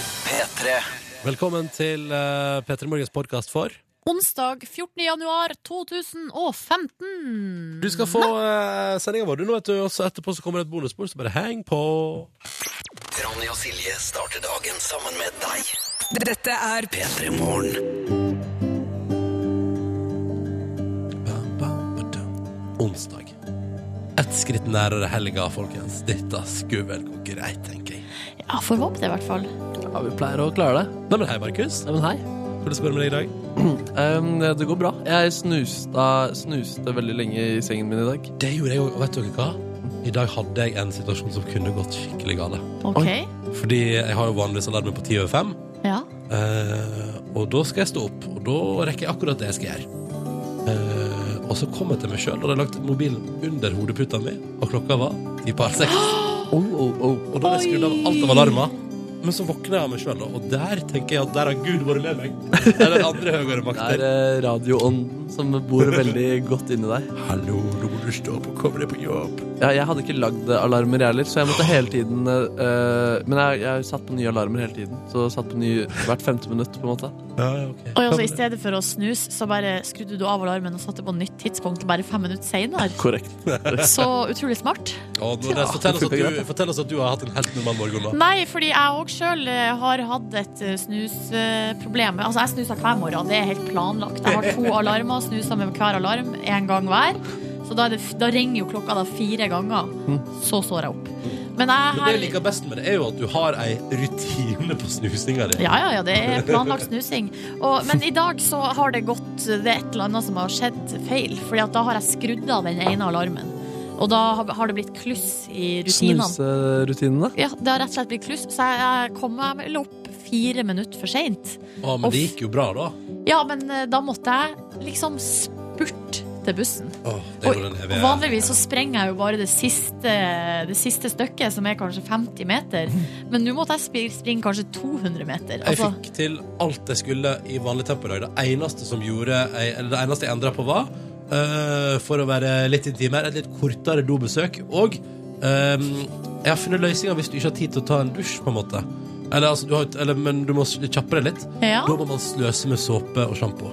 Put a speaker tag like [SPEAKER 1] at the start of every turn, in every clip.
[SPEAKER 1] P3.
[SPEAKER 2] Velkommen til uh, P3 Morgens podkast for
[SPEAKER 3] Onsdag 14. januar 2015.
[SPEAKER 2] Du skal få uh, sendinga vår, du nå, vet du. Og så etterpå så kommer det et bonusbord, så bare heng på.
[SPEAKER 1] Ronny og Silje starter dagen sammen med deg.
[SPEAKER 4] Dette er
[SPEAKER 1] P3 Morgen.
[SPEAKER 2] Onsdag. Ett skritt nærere helga, folkens. Dette skulle vel gå greit, tenker jeg.
[SPEAKER 3] Ja, får håpe det, i hvert fall.
[SPEAKER 5] Ja, vi pleier å klare det.
[SPEAKER 2] Nei, men hei, Markus.
[SPEAKER 5] Nei, men hei.
[SPEAKER 2] Hvordan går det med deg i dag?
[SPEAKER 5] Ehm, det går bra. Jeg snusta, snuste veldig lenge i sengen min i dag.
[SPEAKER 2] Det gjorde jeg òg. Og vet dere hva? I dag hadde jeg en situasjon som kunne gått skikkelig gale.
[SPEAKER 3] OK.
[SPEAKER 2] Fordi jeg har jo vanligvis alarmen på ti over fem.
[SPEAKER 3] Ja.
[SPEAKER 2] Eh, og da skal jeg stå opp, og da rekker jeg akkurat det jeg skal gjøre. Eh, og så kom jeg til meg sjøl, og hadde lagt mobilen under hodeputa mi, og klokka var ti på halv seks.
[SPEAKER 5] Oh, oh, oh.
[SPEAKER 2] Og da hadde jeg skrudd av
[SPEAKER 3] Oi.
[SPEAKER 2] alt av alarmer. Men så våkner jeg av meg sjøl, og der tenker jeg at der har Gud vært med meg. Eller andre høyere
[SPEAKER 5] Det er
[SPEAKER 2] makter.
[SPEAKER 5] eh, radioånden som bor veldig godt inni deg.
[SPEAKER 2] Hallo, nå må du stå opp og komme deg på jobb.
[SPEAKER 5] Ja, jeg hadde ikke lagd alarmer, jeg heller, så jeg måtte hele tiden eh, Men jeg, jeg satt på nye alarmer hele tiden. Så satt på ny hvert femte minutt, på en måte.
[SPEAKER 2] Ja, ja, ok.
[SPEAKER 3] Og altså, I stedet for å snuse, så bare skrudde du av alarmen og satte på nytt tidspunkt bare fem minutter seinere.
[SPEAKER 5] Korrekt.
[SPEAKER 3] Så utrolig smart.
[SPEAKER 2] Og nå, fortell, oss at du, fortell oss at du har hatt en helt normal morgen nå.
[SPEAKER 3] Nei, fordi jeg òg sjøl har hatt et eh, snusproblem. Altså, jeg snuser hver morgen, det er helt planlagt. Jeg har to alarmer, snuser med hver alarm én gang hver. Så da, er det, da ringer jo klokka da fire ganger. Så står jeg opp.
[SPEAKER 2] Mm. Men
[SPEAKER 3] Men jeg
[SPEAKER 2] det jeg liker best med det, er jo at du har ei rutine på snusinga di.
[SPEAKER 3] Ja, ja, ja, det er planlagt snusing. Og, men i dag så har det gått Det er et eller annet som har skjedd feil. Fordi at da har jeg skrudd av den ene alarmen. Og da har- har det blitt kluss i rutinene.
[SPEAKER 5] Snuserutinene.
[SPEAKER 3] Ja, det har rett og slett blitt kluss, så jeg jeg kom meg vel opp fire minutter for seint.
[SPEAKER 2] Å, men det gikk jo bra, da.
[SPEAKER 3] Ja, men eh, da måtte jeg liksom spurte til bussen.
[SPEAKER 2] Åh, det
[SPEAKER 3] Og
[SPEAKER 2] gjorde den evige-
[SPEAKER 3] vanligvis så sprenger jeg jo bare det siste, det siste stykket, som er kanskje 50 meter. Men nå måtte jeg sp- springe kanskje 200 meter.
[SPEAKER 2] Jeg fikk til alt jeg skulle i vanlig tempo i dag. Det eneste som gjorde Eller det eneste jeg endra på, var øh, For å være litt intim her, et litt kortere dobesøk. Og øhm, jeg har funnet løsninger hvis du ikke har tid til å ta en dusj, på en måte. Eller, altså, du har, eller, men du må s- kjappe deg litt.
[SPEAKER 3] Ja.
[SPEAKER 2] Da må man sløse med såpe og sjampo.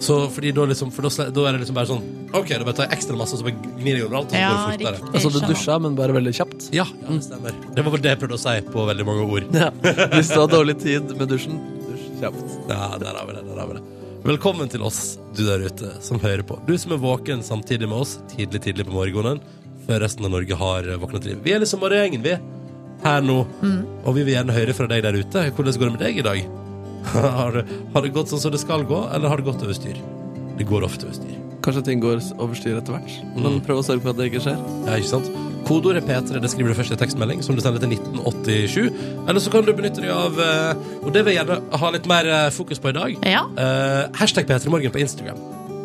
[SPEAKER 2] Så fordi da liksom For da, sle- da er det liksom bare sånn OK, da bare tar jeg ekstra masse, så bare gnir jeg overalt. og Så
[SPEAKER 3] Ja,
[SPEAKER 2] går det fortere.
[SPEAKER 3] riktig.
[SPEAKER 5] Altså, du
[SPEAKER 3] Skjønner.
[SPEAKER 5] dusja, men bare veldig kjapt.
[SPEAKER 2] Ja, ja, det stemmer. Det var vel det jeg prøvde å si på veldig mange ord.
[SPEAKER 5] Ja. Hvis du har dårlig tid med dusjen, dusj kjapt.
[SPEAKER 2] Ja, der har vi det, der har vi det. Velkommen til oss, du der ute som hører på. Du som er våken samtidig med oss, tidlig, tidlig på morgenen, før resten av Norge har våknet til liv. Vi er liksom morgengjengen, vi. Her nå. Og vi vil gjerne høre fra deg der ute. Hvordan går det med deg i dag? Har, det- har det gått sånn som det skal gå, eller har det gått over styr? Det går ofte over styr. Mm.
[SPEAKER 5] Kanskje ting går over styr etter hvert. Men prøv å sørge for at det ikke skjer.
[SPEAKER 2] Ja, ikke sant? Kodeordet P3 det skriver du først i tekstmelding, som du sender til 1987. Eller så kan du benytte deg av eh, Og det vil jeg gjerne ha litt mer eh, fokus på i dag.
[SPEAKER 3] Altså, Ja.
[SPEAKER 2] Eh, hashtag P3morgen på Instagram.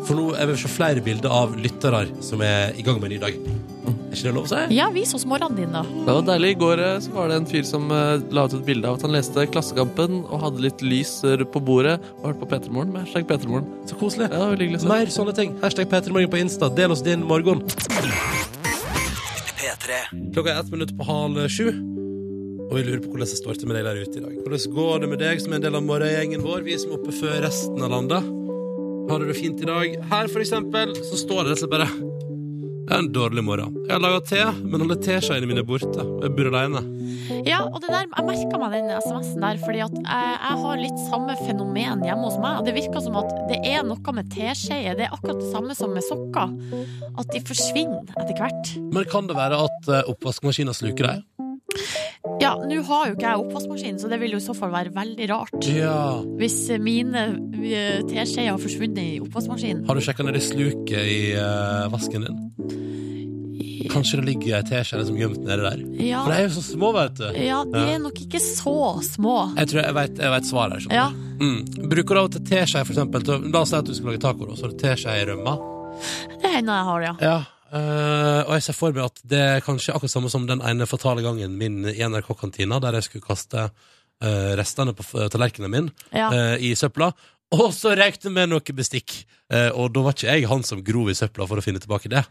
[SPEAKER 2] For nå jeg vil se flere bilder av lyttere som er i gang med en ny dag. Er ikke det lov å si?
[SPEAKER 3] Ja, vis oss morgenen din, da.
[SPEAKER 5] Det var deilig. I går eh, så var det en fyr som eh, la ut et bilde av at han leste Klassekampen og hadde litt lys eh, på bordet og hørte på P3morgen med hashtag P3morgen.
[SPEAKER 2] Så koselig.
[SPEAKER 5] Ja, det var veldig hyggelig å se.
[SPEAKER 2] Mer sånne ting. Hashtag P3morgen på Insta. Del oss din morgen.
[SPEAKER 1] P3.
[SPEAKER 2] Klokka er ett minutt på halv sju. Og vi lurer på hvordan det står til med deg der ute i dag. Hvordan går det med deg som er en del av morgengjengen vår, vi som er oppe før resten av landet? Har du det fint i dag? Her, for eksempel, så står det rett og slett bare Det er en dårlig morgen. Jeg har laga te, men alle teskjeene mine er borte. Og jeg bor aleine.
[SPEAKER 3] Ja, og det der, Jeg merka meg den SMS-en der, fordi at jeg, jeg har litt samme fenomen hjemme hos meg. Det virker som at det er noe med teskjeer. Det er akkurat det samme som med sokker. At de forsvinner etter hvert.
[SPEAKER 2] Men kan det være at eh, oppvaskmaskinen sluker deg?
[SPEAKER 3] Ja, Nå har jo ikke jeg oppvaskmaskin, så det vil jo i så fall være veldig rart
[SPEAKER 2] Ja.
[SPEAKER 3] hvis mine eh, teskjeer har forsvunnet i oppvaskmaskinen.
[SPEAKER 2] Har du sjekka nedi sluket i eh, vasken din? Kanskje det ligger ei teskje som er gjemt nedi der?
[SPEAKER 3] Ja,
[SPEAKER 2] For de er jo så små, vet du.
[SPEAKER 3] ja, de er nok ikke så små.
[SPEAKER 2] Jeg tror jeg vet, jeg vet svaret. her, skjønner
[SPEAKER 3] Ja,
[SPEAKER 2] du. Mm. Bruker du av og til teskje, for eksempel? til- La oss si at du skal lage taco, da, så har du teskje i rømma.
[SPEAKER 3] det hender jeg har, ja.
[SPEAKER 2] Ja. eh, og jeg ser for meg at det er kanskje akkurat samme som den ene fatale gangen min i NRK-kantina, der jeg skulle kaste eh, restene på f- tallerkenen min.
[SPEAKER 3] ja.
[SPEAKER 2] eh, i søpla. Og så røyk det med noe bestikk. Eh, og da var ikke jeg han som grov i søpla for å finne tilbake det.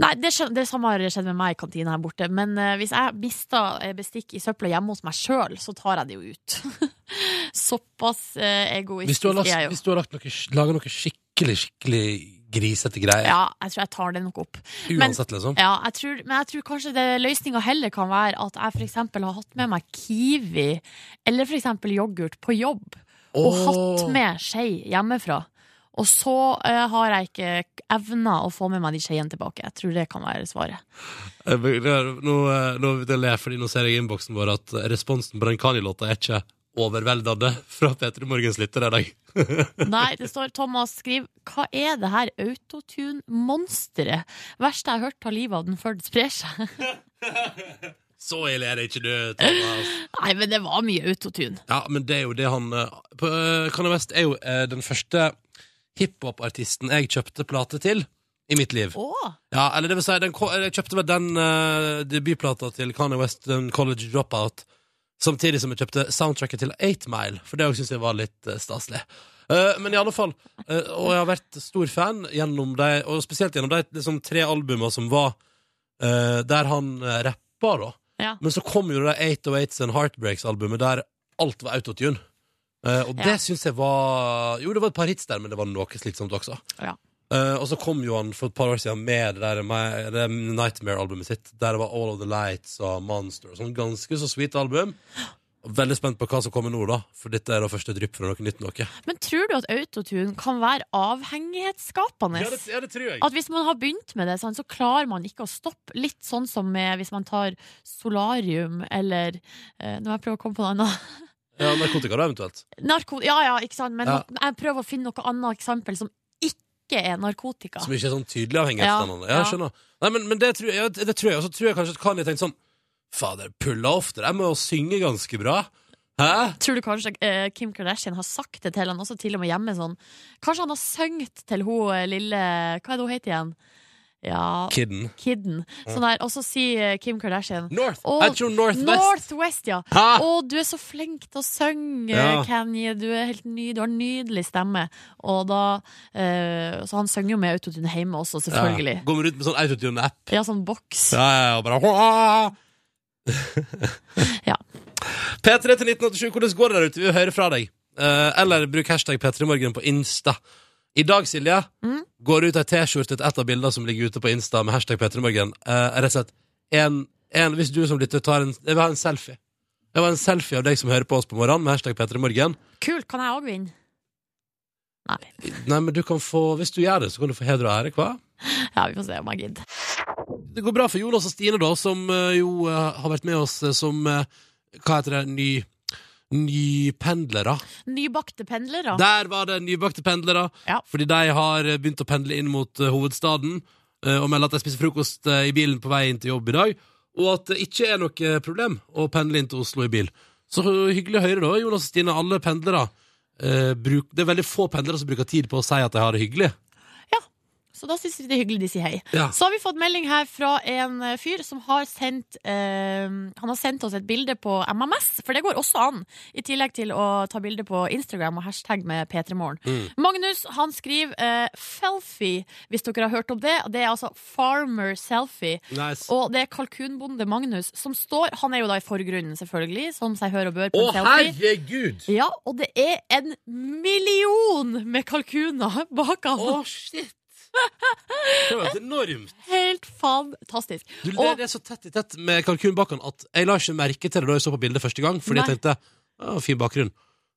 [SPEAKER 3] Nei, det, skjøn- det samme har skjedd med meg i kantina her borte. Men eh, hvis jeg mister eh, bestikk i søpla hjemme hos meg sjøl, så tar jeg det jo ut. Såpass
[SPEAKER 2] Hvis
[SPEAKER 3] eh, egoistisk
[SPEAKER 2] du har, lagt,
[SPEAKER 3] er jeg jo.
[SPEAKER 2] hvis du har lagt noe, laget noe skikkelig, skikkelig grisete greier,
[SPEAKER 3] Ja, jeg tror jeg tar det nok opp. men-
[SPEAKER 2] uansett, liksom
[SPEAKER 3] Ja, jeg tror, men jeg tror kanskje det- løsninga heller kan være at jeg f.eks. har hatt med meg Kiwi eller f.eks. yoghurt på jobb, og
[SPEAKER 2] Åh.
[SPEAKER 3] hatt med skje hjemmefra. Og så eh, har jeg ikke evna å få med meg de skeiene tilbake. Jeg tror det kan være svaret.
[SPEAKER 2] Jeg beklager, Nå, eh, nå, vet jeg le, fordi nå ser jeg i innboksen vår at responsen på den Kani-låta er ikke overveldende fra P3 Morgens lyttere i dag.
[SPEAKER 3] Nei, det står Thomas skriver Hva er det her autotune-monsteret? Verste jeg har hørt, tar livet av den før det sprer seg.
[SPEAKER 2] Så ille er det ikke, du, Thomas.
[SPEAKER 3] Nei, men det var mye autotune.
[SPEAKER 2] Ja, men det er jo det han eh, på, eh, Kanye West er jo eh, den første hiphop-artisten jeg kjøpte plate til i mitt liv.
[SPEAKER 3] Å!
[SPEAKER 2] Ja, eller det vil si, den, ko- eller jeg kjøpte meg den eh, debutplata til Kanye West, den College Dropout, samtidig som jeg kjøpte soundtracket til 8 Mile, for det òg syns jeg var litt eh, staselig. Eh, men i alle fall, eh, og jeg har vært stor fan gjennom de, og spesielt gjennom de liksom, tre albuma som var eh, der han uh, rappa, da.
[SPEAKER 3] Ja.
[SPEAKER 2] Men så kom jo det 808s and Heartbreaks-albumet der alt var autotune. Eh, og
[SPEAKER 3] Ja.
[SPEAKER 2] det syns jeg var Jo, det var et par hits der, men det var noe slitsomt også.
[SPEAKER 3] Ja.
[SPEAKER 2] Eh, og så kom jo han for et par år siden med det der med- det Nightmare-albumet sitt, der det var All of the Lights og Monster og sånn. Ganske så sweet album. Og Veldig spent på hva som kommer nå, da. For dette er da første drypp fra noe nytt noe.
[SPEAKER 3] Men tror du at autotune kan være avhengighetsskapende?
[SPEAKER 2] tror jeg.
[SPEAKER 3] At hvis man har begynt med det, sant, så klarer man ikke å stoppe. Litt sånn som med hvis man tar solarium eller eh, Nå må jeg prøve å komme på noe annet.
[SPEAKER 2] Ja, narkotika, da, eventuelt.
[SPEAKER 3] Narko ja, ja, ikke sant. Men
[SPEAKER 2] Ja.
[SPEAKER 3] jeg prøver å finne noe annet eksempel som ikke er narkotika.
[SPEAKER 2] Som ikke er sånn tydelig avhengighetsdannende. Ja,
[SPEAKER 3] Ja, ja.
[SPEAKER 2] jeg skjønner. Nei, men, men det tror jeg, ja, det det tror jeg. Og så tror jeg kanskje at Kanye tenkte sånn Fader, pulla ofte der med å synge ganske bra. Hæ?
[SPEAKER 3] Tror du kanskje eh, Kim Kardashian har sagt det til han også, til og med hjemme sånn Kanskje han har sunget til hun eh, lille Hva er det hun heter igjen? Ja,
[SPEAKER 2] Kidden.
[SPEAKER 3] Kidden. Sånn der. Og så sier eh, Kim Kardashian
[SPEAKER 2] North.
[SPEAKER 3] Å,
[SPEAKER 2] Jeg tror Northwest.
[SPEAKER 3] Northwest, ja.
[SPEAKER 2] Hæ?
[SPEAKER 3] Å, du er så flink til å synge,
[SPEAKER 2] Ja.
[SPEAKER 3] Kanye. Du, er helt ny, du har en nydelig stemme. Og da, eh, så han synger jo med autotune hjemme også, selvfølgelig.
[SPEAKER 2] Ja. Går rundt med sånn autotune-app.
[SPEAKER 3] Ja, sånn boks.
[SPEAKER 2] Ja, ja, ja, og bare «Hurra!»
[SPEAKER 3] Ja.
[SPEAKER 2] P3 til 1987, hvordan går det der ute? Vi vil høre fra deg. Eh, eller bruk hashtag P3morgen på Insta. I dag, Silje,
[SPEAKER 3] Mm.
[SPEAKER 2] går det ut ei T-skjorte til et av bildene som ligger ute på Insta med hashtag P3morgen. Eh, rett og slett en, en, Hvis du som lytter tar en Jeg vil ha en selfie. Jeg vil ha en selfie av deg som hører på oss på morgenen med hashtag P3morgen.
[SPEAKER 3] Kult, kan jeg òg vinne? Nei.
[SPEAKER 2] Nei, men du kan få Hvis du gjør det, så kan du få heder og ære, hva?
[SPEAKER 3] Ja, vi får se om jeg gidder.
[SPEAKER 2] Det går bra for Jonas og Stine, da, som eh, jo eh, har vært med oss eh, som eh, Hva heter det? Ny Nypendlere.
[SPEAKER 3] Nybakte pendlere.
[SPEAKER 2] Der var det nybakte pendlere.
[SPEAKER 3] Ja.
[SPEAKER 2] Fordi de har eh, begynt å pendle inn mot eh, hovedstaden eh, og melder at de spiser frokost eh, i bilen på vei inn til jobb i dag. Og at det ikke er noe eh, problem å pendle inn til Oslo i bil. Så eh, hyggelig å høre, da, Jonas og Stine. Alle pendlere. eh, bruk, det er veldig få pendlere som bruker tid på å si at de har det hyggelig.
[SPEAKER 3] Så da syns vi det er hyggelig de sier hei.
[SPEAKER 2] Ja.
[SPEAKER 3] Så har vi fått melding her fra en eh, fyr som har sendt eh, Han har sendt oss et bilde på MMS, for det går også an. I tillegg til å ta bilde på Instagram og hashtag med P3morgen.
[SPEAKER 2] Mm.
[SPEAKER 3] Magnus han skriver eh, 'felfie', hvis dere har hørt om det. Det er altså farmer selfie.
[SPEAKER 2] Nice.
[SPEAKER 3] Og det er kalkunbonde Magnus som står Han er jo da i forgrunnen, selvfølgelig, som seg hør og bør på
[SPEAKER 2] Å,
[SPEAKER 3] en selfie.
[SPEAKER 2] herregud!
[SPEAKER 3] Ja, og det er en million med kalkuner bak han.
[SPEAKER 2] Å, shit! Det var helt enormt.
[SPEAKER 3] Helt fantastisk.
[SPEAKER 2] Du, det,
[SPEAKER 3] Og-
[SPEAKER 2] det er så tett i tett med kalkunbakken at jeg la ikke merke til det da jeg så på bildet første gang, fordi jeg
[SPEAKER 3] Nei.
[SPEAKER 2] tenkte «Å, fin bakgrunn.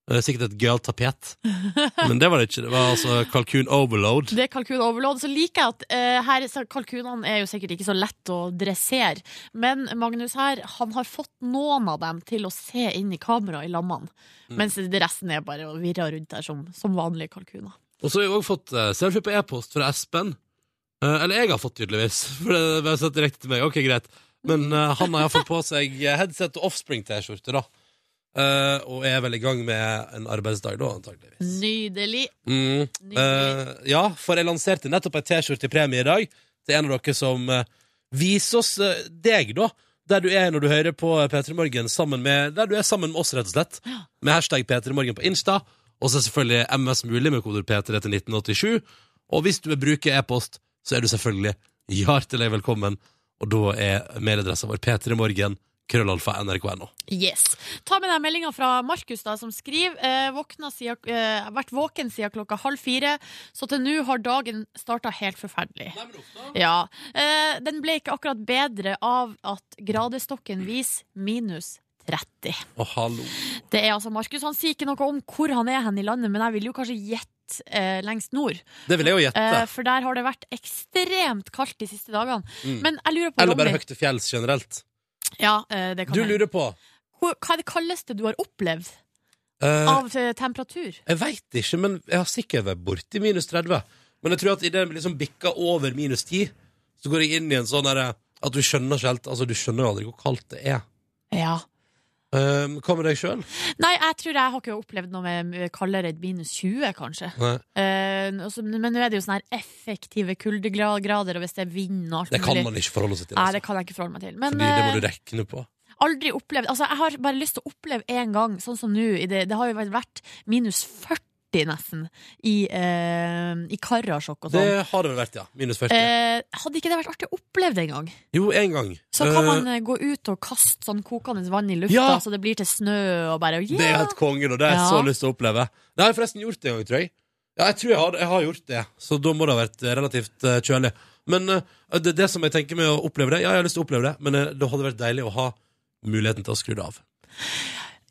[SPEAKER 2] Eh, Sikkert et gøyalt tapet. Men det var det ikke. Det var altså kalkun overload.
[SPEAKER 3] Det er kalkun overload. Så liker jeg at eh, her, så kalkunene er jo sikkert ikke så lett å dressere, men Magnus her, han har fått noen av dem til å se inn i kamera i lammene,
[SPEAKER 2] Mm.
[SPEAKER 3] mens det resten er bare å virre rundt der som, som vanlige kalkuner.
[SPEAKER 2] Og så har jeg også fått eh, selfie på e-post fra Espen. Eh, eller jeg har fått, tydeligvis. For det var satt direkte til meg. Ok, greit. Men eh, han har iallfall på seg eh, headset og Offspring-T-skjorte, da. Eh, og er vel i gang med en arbeidsdag, da, antakeligvis.
[SPEAKER 3] Nydelig.
[SPEAKER 2] Mm.
[SPEAKER 3] Nydelig.
[SPEAKER 2] Eh, ja, for jeg lanserte nettopp ei T-skjorte i premie i dag til en av dere som eh, viser oss eh, deg, da. Der du er når du hører på eh, P3 Morgen sammen med Der du er sammen med oss, rett og slett. Med hashtag P3 Morgen på Insta. Og så selvfølgelig MS mulig med koder P3 til 1987. Og hvis du vil bruke e-post, så er du selvfølgelig hjertelig velkommen. Og da er mailadressa vår p3morgen krøllalfa nrk.no.
[SPEAKER 3] Yes. Ta med deg meldinga fra Markus, da, som skriver eh, våkna siden, eh, Vært våken siden klokka halv fire, så til nå har dagen starta helt forferdelig. Ja. Eh, den ble ikke akkurat bedre av at gradestokken viser minus 30.
[SPEAKER 2] Og hallo.
[SPEAKER 3] Det er altså Markus. Han sier ikke noe om hvor han er hen i landet, men jeg vil jo kanskje gjette eh, lengst nord.
[SPEAKER 2] Det vil jeg jo
[SPEAKER 3] Eh,
[SPEAKER 2] gjette.
[SPEAKER 3] for der har det vært ekstremt kaldt de siste dagene.
[SPEAKER 2] Mm.
[SPEAKER 3] Men jeg lurer på
[SPEAKER 2] Eller bare
[SPEAKER 3] Ronny.
[SPEAKER 2] høyt til fjells generelt.
[SPEAKER 3] Ja, eh, det kan
[SPEAKER 2] Du
[SPEAKER 3] hende.
[SPEAKER 2] lurer på
[SPEAKER 3] Hvor- Hva er det kaldeste du har opplevd
[SPEAKER 2] eh,
[SPEAKER 3] av eh, temperatur?
[SPEAKER 2] Jeg veit ikke, men jeg har sikkert vært borti minus 30. Men jeg tror at idet vi liksom bikker over minus 10, så går jeg inn i en sånn derre at du skjønner ikke helt Altså, du skjønner jo aldri hvor kaldt det er.
[SPEAKER 3] Ja.
[SPEAKER 2] Um, hva med deg sjøl?
[SPEAKER 3] Nei, jeg tror jeg har ikke opplevd noe med kaldere enn minus 20, kanskje.
[SPEAKER 2] Det
[SPEAKER 3] Eh, også, men nå er det jo sånne her effektive kuldegrader, og hvis det er vind og alt
[SPEAKER 2] kan man ikke forholde seg til.
[SPEAKER 3] Nei,
[SPEAKER 2] Altså.
[SPEAKER 3] det kan jeg ikke forholde meg til. Men
[SPEAKER 2] Fordi det må
[SPEAKER 3] eh,
[SPEAKER 2] du regne på.
[SPEAKER 3] aldri opplevd Altså, jeg har bare lyst til å oppleve en gang, sånn som nå. i Det, det har jo vært minus 40 nesten i, eh, i Karasjok
[SPEAKER 2] Det
[SPEAKER 3] og sånn.
[SPEAKER 2] har det vel vært, ja. Minus 40.
[SPEAKER 3] Eh, hadde ikke det vært artig å oppleve det en gang?
[SPEAKER 2] jo, én gang.
[SPEAKER 3] Så kan
[SPEAKER 2] Eh,
[SPEAKER 3] man eh, gå ut og kaste sånn kokende vann i lufta,
[SPEAKER 2] Ja.
[SPEAKER 3] så det blir til snø og bare
[SPEAKER 2] Det er
[SPEAKER 3] yeah!
[SPEAKER 2] helt kongen, og det har jeg så
[SPEAKER 3] Ja.
[SPEAKER 2] lyst til å oppleve. Det har jeg forresten gjort det en gang, tror jeg. Ja, jeg tror jeg har, jeg har gjort det, så da må det ha vært eh, relativt eh, kjølig. Men eh, det, det som jeg tenker med å oppleve det Ja, jeg har lyst til å oppleve det, men eh, det hadde vært deilig å ha muligheten til å skru det av.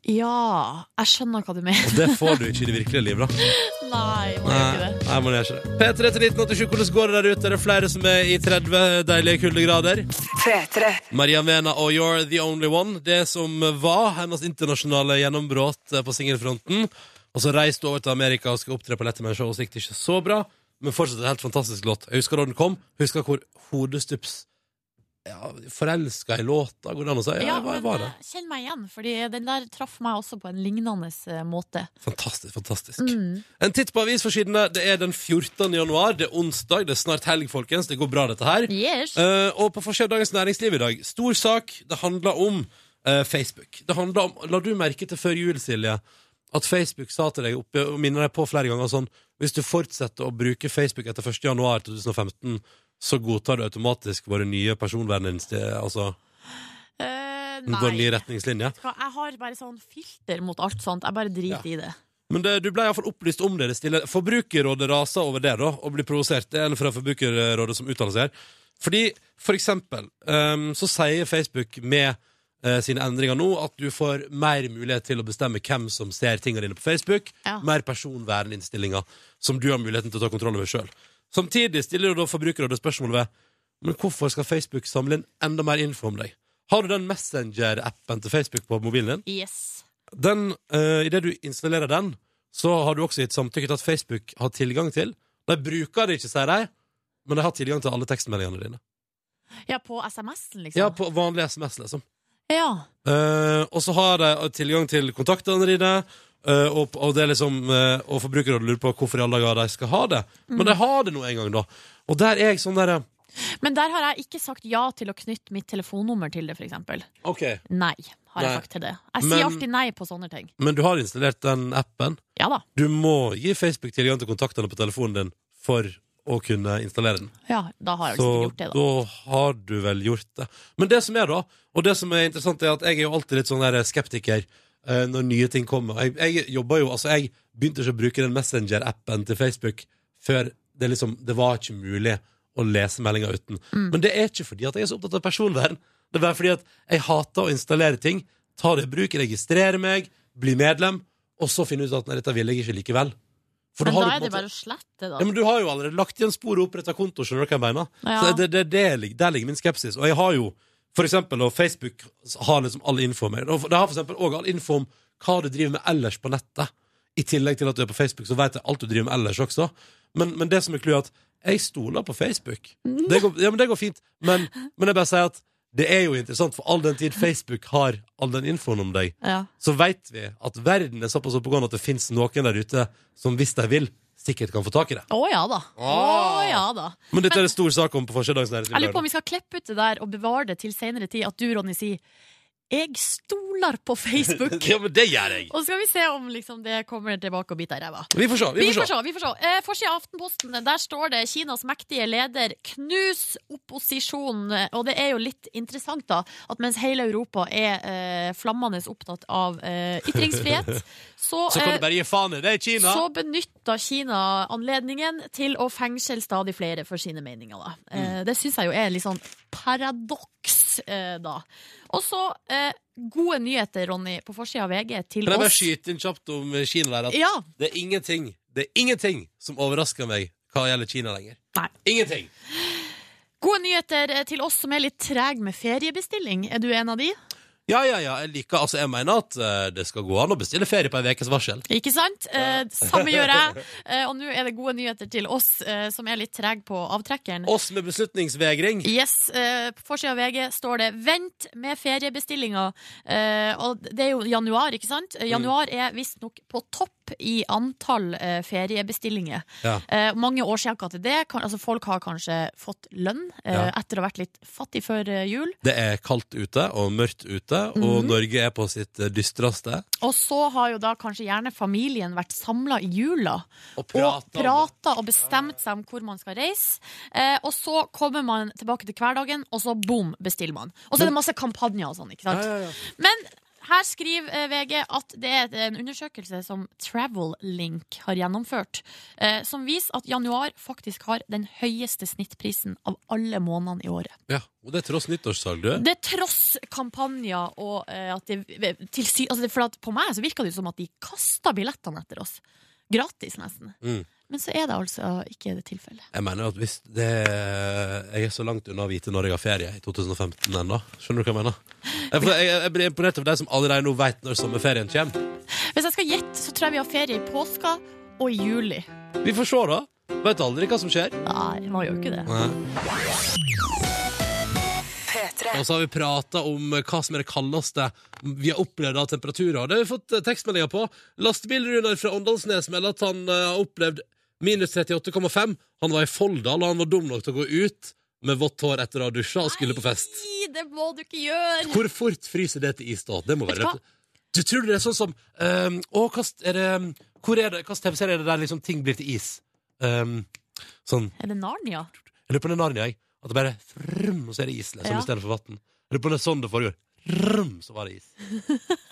[SPEAKER 3] Ja, jeg skjønner hva du mener.
[SPEAKER 2] Og det får du ikke i det virkelige livet, da.
[SPEAKER 3] Nei, man gjør ikke det.
[SPEAKER 2] nei, man gjør ikke det. P3 til 1987, hvordan går det der ute? Er det flere som er i 30 deilige kuldegrader? Maria Mena og You're The Only One, det som var hennes internasjonale gjennombrudd eh, på singelfronten. Og så reiste hun over til Amerika og skal opptre på Letterman Show, og så gikk det ikke så bra. Men fortsatt en helt fantastisk låt. Jeg husker da den kom, husker hvor hodestups ja, forelska i låta, går det an å si? Ja,
[SPEAKER 3] Ja,
[SPEAKER 2] jeg var, jeg var
[SPEAKER 3] men
[SPEAKER 2] det.
[SPEAKER 3] eh, kjenn meg igjen, Fordi den der traff meg også på en lignende eh, måte.
[SPEAKER 2] Fantastisk, fantastisk.
[SPEAKER 3] Mm.
[SPEAKER 2] En titt på avisforsidene. Det er den 14. januar, det er onsdag, det er snart helg, folkens. Det går bra, dette her.
[SPEAKER 3] Yes.
[SPEAKER 2] Eh, og på forsiden av Dagens Næringsliv i dag, stor sak. Det handler om eh, Facebook. Det handler om, La du merke til før jul, Silje, at Facebook sa til deg oppe, og minner deg på flere ganger sånn Hvis du fortsetter å bruke Facebook etter 1. januar 2015, så godtar du automatisk våre nye personverninnstillinger, altså
[SPEAKER 3] Eh,
[SPEAKER 2] våre nye
[SPEAKER 3] nei.
[SPEAKER 2] retningslinjer.
[SPEAKER 3] Hva, Jeg har bare sånn filter mot alt sånt. Jeg bare driter i det.
[SPEAKER 2] Men det, du ble iallfall opplyst om det. det stille. Forbrukerrådet raser over det da, og blir provosert. Det er en fra Forbrukerrådet som uttaler seg her. Fordi, for eksempel, ehm, så sier Facebook med eh, sine endringer nå at du får mer mulighet til å bestemme hvem som ser tingene dine på Facebook.
[SPEAKER 3] Ja.
[SPEAKER 2] Mer personverninnstillinger som du har muligheten til å ta kontroll over sjøl. Samtidig stiller jo da Forbrukerrådet spørsmål ved men hvorfor skal Facebook samle inn enda mer info om deg. Har du den Messenger-appen til Facebook på mobilen din?
[SPEAKER 3] Yes.
[SPEAKER 2] den, uh, i det du installerer den, så har du også gitt samtykke til at Facebook har tilgang til. De bruker det ikke, sier de, men de har tilgang til alle tekstmeldingene dine.
[SPEAKER 3] Ja, på SMS-en, liksom.
[SPEAKER 2] Ja, på vanlig SMS, liksom.
[SPEAKER 3] Ja.
[SPEAKER 2] Eh, og så har de tilgang til kontaktene dine, eh, og, og det er liksom eh, Og forbrukerrådet lurer på hvorfor i alle dager de skal ha det. Men de
[SPEAKER 3] Mm.
[SPEAKER 2] har det nå en gang, da. Og der er jeg sånn derre
[SPEAKER 3] Men der har jeg ikke sagt ja til å knytte mitt telefonnummer til det, for eksempel.
[SPEAKER 2] OK.
[SPEAKER 3] Nei, har jeg
[SPEAKER 2] Nei.
[SPEAKER 3] sagt til det. Jeg
[SPEAKER 2] Men-
[SPEAKER 3] sier alltid nei på sånne ting.
[SPEAKER 2] Men du har installert den appen.
[SPEAKER 3] Ja da.
[SPEAKER 2] Du må gi Facebook tilgang til kontaktene på telefonen din for å kunne installere den.
[SPEAKER 3] Ja, da har jeg
[SPEAKER 2] Så
[SPEAKER 3] liksom gjort det, da.
[SPEAKER 2] da har du vel gjort det. Men det som er, da, og det som er interessant, er at jeg er jo alltid litt sånn der skeptiker eh, når nye ting kommer. Jeg, jeg jobber jo Altså, jeg begynte ikke å bruke den Messenger-appen til Facebook før det liksom Det var ikke mulig å lese meldinger uten.
[SPEAKER 3] Mm.
[SPEAKER 2] Men det er ikke fordi at jeg er så opptatt av personvern. Det er bare fordi at jeg hater å installere ting, ta det i bruk, registrere meg, bli medlem, og så finne ut at nei, dette vil jeg ikke likevel. For
[SPEAKER 3] Men
[SPEAKER 2] har
[SPEAKER 3] da
[SPEAKER 2] du på
[SPEAKER 3] er
[SPEAKER 2] en
[SPEAKER 3] det
[SPEAKER 2] måte-
[SPEAKER 3] bare å slette,
[SPEAKER 2] ja,
[SPEAKER 3] da.
[SPEAKER 2] men Du har jo allerede lagt igjen spor og oppretta konto. skjønner du hva jeg mener?
[SPEAKER 3] Ja.
[SPEAKER 2] Så det, det, det, ligger- Der ligger min skepsis. Og jeg har jo for eksempel, og Facebook har liksom all info om meg. Og Det har for eksempel også all info om hva du driver med ellers på nettet. I tillegg til at du er på Facebook, så vet jeg alt du driver med ellers også. Men, men det som er clouet, er at jeg stoler på Facebook.
[SPEAKER 3] Mm.
[SPEAKER 2] Det går, ja, men det går fint. Men, men jeg bare sier at det er jo interessant, for all den tid Facebook har all den infoen om deg,
[SPEAKER 3] Ja.
[SPEAKER 2] så veit vi at verden er såpass oppegående at det fins noen der ute som hvis de vil, sikkert kan få tak i det.
[SPEAKER 3] Å ja da. Å
[SPEAKER 2] Ah.
[SPEAKER 3] ja da.
[SPEAKER 2] Men dette er en stor sak om på forsiden av Dagens Næringsliv.
[SPEAKER 3] Jeg lurer på om vi skal klippe ut det der og bevare det til senere tid, at du, Ronny, sier Jeg stoler på Facebook!
[SPEAKER 2] Ja, men det gjør jeg!
[SPEAKER 3] Og så skal vi se om liksom, det kommer tilbake og biter deg i ræva.
[SPEAKER 2] Vi får se.
[SPEAKER 3] Vi får se. vi får se. Eh, Forsida av Aftenposten, der står det 'Kinas mektige leder knus opposisjonen'. Eh, Og det er jo litt interessant, da, at mens hele Europa er eh, flammende opptatt av eh, ytringsfrihet, så,
[SPEAKER 2] Så kan
[SPEAKER 3] eh,
[SPEAKER 2] du bare gi faen i det i Kina.
[SPEAKER 3] så benytter Kina anledningen til å fengsle stadig flere for sine meninger. Da.
[SPEAKER 2] Mm.
[SPEAKER 3] Eh, Det syns jeg jo er litt sånn paradoks, eh, da. Og så eh, gode nyheter, Ronny, på forsida av VG til
[SPEAKER 2] Kan jeg bare
[SPEAKER 3] oss.
[SPEAKER 2] skyte inn kjapt om Kina der? At
[SPEAKER 3] Ja,
[SPEAKER 2] det er ingenting Det er ingenting som overrasker meg hva gjelder Kina lenger.
[SPEAKER 3] Nei.
[SPEAKER 2] Ingenting.
[SPEAKER 3] Gode nyheter eh, til oss som er litt treg med feriebestilling. Er du en av de?
[SPEAKER 2] Ja, ja, ja. Jeg liker Altså, jeg mener at eh, det skal gå an å bestille ferie på ei ukes varsel.
[SPEAKER 3] Ikke sant? Eh, samme gjør jeg. Eh, og nå er det gode nyheter til oss eh, som er litt treg på avtrekkeren.
[SPEAKER 2] Oss med beslutningsvegring.
[SPEAKER 3] Yes, eh, På forsida av VG står det 'Vent med feriebestillinga'. Eh, og det er jo januar, ikke sant? Eh, Januar er visstnok på topp i antall eh, feriebestillinger.
[SPEAKER 2] Ja.
[SPEAKER 3] Eh, mange årsaker til det. Kan, altså folk har kanskje fått lønn eh,
[SPEAKER 2] Ja.
[SPEAKER 3] etter å ha vært litt fattig før eh, jul.
[SPEAKER 2] Det er kaldt ute og mørkt ute,
[SPEAKER 3] Mm.
[SPEAKER 2] og Norge er på sitt eh, dystreste.
[SPEAKER 3] Og så har jo da kanskje gjerne familien vært samla i jula
[SPEAKER 2] Og
[SPEAKER 3] og
[SPEAKER 2] prater om det.
[SPEAKER 3] prata og bestemt seg om hvor man skal reise. Eh, og så kommer man tilbake til hverdagen, og så bom, bestiller man. Og så er det masse kampanjer og sånn, ikke sant. Men her skriver eh, VG at det er en undersøkelse som Travellink har gjennomført, eh, som viser at januar faktisk har den høyeste snittprisen av alle månedene i året.
[SPEAKER 2] Ja, og det er tross nyttårssalg, du.
[SPEAKER 3] Det er tross kampanjer og eh, at det, til sy altså det, For at på meg så virker det jo som at de kaster billettene etter oss. Gratis, nesten.
[SPEAKER 2] Mm.
[SPEAKER 3] Men så er det altså ikke det tilfellet.
[SPEAKER 2] Jeg mener jo at hvis det Jeg er så langt unna å vite når jeg har ferie i 2015 ennå. Skjønner du hva jeg mener? Jeg, for- jeg, jeg blir imponert over de som allerede nå veit når sommerferien kommer.
[SPEAKER 3] Hvis jeg skal gjette, så tror jeg vi har ferie i påska og i juli.
[SPEAKER 2] Vi får se, da. Veit aldri hva som skjer.
[SPEAKER 3] Nei, vi har jo ikke det.
[SPEAKER 2] Og så har vi prata om eh, hva som er det kaldeste vi har opplevd av temperaturer. Det har vi fått eh, tekstmeldinger på. Lastebilrunar fra Åndalsnes melder at han eh, har opplevd minus 38,5. Han var i Folldal, og han var dum nok til å gå ut med vått hår etter å ha dusja og skulle på fest.
[SPEAKER 3] Nei, det må du ikke gjøre!
[SPEAKER 2] Hvor fort fryser det til is, da? Det må
[SPEAKER 3] Vet du
[SPEAKER 2] være
[SPEAKER 3] hva?
[SPEAKER 2] Du tror det er sånn som ehm, Å, hva s- er det Hvor er det Hva slags TV-serie er det der liksom ting blir til is? Ehm, sånn
[SPEAKER 3] Er det Narnia?
[SPEAKER 2] Jeg lurer på den Narnia, jeg. At det bare frrm, og så er det is liksom,
[SPEAKER 3] Ja.
[SPEAKER 2] i stedet for vann. Jeg lurer på om det er sånn det foregår. Rrm, så var det is.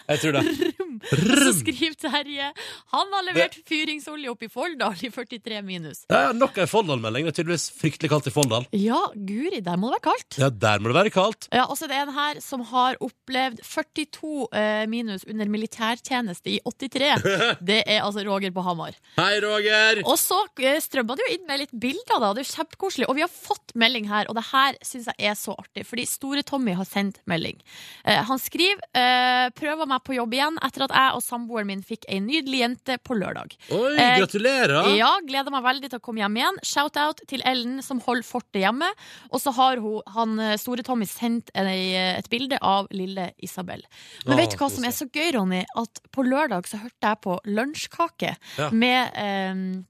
[SPEAKER 2] Jeg tror det.
[SPEAKER 3] Så
[SPEAKER 2] Rrm.
[SPEAKER 3] skriver Terje Han har levert fyringsolje opp i Folldal i 43 minus.
[SPEAKER 2] Ja, ja, nok ei Folldal-melding. Det er tydeligvis fryktelig kaldt i Folldal.
[SPEAKER 3] Ja, guri, der må det være kaldt.
[SPEAKER 2] Ja, der må det være kaldt.
[SPEAKER 3] Ja, og så er det en her som har opplevd 42 eh, minus under militærtjeneste i 83. Det er altså Roger på Hamar.
[SPEAKER 2] Hei, Roger!
[SPEAKER 3] Og så eh, strømma det jo inn med litt bilder, da. Det er jo kjempekoselig. Og vi har fått melding her, og det her syns jeg er så artig. Fordi Store-Tommy har sendt melding. Eh, han skriver eh, 'prøver meg på jobb igjen' etter at jeg og samboeren min fikk ei nydelig jente på lørdag.
[SPEAKER 2] Oi,
[SPEAKER 3] Eh,
[SPEAKER 2] gratulerer!
[SPEAKER 3] Ja, gleder meg veldig til å komme hjem igjen. Shout-out til Ellen som holder fortet hjemme. Og så har hun, han eh, store Tommy sendt en, eh, et bilde av lille Isabel. Men
[SPEAKER 2] Å,
[SPEAKER 3] vet du hva som er så gøy, Ronny? At på lørdag så hørte jeg på Lunsjkake
[SPEAKER 2] Ja.
[SPEAKER 3] med eh,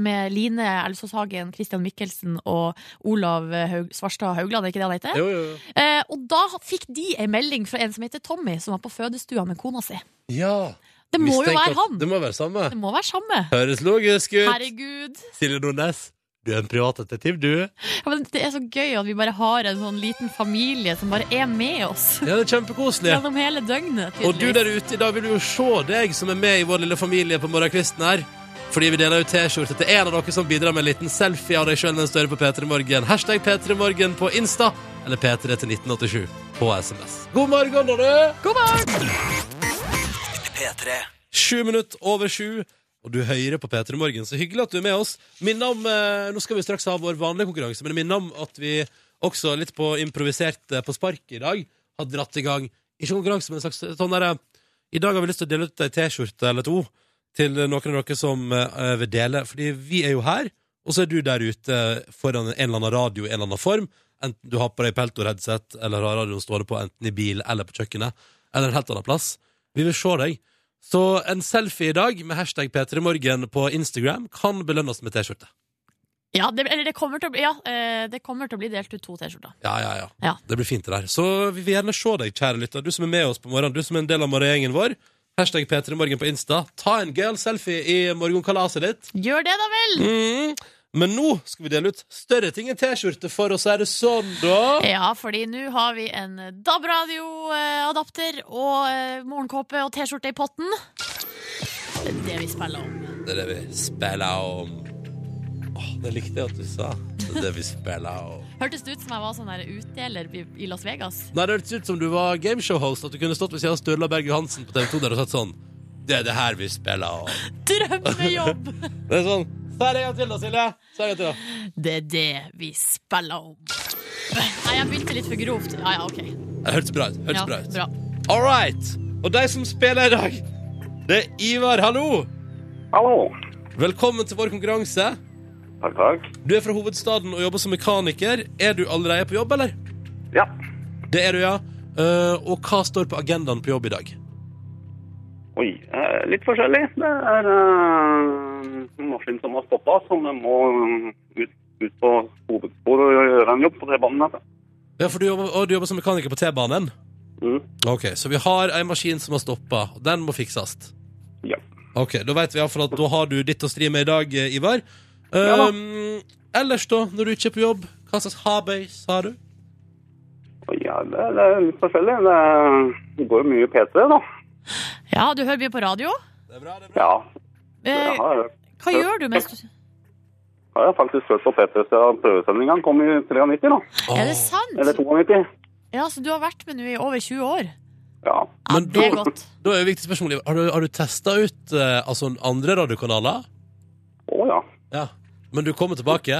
[SPEAKER 3] med Line Elsås Hagen, Christian Michelsen og Olav Haug, Svarstad Haugland, er ikke det han heter?
[SPEAKER 2] Jo, jo, jo.
[SPEAKER 3] Eh, og da fikk de ei melding fra en som heter Tommy, som var på fødestua med kona si.
[SPEAKER 2] Ja.
[SPEAKER 3] Det må
[SPEAKER 2] Mistenker
[SPEAKER 3] jo være
[SPEAKER 2] at-
[SPEAKER 3] han!
[SPEAKER 2] Det må være samme.
[SPEAKER 3] Det må være samme.
[SPEAKER 2] Høres logisk ut.
[SPEAKER 3] Herregud.
[SPEAKER 2] Silje Nordnes, du er en privatdetektiv, du.
[SPEAKER 3] Ja, men det er så gøy at vi bare har en sånn liten familie som bare er med oss
[SPEAKER 2] Ja, det er kjempekoselig.
[SPEAKER 3] gjennom hele døgnet.
[SPEAKER 2] Og du
[SPEAKER 3] tydeligvis.
[SPEAKER 2] der ute, i dag vil vi jo se deg som er med i vår lille familie på morgenkvisten her. Fordi vi deler ut T-skjorte til en av dere som bidrar med en liten selfie av deg sjøl mens du hører på P3 Morgen. Hashtag P3 Morgen på Insta eller P3 til 1987 på SMS. God morgen, da, du!
[SPEAKER 3] God morgen!
[SPEAKER 1] P3.
[SPEAKER 2] Sju minutter over sju. Og du hører på P3 Morgen, så hyggelig at du er med oss. Minner om, eh, Nå skal vi straks ha vår vanlige konkurranse, men minner om at vi også litt på improvisert eh, på sparket i dag har dratt i gang Ikke konkurranse, men en slags sånn derre I dag har vi lyst til å dele ut ei T-skjorte eller to til noen av dere som eh, vil dele. Fordi vi er jo her, og så er du der ute foran en eller annen radio i en eller annen form. Enten du har på deg Peltor-headset, eller har radioen stående på enten i bil eller på kjøkkenet, eller en helt annen plass. Vi vil se deg. Så en selfie i dag med hashtag P3morgen på Instagram kan belønnes med T-skjorte.
[SPEAKER 3] Ja, det, eller det kommer, til å bli, ja eh, det kommer til å bli delt ut to T-skjorter.
[SPEAKER 2] Ja, ja, ja,
[SPEAKER 3] Ja.
[SPEAKER 2] Det blir fint det der. Så vi vil gjerne se deg, kjære lytter. Du som er med oss på morgenen, du som er en del av morgengjengen vår. Hashtag P3morgen på Insta. Ta en gøyal selfie i morgenkalaset ditt.
[SPEAKER 3] Gjør det, da vel!
[SPEAKER 2] Mm. Men nå skal vi dele ut større ting enn T-skjorte, for å si det sånn, da.
[SPEAKER 3] Ja, fordi nå har vi en DAB-radioadapter og eh, morgenkåpe og T-skjorte i potten. Det er det vi spiller om.
[SPEAKER 2] Det er det vi spiller om. Åh, det likte jeg at du sa. Det er det vi spiller om.
[SPEAKER 3] Hørtes det ut som jeg var sånn der utdeler i i Las Vegas?
[SPEAKER 2] Nei, det hørtes ut som du var gameshow-host, at du kunne stått ved siden av Sturla Berg Johansen på TV 2 der og sagt sånn Det er det her vi spiller om.
[SPEAKER 3] Drømmejobb!
[SPEAKER 2] Det er sånn. Si det en gang til, da, Silje. Si det en gang til, da.
[SPEAKER 3] Det er det vi spiller om. Nei, jeg begynte litt for grovt. Ja, ja, OK.
[SPEAKER 2] Det hørtes bra ut. Hørtes
[SPEAKER 3] Ja,
[SPEAKER 2] bra ut.
[SPEAKER 3] bra.
[SPEAKER 2] All right. Og de som spiller i dag, det er Ivar. Hallo!
[SPEAKER 4] Hallo.
[SPEAKER 2] Velkommen til vår konkurranse.
[SPEAKER 4] Takk, takk.
[SPEAKER 2] Du er fra hovedstaden og jobber som mekaniker. Er du allerede på jobb, eller?
[SPEAKER 4] Ja.
[SPEAKER 2] Det er du, ja. Eh, og hva står på agendaen på jobb i dag?
[SPEAKER 4] Oi, eh, litt forskjellig. Det er eh, en maskin som har stoppa, som må eh, ut, ut på hovedspor og gjøre en jobb på altså. T-banenettet.
[SPEAKER 2] Ja, for du jobber, og du jobber som mekaniker på T-banen.
[SPEAKER 4] Mm.
[SPEAKER 2] Ok, Så vi har en maskin som har stoppa. Den må fikses.
[SPEAKER 4] Ja.
[SPEAKER 2] Ok, Da vet vi iallfall at da har du ditt å stri med i dag, eh, Ivar.
[SPEAKER 4] Ja da.
[SPEAKER 5] ehm,
[SPEAKER 2] Um, ellers, da, når du ikke er på jobb, hva slags harbøys har du?
[SPEAKER 4] Oi, ja, det, det er litt forskjellig. Det, er- det går jo mye P3, da.
[SPEAKER 3] Ja, du hører mye på radio.
[SPEAKER 2] Det er bra, det er
[SPEAKER 4] Ja. Jeg
[SPEAKER 3] Eh,
[SPEAKER 4] har,
[SPEAKER 3] hva gjør du mens du
[SPEAKER 4] har jeg faktisk hørt på P3 siden prøvesendinga kom i 93, da.
[SPEAKER 3] Er det sant?
[SPEAKER 4] Eller 92.
[SPEAKER 3] Ja, Så du har vært med nå i over 20 år?
[SPEAKER 4] Ja.
[SPEAKER 3] Ja,
[SPEAKER 2] Men
[SPEAKER 3] det er
[SPEAKER 2] da-
[SPEAKER 3] godt.
[SPEAKER 2] Da er jo et viktig spørsmål, Ivar. Har du, har du testa ut eh, altså andre radiokanaler?
[SPEAKER 4] Å ja.
[SPEAKER 2] Ja. Men du kommer tilbake?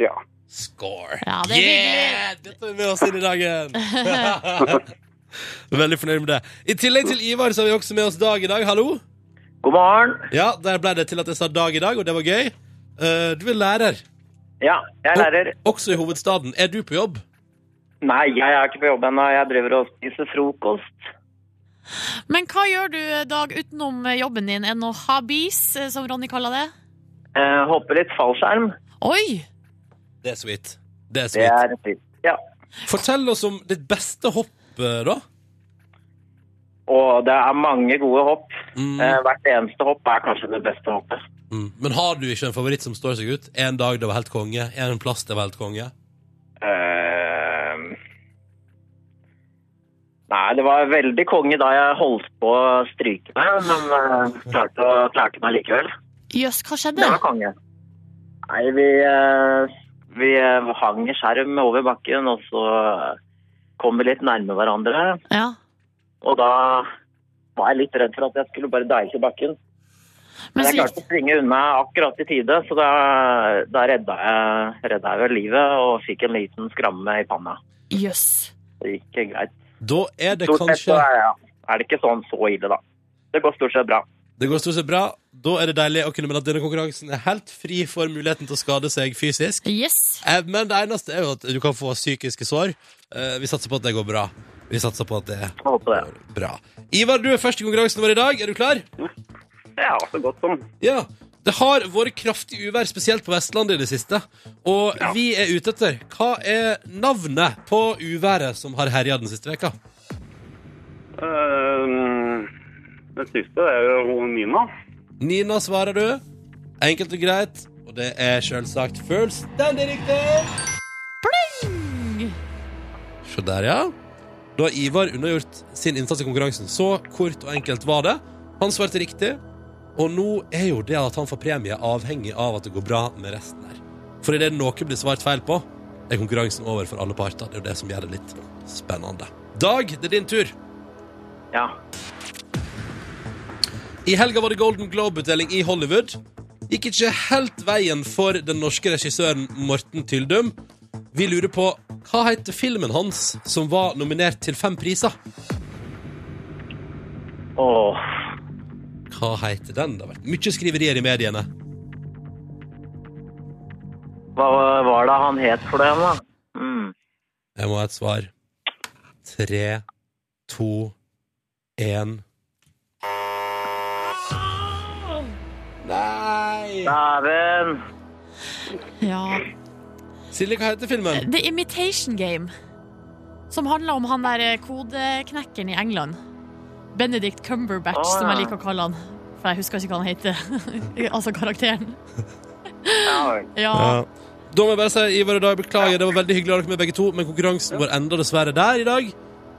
[SPEAKER 4] Ja.
[SPEAKER 2] Score!
[SPEAKER 3] Ja, det er
[SPEAKER 2] yeah! Dette er med oss inn i dagen! Veldig fornøyd med det. I tillegg til Ivar så har vi også med oss Dag i dag. Hallo.
[SPEAKER 6] God morgen.
[SPEAKER 2] Ja, Der ble det til at jeg sa Dag i dag, og det var gøy. Eh, du er lærer,
[SPEAKER 6] Ja, jeg er lærer.
[SPEAKER 2] også i hovedstaden. Er du på jobb?
[SPEAKER 6] Nei, jeg er ikke på jobb ennå. Jeg driver og spiser frokost.
[SPEAKER 3] Men hva gjør du, Dag, utenom jobben din? Er det noe habis, eh, som Ronny kaller det?
[SPEAKER 6] Eh, hopper litt fallskjerm.
[SPEAKER 3] Oi!
[SPEAKER 2] Det er sweet. Det er
[SPEAKER 6] Det
[SPEAKER 2] sweet.
[SPEAKER 6] er fint. Ja.
[SPEAKER 2] Fortell oss om ditt beste hopp, eh, da.
[SPEAKER 6] Og det er mange gode hopp.
[SPEAKER 2] Mm.
[SPEAKER 6] Eh, hvert eneste hopp er kanskje det beste hoppet.
[SPEAKER 2] Mm. Men har du ikke en favoritt som står seg ut? En dag det var helt konge, en plass det var helt konge.
[SPEAKER 6] Eh, nei, det var veldig konge da jeg holdt på å stryke meg, men eh, klarte, å, klarte meg likevel.
[SPEAKER 3] Jøss, hva skjedde?
[SPEAKER 6] Det var konge. Nei, vi, eh, vi eh, hang i skjerm over bakken, og så kom vi litt nærme hverandre.
[SPEAKER 3] Ja.
[SPEAKER 6] Og da var jeg litt redd for at jeg skulle bare deile til bakken.
[SPEAKER 3] Men
[SPEAKER 6] Men jeg
[SPEAKER 3] så
[SPEAKER 6] klarte
[SPEAKER 3] gikk,
[SPEAKER 6] å springe unna akkurat i tide, så da, da redda, jeg, redda jeg vel livet og fikk en liten skramme i panna.
[SPEAKER 3] jøss.
[SPEAKER 6] Det gikk greit.
[SPEAKER 2] Da er det
[SPEAKER 6] Stort sett
[SPEAKER 2] kanskje
[SPEAKER 6] så er, ja, er det ikke sånn så ille, da. Det går stort sett bra.
[SPEAKER 2] Det går stort sett bra. Da er det deilig å kunne mene at denne konkurransen er helt fri for muligheten til å skade seg fysisk.
[SPEAKER 3] Yes.
[SPEAKER 2] Eh, Men det eneste er jo at du kan få psykiske sår. Eh, Vi satser på at det går bra. Vi satser på at det
[SPEAKER 6] Jeg Håper det.
[SPEAKER 2] går bra. Ivar, du er først i konkurransen vår i dag. Er du klar?
[SPEAKER 4] Ja, så godt som.
[SPEAKER 2] Ja. Det har vært kraftig uvær, spesielt på Vestlandet i det siste. Og vi er ute etter hva er navnet på uværet som har herja den siste veka?
[SPEAKER 4] Eh, det siste er jo Nina.
[SPEAKER 2] Nina svarer du. Enkelt og greit. Og det er selvsagt fullstendig riktig. Se der, ja. Da har Ivar undergjort sin innsats i konkurransen. Så kort og enkelt var det. Han svarte riktig. Og nå er jo det at han får premie, avhengig av at det går bra med resten her. For idet noe blir svart feil på, er konkurransen over for alle parter. Det er jo det som gjør det litt spennende. Dag, det er din tur.
[SPEAKER 6] Ja.
[SPEAKER 2] I helga var det Golden Globe-utdeling i Hollywood. Gikk ikke helt veien for den norske regissøren Morten Tyldum. Vi lurer på hva heter filmen hans som var nominert til fem priser?
[SPEAKER 6] Åh.
[SPEAKER 2] Hva heter den? Det har vært mye skriverier i mediene.
[SPEAKER 6] Hva var det han het for det, da? Mm.
[SPEAKER 2] Jeg må ha et svar. Tre, to, én Nei!
[SPEAKER 6] Dæven.
[SPEAKER 3] Ja.
[SPEAKER 2] Silje, hva heter filmen?
[SPEAKER 3] The Imitation Game, som handler om han der eh, kodeknekkeren i England. Benedict Cumberbatch,
[SPEAKER 6] Å, ja.
[SPEAKER 3] som jeg liker å kalle han. For jeg husker ikke hva han heter. altså karakteren.
[SPEAKER 6] Ja, vel.
[SPEAKER 3] Ja.
[SPEAKER 2] Ja. Da må jeg bare si, Ivar og Dag, beklager. Det var veldig hyggelig å ha dere med begge to, men konkurransen vår enda dessverre der i dag.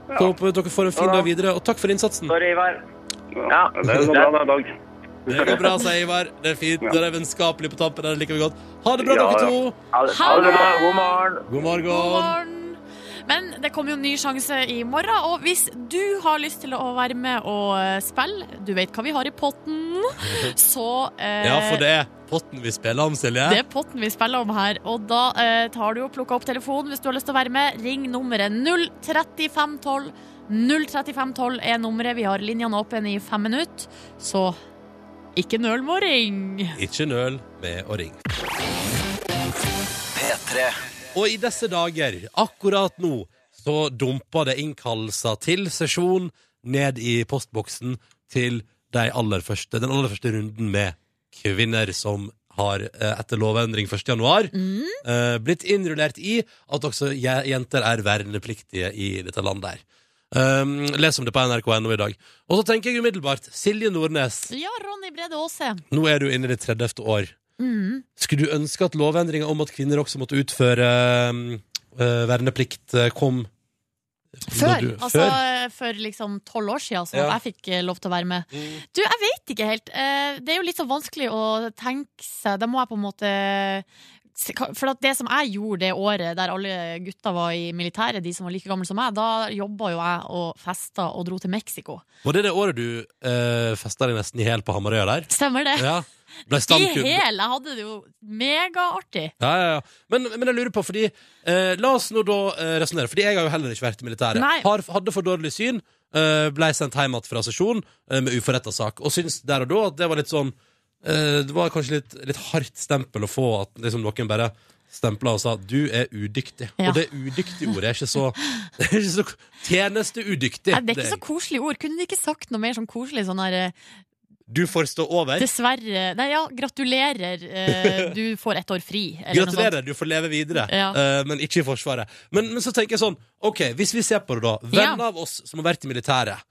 [SPEAKER 2] Så håper vi dere får en fin dag videre, og takk for innsatsen.
[SPEAKER 6] Sorry, Ivar.
[SPEAKER 4] Ja,
[SPEAKER 6] Ja.
[SPEAKER 4] det er så bra det, Dag.
[SPEAKER 2] Det går bra, sier Ivar. Det er fint. Det er vennskapelig på tampen. Det liker vi godt. Ha det bra,
[SPEAKER 4] Ja,
[SPEAKER 2] dere
[SPEAKER 4] ja.
[SPEAKER 2] to.
[SPEAKER 6] Ha det ha det bra. God morgen.
[SPEAKER 2] God
[SPEAKER 3] God
[SPEAKER 2] morgen.
[SPEAKER 3] morgen. Men det kommer jo en ny sjanse i morgen, og hvis du har lyst til å være med og eh, spille, du vet hva vi har i potten, så eh,
[SPEAKER 2] Ja, for det er potten vi spiller om,
[SPEAKER 3] Det
[SPEAKER 2] Silje.
[SPEAKER 3] er potten vi spiller om her, og da eh, tar du og plukker opp telefonen hvis du har lyst til å være med. Ring nummeret 03512. 03512 er nummeret. Vi har linjene åpne i fem minutter, så ikke nøl med å ringe.
[SPEAKER 2] Ikke nøl med å ringe.
[SPEAKER 1] P3.
[SPEAKER 2] Og i disse dager, akkurat nå, så dumper det innkallelser til sesjon ned i postboksen til de aller første, den aller første runden med kvinner som har eh, etter lovendring 1. januar eh, blitt innrullert i at også je- jenter er vernepliktige i dette landet her. Um, les om det på nrk.no i dag. Og så tenker jeg umiddelbart Silje Nordnes,
[SPEAKER 3] Ja, Ronny Brede Aase.
[SPEAKER 2] nå er du inne i ditt 30. år.
[SPEAKER 3] Mm.
[SPEAKER 2] Skulle du ønske at lovendringa om at kvinner også måtte utføre um, øh, verneplikt, øh, kom når
[SPEAKER 3] Før,
[SPEAKER 2] du-
[SPEAKER 3] altså
[SPEAKER 2] før?
[SPEAKER 3] eh, for liksom tolv år siden, så
[SPEAKER 2] Ja. Mm.
[SPEAKER 3] jeg fikk eh, lov til å være med. Du, jeg vet ikke helt. Eh, Det er jo litt så vanskelig å tenke seg. Da må jeg på en måte se- ka- For at det som jeg gjorde det året der alle gutta var i militæret, de som var like gamle som meg, da jobba jo jeg og festa og dro til Mexico.
[SPEAKER 2] Var det det året du øh, festa deg nesten i hæl på Hamarøya der?
[SPEAKER 3] Stemmer det?
[SPEAKER 2] Ja. Ble
[SPEAKER 3] I
[SPEAKER 2] stamkunde.
[SPEAKER 3] hæl! Jeg hadde det jo megaartig.
[SPEAKER 2] Ja, ja, ja. Men, men jeg lurer på, fordi eh, La oss nå da eh, resonnere, fordi jeg har jo heller ikke vært i militæret.
[SPEAKER 3] Nei.
[SPEAKER 2] Har, hadde for dårlig syn, eh, blei sendt hjem igjen fra sesjon eh, med uforretta sak, og syns der og da at det var litt sånn eh, Det var kanskje litt, litt hardt stempel å få at liksom noen bare stempla og sa 'du er udyktig'.
[SPEAKER 3] Ja.
[SPEAKER 2] Og det udyktig-ordet er ikke så, det er ikke så Tjenesteudyktig.
[SPEAKER 3] Nei, Det er ikke så koselige ord. Kunne de ikke sagt noe mer sånn koselig? Sånn her eh,
[SPEAKER 2] Du får stå over.
[SPEAKER 3] Dessverre Nei, ja, gratulerer, eh, du får ett år fri. Eller noe sånt.
[SPEAKER 2] Gratulerer, du får leve videre,
[SPEAKER 3] Ja.
[SPEAKER 2] eh, men ikke i Forsvaret. Men, men så tenker jeg sånn, ok, hvis vi ser på det da,
[SPEAKER 3] Ja.
[SPEAKER 2] venner av oss som har vært i militæret,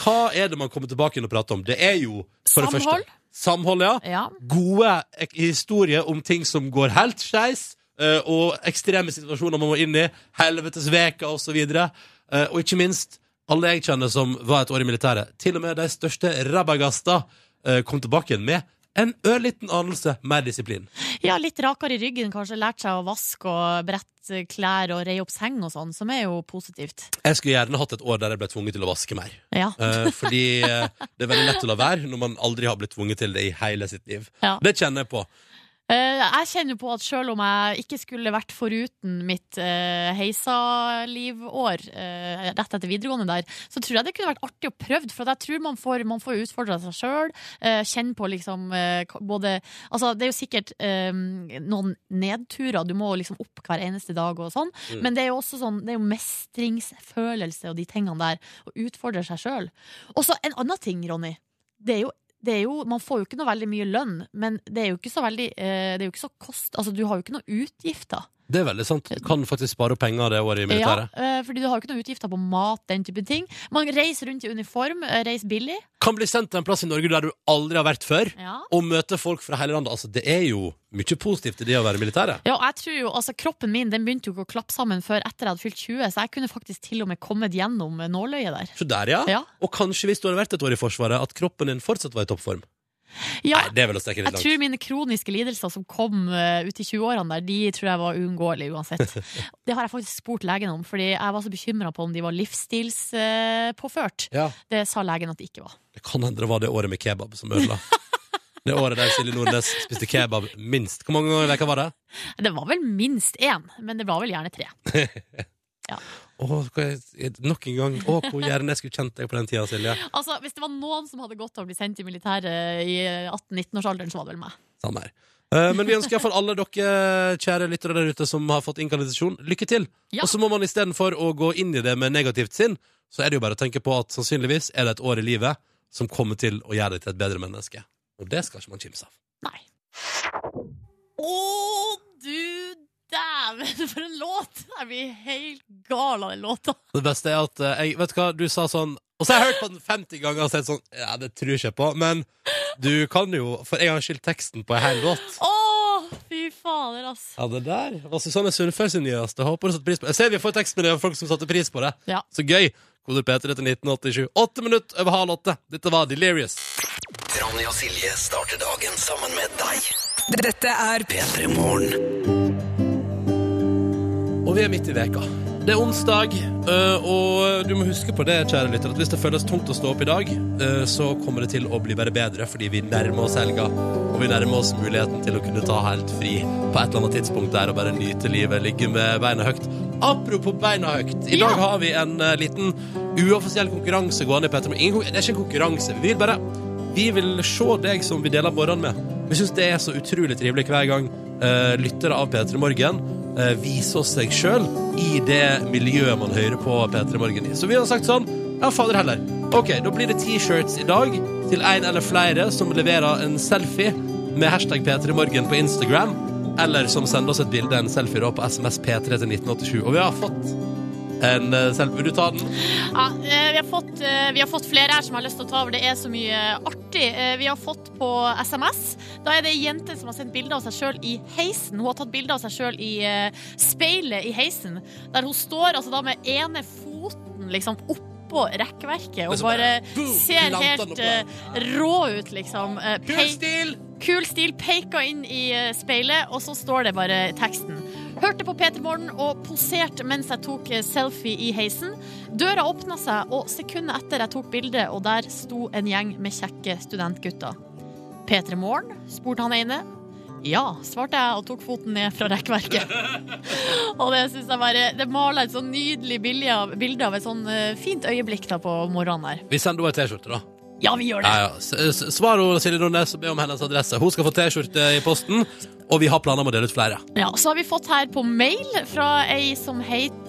[SPEAKER 2] hva er det man kommer tilbake igjen og prater om? Det er jo, for det
[SPEAKER 3] Samhold.
[SPEAKER 2] første, samhold, ja.
[SPEAKER 3] Ja.
[SPEAKER 2] Gode ek- historier om ting som går helt skeis, eh, og ekstreme situasjoner man må inn i, helvetes veka og så videre. Eh, og ikke minst, alle jeg kjenner som var et år i militæret, til og med de største rabagasta, eh, kom tilbake igjen med en ørliten anelse mer disiplin.
[SPEAKER 3] Ja, litt rakere i ryggen, kanskje. Lært seg å vaske og brette klær og reie opp seng og sånn, som er jo positivt.
[SPEAKER 2] Jeg skulle gjerne hatt et år der jeg ble tvunget til å vaske mer.
[SPEAKER 3] Ja.
[SPEAKER 2] Eh, fordi eh, det er veldig lett å la være når man aldri har blitt tvunget til det i hele sitt liv.
[SPEAKER 3] Ja.
[SPEAKER 2] Det kjenner jeg på.
[SPEAKER 3] Eh, Jeg kjenner jo på at selv om jeg ikke skulle vært foruten mitt eh, heisalivår eh, rett etter videregående der, så tror jeg det kunne vært artig å prøve, for at jeg tror man får, man får utfordra seg sjøl. Kjenne på liksom eh, k- både Altså, det er jo sikkert eh, noen nedturer, du må liksom opp hver eneste dag og sånn,
[SPEAKER 2] Mm.
[SPEAKER 3] men det er jo også sånn Det er jo mestringsfølelse og de tingene der, og utfordre seg sjøl. Og så en annen ting, Ronny. Det er jo det er jo, man får jo ikke noe veldig mye lønn, men det er jo ikke så veldig eh, Det er jo ikke så kost Altså, du har jo ikke noe utgifter.
[SPEAKER 2] Det er veldig sant. Du kan faktisk spare opp penger det året i
[SPEAKER 3] Ja,
[SPEAKER 2] militæret.
[SPEAKER 3] eh, fordi du har jo ikke noe utgifter på mat, den type ting. Man reiser rundt i uniform, eh, reiser billig.
[SPEAKER 2] Kan bli sendt til en plass i Norge der du aldri har vært før,
[SPEAKER 3] Ja.
[SPEAKER 2] og møte folk fra hele landet. Altså, det er jo mye positivt i det å være i militæret.
[SPEAKER 3] Ja, og jeg tror jo, altså Kroppen min den begynte jo ikke å klappe sammen før etter jeg hadde fylt 20, så jeg kunne faktisk til og med kommet gjennom eh, nåløyet der.
[SPEAKER 2] Så der, ja.
[SPEAKER 3] Ja.
[SPEAKER 2] Og kanskje hvis du hadde vært et år i Forsvaret, at kroppen din fortsatt var i toppform.
[SPEAKER 3] ja
[SPEAKER 2] Nei, det er vel å strekke
[SPEAKER 3] jeg
[SPEAKER 2] litt langt.
[SPEAKER 3] tror mine kroniske lidelser som kom eh, ut i 20-årene der, de tror jeg var uunngåelige uansett. Det har jeg faktisk spurt legen om, fordi jeg var så bekymra på om de var livsstilspåført.
[SPEAKER 2] Ja.
[SPEAKER 3] Det sa legen at det ikke var.
[SPEAKER 2] Det kan hende det var det året med kebab som ødela. Det året der Silje Nordnes spiste kebab minst. Hvor mange ganger i veka var det?
[SPEAKER 3] Det var vel minst én, men det var vel gjerne tre.
[SPEAKER 2] Åh, hva jeg- nok en gang. Åh, hvor gjerne jeg skulle kjent deg på den tida, Silje.
[SPEAKER 3] Altså, Hvis det var noen som hadde godt av å bli sendt i militæret i 18-19-årsalderen, så var det vel meg.
[SPEAKER 2] Samme her. Eh, Men vi ønsker iallfall alle dere kjære lyttere der ute som har fått inkanalisasjon, lykke til.
[SPEAKER 3] Ja.
[SPEAKER 2] Og så må man istedenfor å gå inn i det med negativt sinn, så er det jo bare å tenke på at sannsynligvis er det et år i livet som kommer til å gjøre deg til et bedre menneske. Og det skal ikke man kimse av.
[SPEAKER 3] Nei. Å, du dæven, for en låt! Jeg blir helt gal av den låta.
[SPEAKER 2] Det beste er at eh, jeg, Vet du hva, du sa sånn Og så har jeg hørt på den 50 ganger og sett sånn Ja, det tror jeg ikke på, men du kan jo For jeg har skilt teksten på en hel låt.
[SPEAKER 3] Å, fy fader, ass.
[SPEAKER 2] Ja, det der var Susanne Sundfør sin nyeste. Håper du satte pris på det. Jeg ser vi får tekst med det av folk som satte pris på det.
[SPEAKER 3] Ja.
[SPEAKER 2] Så gøy. Koder P3 til 1987. Åtte minutter over halv åtte. Dette var Delirious.
[SPEAKER 1] Ronny og Silje starter dagen sammen med deg.
[SPEAKER 7] Dette er
[SPEAKER 1] P3 Morgen.
[SPEAKER 2] Og vi er midt i veka. Det er onsdag, eh, og du må huske på det, kjære lytter, at hvis det føles tungt å stå opp i dag, eh, så kommer det til å bli bare bedre, fordi vi nærmer oss helga, og vi nærmer oss muligheten til å kunne ta helt fri på et eller annet tidspunkt der og bare nyte livet, ligge med beina høyt. Apropos beina høyt, i dag har vi en eh, liten uoffisiell konkurranse gående i Petter. Ingen, kon- det er ikke en konkurranse, vi vil bare vi vil se deg som vi deler morgenen med. Vi syns det er så utrolig trivelig hver gang eh, lyttere av P3 Morgen eh, viser oss seg sjøl i det miljøet man hører på P3 Morgen i. Så vi har sagt sånn Ja, fader heller. OK, da blir det T-shirts i dag til en eller flere som leverer en selfie med hashtag P3 Morgen på Instagram, eller som sender oss et bilde, en selfie, da, på SMS P3 til 1987. Og vi har fått en eh, selfie. Vil du ta den?
[SPEAKER 3] Ja, eh, vi, har fått, eh, vi har fått flere her som har lyst til å ta over. Det er så mye artig. Eh, Vi har fått på SMS. Da er det ei jente som har sendt bilde av seg sjøl i heisen. Hun har tatt bilde av seg sjøl i eh, speilet i heisen, der hun står altså da med ene foten liksom oppå rekkverket og
[SPEAKER 2] så
[SPEAKER 3] bare
[SPEAKER 2] bare, boom,
[SPEAKER 3] ser
[SPEAKER 2] planter den
[SPEAKER 3] helt
[SPEAKER 2] oppå
[SPEAKER 3] eh,
[SPEAKER 2] der.
[SPEAKER 3] rå ut, liksom. Eh,
[SPEAKER 2] Kul
[SPEAKER 3] pei-
[SPEAKER 2] stil!
[SPEAKER 3] Kul stil peka inn i eh, speilet, og så står det bare teksten. Hørte på Peter Morgen og poserte mens jeg tok eh, selfie i heisen. Døra åpna seg, og sekundet etter jeg tok bildet, og der sto en gjeng med kjekke studentgutter. Peter Morgen, spurte han ene. Ja, svarte jeg og tok foten ned fra rekkverket. og det syns jeg bare Det maler et sånn nydelig bilde av, bilde av et sånn eh, fint øyeblikk da på morgenen her.
[SPEAKER 2] Vi sender henne ei T-skjorte, da.
[SPEAKER 3] Ja, vi gjør det.
[SPEAKER 2] Ja, ja. S- eh, s- Svar henne, Silje Nordnes, og be om hennes adresse. Hun skal få T-skjorte i posten, og vi har planer om å dele ut flere.
[SPEAKER 3] Ja, så har vi fått her på mail fra ei som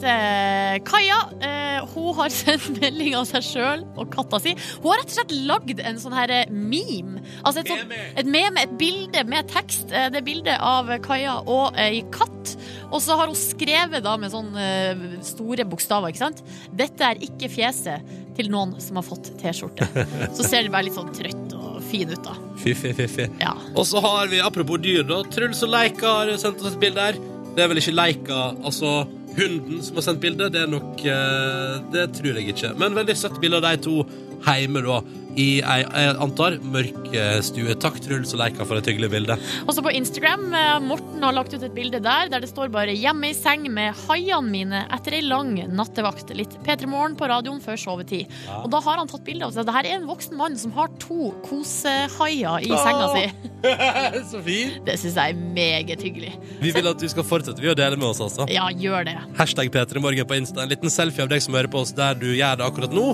[SPEAKER 3] heter Kaja. Eh, hun har sendt melding av seg sjøl og katta si. Hun har rett og slett lagd en sånn her eh, meme. Altså et, sånt, et meme, et bilde med tekst. Eh, det er bildet av Kaja og ei katt. Og så har hun skrevet da med sånne eh, store bokstaver, ikke sant. Dette er ikke fjeset til noen som har fått T-skjorte. Så ser de bare litt sånn trøtt og fin ut, da.
[SPEAKER 2] Fy, fy, fy, fy.
[SPEAKER 3] Ja.
[SPEAKER 2] Og så har vi, apropos dyr, da. Truls og Leika har sendt oss et bilde her. Det er vel ikke Leika, altså hunden, som har sendt bilde. Det er nok eh, Det tror jeg ikke. Men veldig søtt bilde av de to hjemme, da. I ei, jeg antar, mørk eh, stue. Takk, Truls og Leika, for et hyggelig bilde.
[SPEAKER 3] Også på Instagram. eh, Morten har lagt ut et bilde der der det står bare 'Hjemme i seng med haiene mine etter ei lang nattevakt'. Litt P3 Morgen på radioen før sovetid. Og da har han tatt bilde av seg. Dette er en voksen mann som har to kosehaier i senga si.
[SPEAKER 2] så fint.
[SPEAKER 3] Det syns jeg er meget hyggelig.
[SPEAKER 2] Vi vil at du skal fortsette vi å dele med oss, altså.
[SPEAKER 3] Ja, gjør det.
[SPEAKER 2] Hashtag P3morgen på Insta. En liten selfie av deg som hører på oss der du gjør det akkurat nå.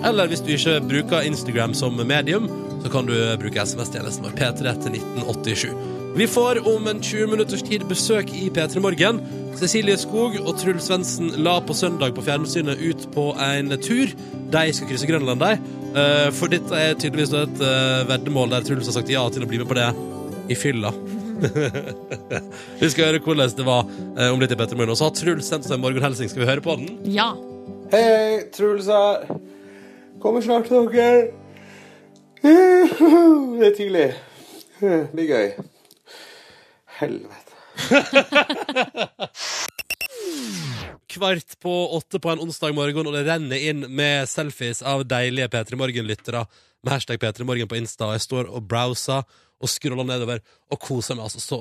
[SPEAKER 2] Eller hvis du ikke bruker Instagram som medium, så kan du bruke SMS-tjenesten vår P3 til 1987. Vi får om en 20 minutters tid besøk i P3 Morgen. Cecilie Skog og Truls Svendsen la på søndag på fjernsynet ut på en tur. De skal krysse Grønland, de. Eh, For dette er tydeligvis et eh, veddemål der Truls har sagt ja til å bli med på det i fylla. Vi skal høre hvordan det var eh, om litt i Petter Morgen. Og så har Truls sendt oss en morgenhelsing. Skal vi høre på den?
[SPEAKER 3] Ja.
[SPEAKER 8] Hei, hei, Truls her. Kommer snart til dere. Det er tidlig. Det blir gøy. Helvete.
[SPEAKER 2] Kvart på åtte på en onsdag morgen, og det renner inn med selfies av deilige P3 Morgen-lyttere med hashtag P3 Morgen på Insta. Og jeg står og browser og scroller nedover og koser meg altså så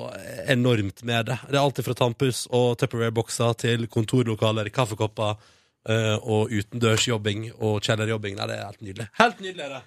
[SPEAKER 2] enormt med det. Det er alltid fra tampus og Tupperware-bokser til kontorlokaler, kaffekopper eh, og utendørsjobbing og kjellerjobbing. Nei, det er helt nydelig. Helt nydelig er det.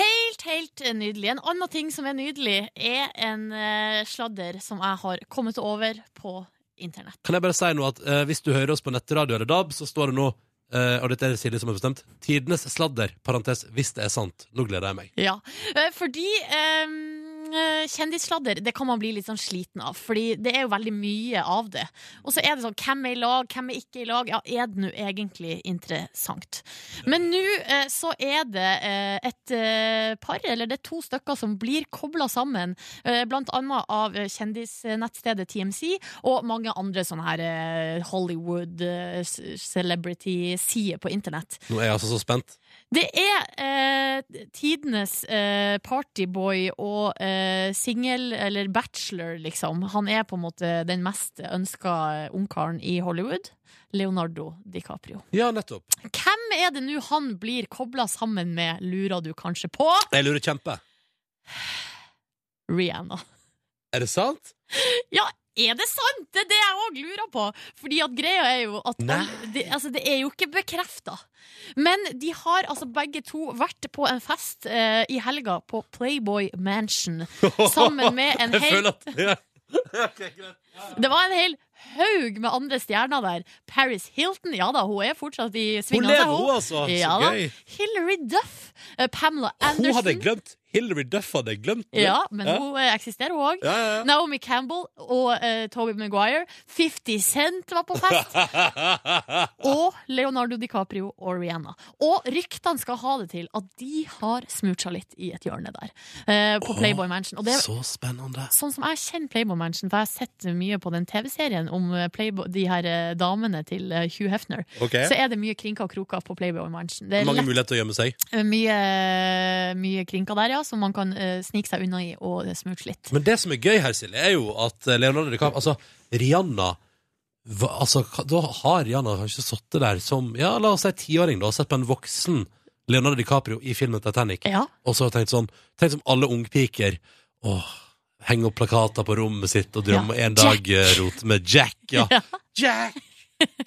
[SPEAKER 3] Helt, helt nydelig. En annen ting som er nydelig, er en eh, sladder som jeg har kommet over på internett.
[SPEAKER 2] Kan jeg bare si nå at eh, hvis du hører oss på nettradio eller DAB, så står det nå eh, og dette er det Silje som har bestemt. Tidenes sladder, parentes, hvis det er sant. Nå gleder jeg meg.
[SPEAKER 3] Ja, eh, fordi ehm, eh, kjendissladder det kan man bli litt sånn sliten av, Fordi det er jo veldig mye av det. Og så er det sånn hvem er i lag, hvem er ikke i lag? Ja, er det nå egentlig interessant? Men nå eh, så er det eh, et eh, par, eller det er to stykker som blir kobla sammen, eh, blant annet av eh, kjendisnettstedet TMC og mange andre sånne her eh, Hollywood eh, s- celebrity-sider på internett.
[SPEAKER 2] Nå er jeg altså så spent.
[SPEAKER 3] Det er eh, tidenes eh, partyboy og eh, singel, eller bachelor, liksom. Han er på en måte den mest ønska ungkaren i Hollywood. Leonardo DiCaprio.
[SPEAKER 2] Ja, nettopp.
[SPEAKER 3] Hvem er det nå han blir kobla sammen med, lurer du kanskje på?
[SPEAKER 2] Jeg lurer kjempe.
[SPEAKER 3] Rihanna.
[SPEAKER 2] Er det sant?
[SPEAKER 3] Ja, er det sant? Det er det jeg òg lurer på. Fordi at greia er jo at
[SPEAKER 2] Nei.
[SPEAKER 3] det, altså, det er jo ikke bekrefta. Men de har altså begge to vært på en fest eh, i helga på Playboy Mansion sammen med en
[SPEAKER 2] Jeg
[SPEAKER 3] hel
[SPEAKER 2] føler at ja.
[SPEAKER 3] Det var en hel haug med andre stjerner der. Paris Hilton, ja da, hun er fortsatt i
[SPEAKER 2] Hun
[SPEAKER 3] svingene.
[SPEAKER 2] lever, hun, altså. Så
[SPEAKER 3] Ja da.
[SPEAKER 2] gøy.
[SPEAKER 3] Hilary Duff. eh, Pamela
[SPEAKER 2] Hun hadde jeg
[SPEAKER 3] Anderson.
[SPEAKER 2] glemt. Hillary Duff hadde jeg glemt.
[SPEAKER 3] Ja, men
[SPEAKER 2] Ja.
[SPEAKER 3] hun eh, eksisterer, hun òg.
[SPEAKER 2] Ja, ja, ja.
[SPEAKER 3] Naomi Campbell og uh, Toby Maguire. 50 Cent var på fest. Og Leonardo DiCaprio og Rihanna. Og ryktene skal ha det til at de har smurt seg litt i et hjørne der. eh, på
[SPEAKER 2] Åh,
[SPEAKER 3] Playboy Mansion. Og det er
[SPEAKER 2] Så spennende.
[SPEAKER 3] sånn som jeg kjenner Playboy Mansion, for jeg har sett mye på den TV-serien om eh, Playboy, de her eh, damene til eh, Hugh Hefner,
[SPEAKER 2] Ok,
[SPEAKER 3] så er det mye krinker og kroker på Playboy Mansion. Det er
[SPEAKER 2] Mange
[SPEAKER 3] lett, Eh,
[SPEAKER 2] muligheter til å gjemme seg.
[SPEAKER 3] mye, eh, mye krinker der, ja, som man kan eh, snike seg unna i og eh, smurte litt.
[SPEAKER 2] Men det som er gøy her, Silje, er jo at Leonardo DiCaprio Altså, Rihanna hva, altså, hva- Da har Rihanna kanskje sittet der som Ja, la oss si tiåring, da, og sett på en voksen Leonardo DiCaprio i filmen Titanic,
[SPEAKER 3] Ja.
[SPEAKER 2] og så har tenkt sånn Tenk som alle ungpiker Åh, henger opp plakater på rommet sitt og drømmer
[SPEAKER 3] Ja.
[SPEAKER 2] en dag eh, rot med Jack. Ja. Jack!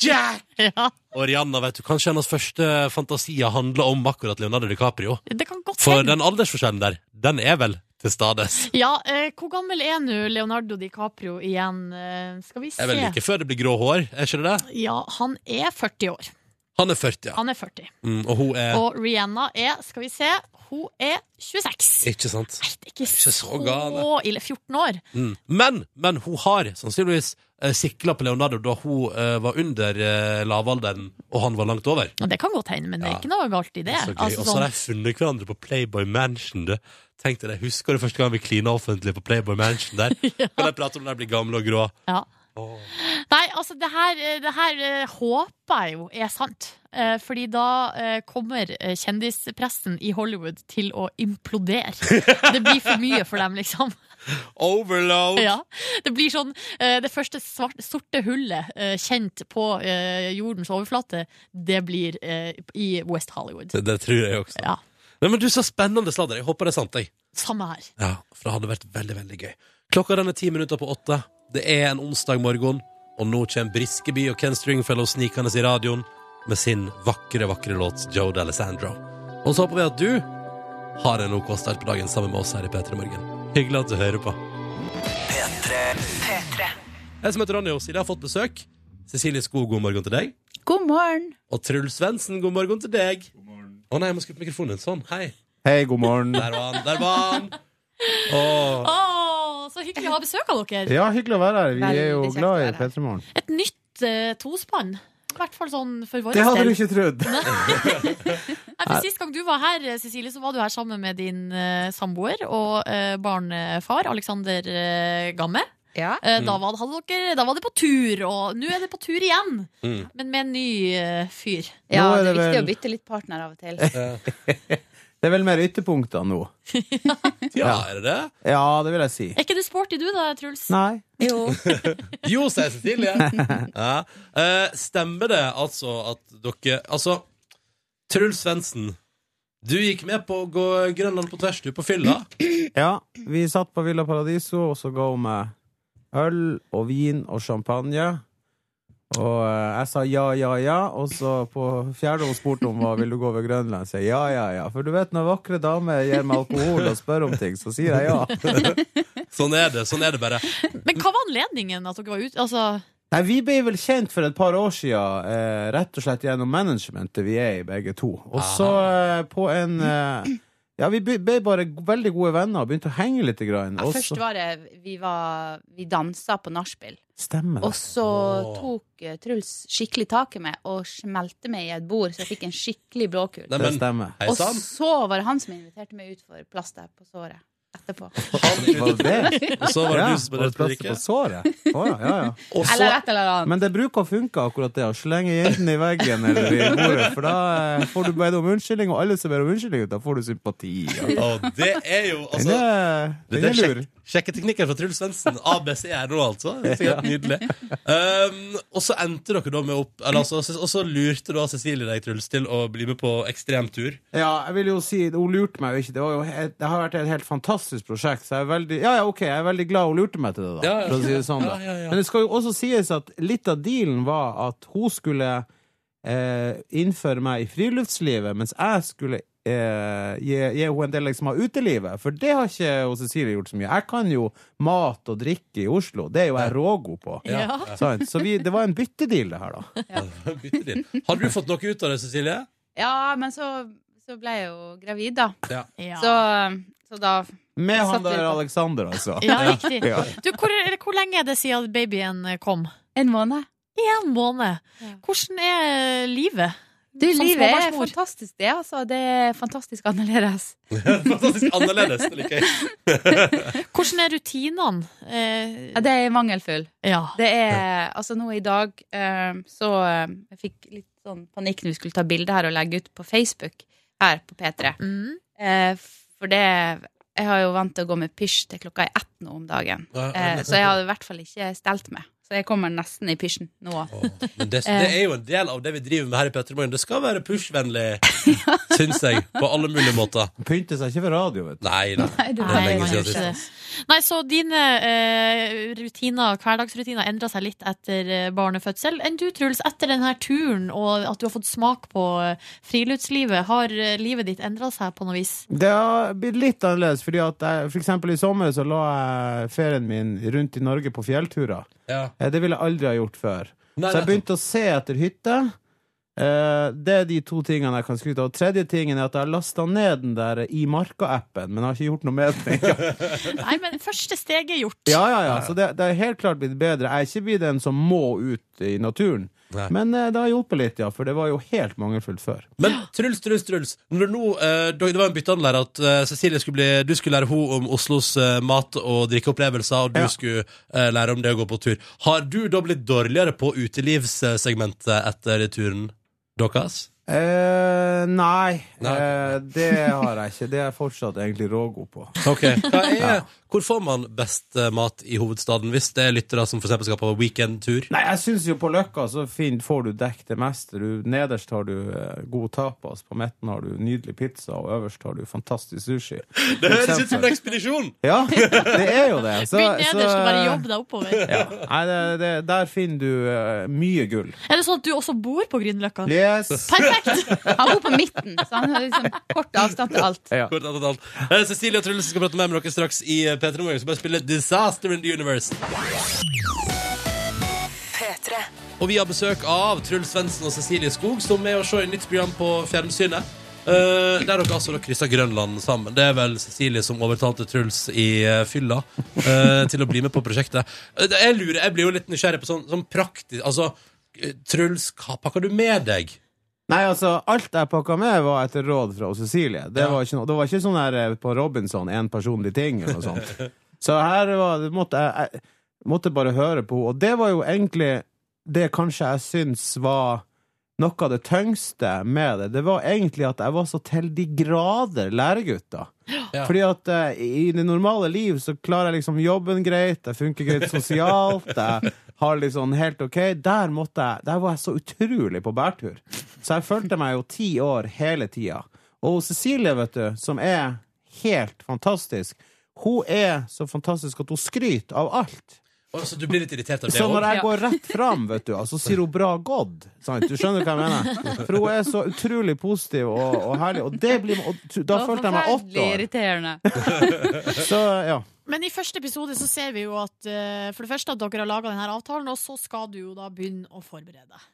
[SPEAKER 2] Jack!
[SPEAKER 3] ja.
[SPEAKER 2] Og Rihanna, vet du, kanskje hennes første fantasier handler om akkurat Leonardo DiCaprio.
[SPEAKER 3] Det kan godt
[SPEAKER 2] For
[SPEAKER 3] hende.
[SPEAKER 2] den aldersforskjellen der, den er vel til stades.
[SPEAKER 3] Ja, eh, hvor gammel er nå Leonardo DiCaprio igjen? Eh, skal vi se.
[SPEAKER 2] Jeg er vel like før det blir grå hår, er ikke det det?
[SPEAKER 3] Ja, han er 40 år.
[SPEAKER 2] Han er 40, ja.
[SPEAKER 3] Han er 40.
[SPEAKER 2] Mm, og hun er
[SPEAKER 3] Og Rihanna er, skal vi se, hun er 26.
[SPEAKER 2] Ikke sant?
[SPEAKER 3] Nei, det er ikke
[SPEAKER 2] så
[SPEAKER 3] så
[SPEAKER 2] gale.
[SPEAKER 3] ille. 14 år.
[SPEAKER 2] Mm. Men, men hun har sannsynligvis eh, sikla på Leonardo da hun eh, var under eh, lavalderen, og han var langt over.
[SPEAKER 3] Og det kan godt hende, men det er
[SPEAKER 2] Ja.
[SPEAKER 3] ikke noe galt i det.
[SPEAKER 2] Så gøy.
[SPEAKER 3] Altså,
[SPEAKER 2] og så har
[SPEAKER 3] sånn,
[SPEAKER 2] de funnet hverandre på Playboy Mansion. Du. Tenk deg det. Husker du første gang vi klina offentlig på Playboy Mansion der? Kan de prate om når de blir gamle og grå?
[SPEAKER 3] ja.
[SPEAKER 2] Åh.
[SPEAKER 3] Nei, altså, det her, eh, det her eh, håper jeg jo er sant. Eh, Fordi da eh, kommer eh, kjendispressen i Hollywood til å implodere. Det blir for mye for dem, liksom.
[SPEAKER 2] Overload!
[SPEAKER 3] Ja, det blir sånn eh, Det første svart, sorte hullet eh, kjent på eh, jordens overflate, det blir eh, i West Hollywood.
[SPEAKER 2] Det, det tror jeg også.
[SPEAKER 3] Ja,
[SPEAKER 2] Nei, men du, så spennende sladder. Jeg håper det er sant, jeg.
[SPEAKER 3] Samme her.
[SPEAKER 2] Ja, for det hadde vært veldig, veldig gøy. Klokka den er ti minutter på åtte. Det er en onsdag morgen, og nå kommer Briskeby og Ken Stringfellow snikende i radioen med sin vakre, vakre låt Joe D'Alessandro. Og så håper vi at du har en OK start på dagen sammen med oss her i P3 Morgen. Hyggelig at du hører på. Jeg som heter Ronny og Silje har fått besøk. Cecilie Skog, god morgen til deg.
[SPEAKER 7] God morgen.
[SPEAKER 2] Og Truls Svendsen, god morgen til deg. Å nei, jeg må skru på mikrofonen. din. Sånn, hei.
[SPEAKER 9] Hei, god morgen.
[SPEAKER 2] Der var han, der var han. Åh.
[SPEAKER 3] Å, så hyggelig å ha besøk av dere.
[SPEAKER 9] Ja, hyggelig å være her. Vi er jo
[SPEAKER 7] Veldig kjekt
[SPEAKER 9] glad i
[SPEAKER 7] å være her.
[SPEAKER 9] P3 Morgen.
[SPEAKER 3] Et nytt eh, tospann. I hvert fall sånn for vår
[SPEAKER 9] Det hadde du
[SPEAKER 3] del.
[SPEAKER 9] ikke trodd.
[SPEAKER 3] Nei, for Sist gang du var her, eh, Cecilie, så var du her sammen med din eh, samboer og eh, barnefar, Alexander eh, Gamme.
[SPEAKER 7] Ja.
[SPEAKER 3] Eh,
[SPEAKER 9] Mm.
[SPEAKER 3] da, var, hadde dere, da var det på tur, og nå er det på tur igjen.
[SPEAKER 2] Mm.
[SPEAKER 3] Men med en ny eh, fyr.
[SPEAKER 7] ja,
[SPEAKER 9] Nå er
[SPEAKER 7] det er
[SPEAKER 9] det
[SPEAKER 7] viktig
[SPEAKER 9] vel-
[SPEAKER 7] å bytte litt partner av og til.
[SPEAKER 9] Det er vel mer ytterpunkter nå.
[SPEAKER 2] Ja, er det det?
[SPEAKER 9] Ja, det vil jeg si.
[SPEAKER 3] Er ikke du sporty, du da, Truls?
[SPEAKER 9] Nei.
[SPEAKER 7] Jo.
[SPEAKER 2] Jo, sier Cecilie. ja. Eh, stemmer det altså at dere Altså, Truls Svendsen, du gikk med på å gå Grønland på tvers, du, på fylla.
[SPEAKER 9] Ja, vi satt på Villa Paradiso, og så ga hun meg øl og vin og champagne. Og eh, jeg sa ja, ja, ja, og så på fjerde hun spurte om hva vil du gå over Grønland, sier jeg ja, ja, ja. For du vet, når vakre damer gir meg alkohol og spør om ting, så sier jeg ja.
[SPEAKER 2] Sånn er det. sånn er det bare
[SPEAKER 3] Men hva var anledningen at dere var ute? Altså,
[SPEAKER 9] Nei, Vi ble vel kjent for et par år siden, eh, rett og slett gjennom managementet vi er i, begge to. Og så eh, på en eh, Ja, vi ble ble bare go- veldig gode venner og begynte å henge litt. Grann,
[SPEAKER 7] Ja,
[SPEAKER 9] og
[SPEAKER 7] først
[SPEAKER 9] så-
[SPEAKER 7] var det Vi, var, vi dansa på nachspiel,
[SPEAKER 9] Stemmer
[SPEAKER 7] og
[SPEAKER 9] det.
[SPEAKER 7] så
[SPEAKER 2] Åh.
[SPEAKER 7] tok eh, Truls skikkelig tak i meg og smelte meg i et bord, så jeg fikk en skikkelig blåkul.
[SPEAKER 2] Nei,
[SPEAKER 9] Det
[SPEAKER 2] men
[SPEAKER 9] stemmer.
[SPEAKER 2] hei
[SPEAKER 7] Og
[SPEAKER 2] sann!
[SPEAKER 7] så var det han som inviterte meg ut for plaster på såret etterpå.
[SPEAKER 9] Var det det?
[SPEAKER 2] Og så var det
[SPEAKER 9] Ja,
[SPEAKER 2] du som
[SPEAKER 9] og et
[SPEAKER 2] rett
[SPEAKER 9] plaster på såret. Å, ja, ja, ja.
[SPEAKER 2] Og så
[SPEAKER 7] Eller et eller annet.
[SPEAKER 9] Men det bruker å funke akkurat det, å slenge jentene i veggen eller i bordet, for da eh, får du bedt om unnskyldning, og alle som ber om unnskyldning, da får du sympati. Ja.
[SPEAKER 2] Og det er jo
[SPEAKER 9] Den
[SPEAKER 2] altså,
[SPEAKER 9] er,
[SPEAKER 2] Det
[SPEAKER 9] den
[SPEAKER 2] er
[SPEAKER 9] er lur.
[SPEAKER 2] sjekk, sjekketeknikken fra Truls Svendsen. ABCR nå, altså. Det er Helt nydelig. Um, og så endte dere da med opp eller, altså, Og så lurte da Cecilie deg, Truls, til å bli med på ekstremtur.
[SPEAKER 9] Ja, jeg vil jo si, hun lurte meg jo ikke. Det, var jo helt, det har vært et helt fantastisk prosjekt, så jeg er veldig, ja, ja, ok, jeg er veldig glad hun lurte meg til det, da.
[SPEAKER 2] Ja, ja.
[SPEAKER 9] For å si det sånn, da.
[SPEAKER 2] Ja, ja, ja.
[SPEAKER 9] Men det skal jo også sies at litt av dealen var at hun skulle eh, innføre meg i friluftslivet, mens jeg skulle eh, gi, gi henne en del liksom, av utelivet. For det har ikke hun Cecilie gjort så mye. Jeg kan jo mat og drikke i Oslo. Det er jo jeg rågod på.
[SPEAKER 3] Ja.
[SPEAKER 9] Sant? Så vi, det var en byttedeal, det her, da.
[SPEAKER 2] Bytte din. Har du fått noe ut av det, Cecilie?
[SPEAKER 7] Ja, men så, så ble jeg jo gravid, da.
[SPEAKER 3] Ja.
[SPEAKER 7] Så, så da
[SPEAKER 9] Med han
[SPEAKER 7] Satt litt
[SPEAKER 9] der
[SPEAKER 7] på.
[SPEAKER 9] Aleksander, altså.
[SPEAKER 3] ja, riktig.
[SPEAKER 9] Ja.
[SPEAKER 3] Du, hvor, eller, hvor lenge er det siden babyen eh, kom?
[SPEAKER 7] En måned.
[SPEAKER 3] En måned.
[SPEAKER 7] Ja.
[SPEAKER 3] Hvordan er livet?
[SPEAKER 7] Du,
[SPEAKER 3] Som
[SPEAKER 7] livet er
[SPEAKER 3] småbarnsmor.
[SPEAKER 7] fantastisk, det. altså. Det er fantastisk annerledes.
[SPEAKER 2] Fantastisk annerledes. Det liker jeg.
[SPEAKER 3] Hvordan er rutinene?
[SPEAKER 7] Ja,
[SPEAKER 3] Eh,
[SPEAKER 7] det er mangelfull.
[SPEAKER 3] ja.
[SPEAKER 7] Det er Altså, nå i dag eh, så eh, Jeg fikk litt sånn panikk når vi skulle ta bilde her og legge ut på Facebook her på P3.
[SPEAKER 3] Mm.
[SPEAKER 7] Eh, for det Jeg har jo vant til å gå med pysj til klokka er ett nå om dagen. Eh, så jeg hadde i hvert fall ikke stelt meg. Så jeg kommer nesten i pysjen nå.
[SPEAKER 2] Åh, Men det, det er jo en del av det vi driver med her i Petremorgen. Det skal være push-vennlig, syns jeg. På alle mulige måter.
[SPEAKER 9] Pynte seg ikke for radio, vet du.
[SPEAKER 2] Nei, nei.
[SPEAKER 7] du-
[SPEAKER 2] Det er
[SPEAKER 3] Nei,
[SPEAKER 2] lenge
[SPEAKER 3] man
[SPEAKER 2] siden
[SPEAKER 3] gjør ikke
[SPEAKER 2] sist.
[SPEAKER 3] det. Nei, så dine eh, rutiner, hverdagsrutiner endra seg litt etter eh, barnefødsel. Enn du, Truls, etter denne turen og at du har fått smak på eh, friluftslivet, har eh, livet ditt endra seg på noe vis?
[SPEAKER 9] Det har blitt litt annerledes, fordi at jeg, for eksempel i sommer så la jeg ferien min rundt i Norge på fjellturer.
[SPEAKER 2] Ja.
[SPEAKER 9] Eh, Det ville jeg aldri ha gjort før.
[SPEAKER 2] Nei,
[SPEAKER 9] Så jeg
[SPEAKER 2] nettopp.
[SPEAKER 9] begynte å se etter hytter. Eh, Det er de to tingene jeg kan skryte av. Og Tredje tingen er at jeg har lasta ned den der I Marka-appen, men jeg har ikke gjort noe med den.
[SPEAKER 3] Nei, men første steget er gjort.
[SPEAKER 9] Ja, ja, ja. Så det, det er helt klart blitt bedre. Jeg er ikke blitt en som må ut i naturen.
[SPEAKER 2] Nei.
[SPEAKER 9] Men eh, det har hjulpet litt, ja, for det var jo helt mangelfullt før.
[SPEAKER 2] Men Truls, Truls, Truls når nå, eh, Det var en byttehandel her at eh, Cecilie skulle bli, du skulle lære henne om Oslos eh, mat- og drikkeopplevelser, og du
[SPEAKER 9] Ja.
[SPEAKER 2] skulle eh, lære om det å gå på tur. Har du da blitt dårligere på utelivssegmentet etter turen deres?
[SPEAKER 9] Eh, nei,
[SPEAKER 2] Nei.
[SPEAKER 9] Eh, det har jeg ikke. Det er jeg fortsatt egentlig rågod på.
[SPEAKER 2] Ok, Hva er, Hvor får man best eh, mat i hovedstaden hvis det er lyttere som for eksempel skal på weekendtur?
[SPEAKER 9] Nei, jeg syns jo på Løkka så fin, får du dekk det meste. Du, nederst har du eh, god tapas, på midten har du nydelig pizza, og øverst har du fantastisk sushi.
[SPEAKER 2] Det høres ut som en ekspedisjon!
[SPEAKER 9] Ja, det er jo det. Så,
[SPEAKER 3] Begynn nederst
[SPEAKER 9] så,
[SPEAKER 3] og bare jobb deg oppover.
[SPEAKER 9] Ja. Nei, det, det, der finner du eh, mye gull.
[SPEAKER 3] Er det sånn at du også bor på Grünerløkka?
[SPEAKER 9] Yes.
[SPEAKER 3] Perfekt!
[SPEAKER 7] Han bor på midten, så han har liksom kort avstand til alt.
[SPEAKER 9] Ja.
[SPEAKER 2] Kort annet alt. Eh, Cecilie og Truls skal prate mer med dere straks i eh, P3 Morgen. Skal bare spille Disaster in the Universe. Og vi har besøk av Truls Svendsen og Cecilie Skog, som er å se i nytt program på fjernsynet. Eh, der dere altså da krysser Grønland sammen. Det er vel Cecilie som overtalte Truls i eh, fylla eh, til å bli med på prosjektet. Eh, det- jeg lurer, jeg blir jo litt nysgjerrig på sånn, sånn praktisk Altså, eh, Truls, hva pakker du med deg?
[SPEAKER 9] Nei, altså, alt jeg pakka med, var etter råd fra Cecilie. Det,
[SPEAKER 2] Ja.
[SPEAKER 9] var, ikke noe, det var ikke sånn her eh, på Robinson, én personlig ting, eller noe sånt. Så her var, det måtte jeg, jeg måtte bare høre på henne. Og det var jo egentlig det kanskje jeg syns var noe av det tyngste med det. Det var egentlig at jeg var så til de grader læregutt, da.
[SPEAKER 2] Ja.
[SPEAKER 9] Fordi at eh, i det normale liv så klarer jeg liksom jobben greit, jeg funker greit sosialt, jeg har liksom helt ok. Der, måtte jeg, der var jeg så utrolig på bærtur. Så jeg følte meg jo ti år hele tida. Og Cecilie, vet du, som er helt fantastisk, hun er så fantastisk at hun skryter av alt.
[SPEAKER 2] Å, Så du blir litt irritert av det
[SPEAKER 9] Så når
[SPEAKER 2] også?
[SPEAKER 9] jeg går rett fram, vet du, altså, sier hun 'bra gått'. Sant? Du skjønner hva jeg mener? For hun er så utrolig positiv og, og herlig. Og, det blir, og t- da
[SPEAKER 7] Det var
[SPEAKER 9] følte jeg meg åtte
[SPEAKER 7] forferdelig
[SPEAKER 9] år.
[SPEAKER 7] irriterende.
[SPEAKER 9] Så ja.
[SPEAKER 3] Men i første episode så ser vi jo at eh, for det første at dere har laga denne avtalen, og så skal du jo da begynne å forberede deg.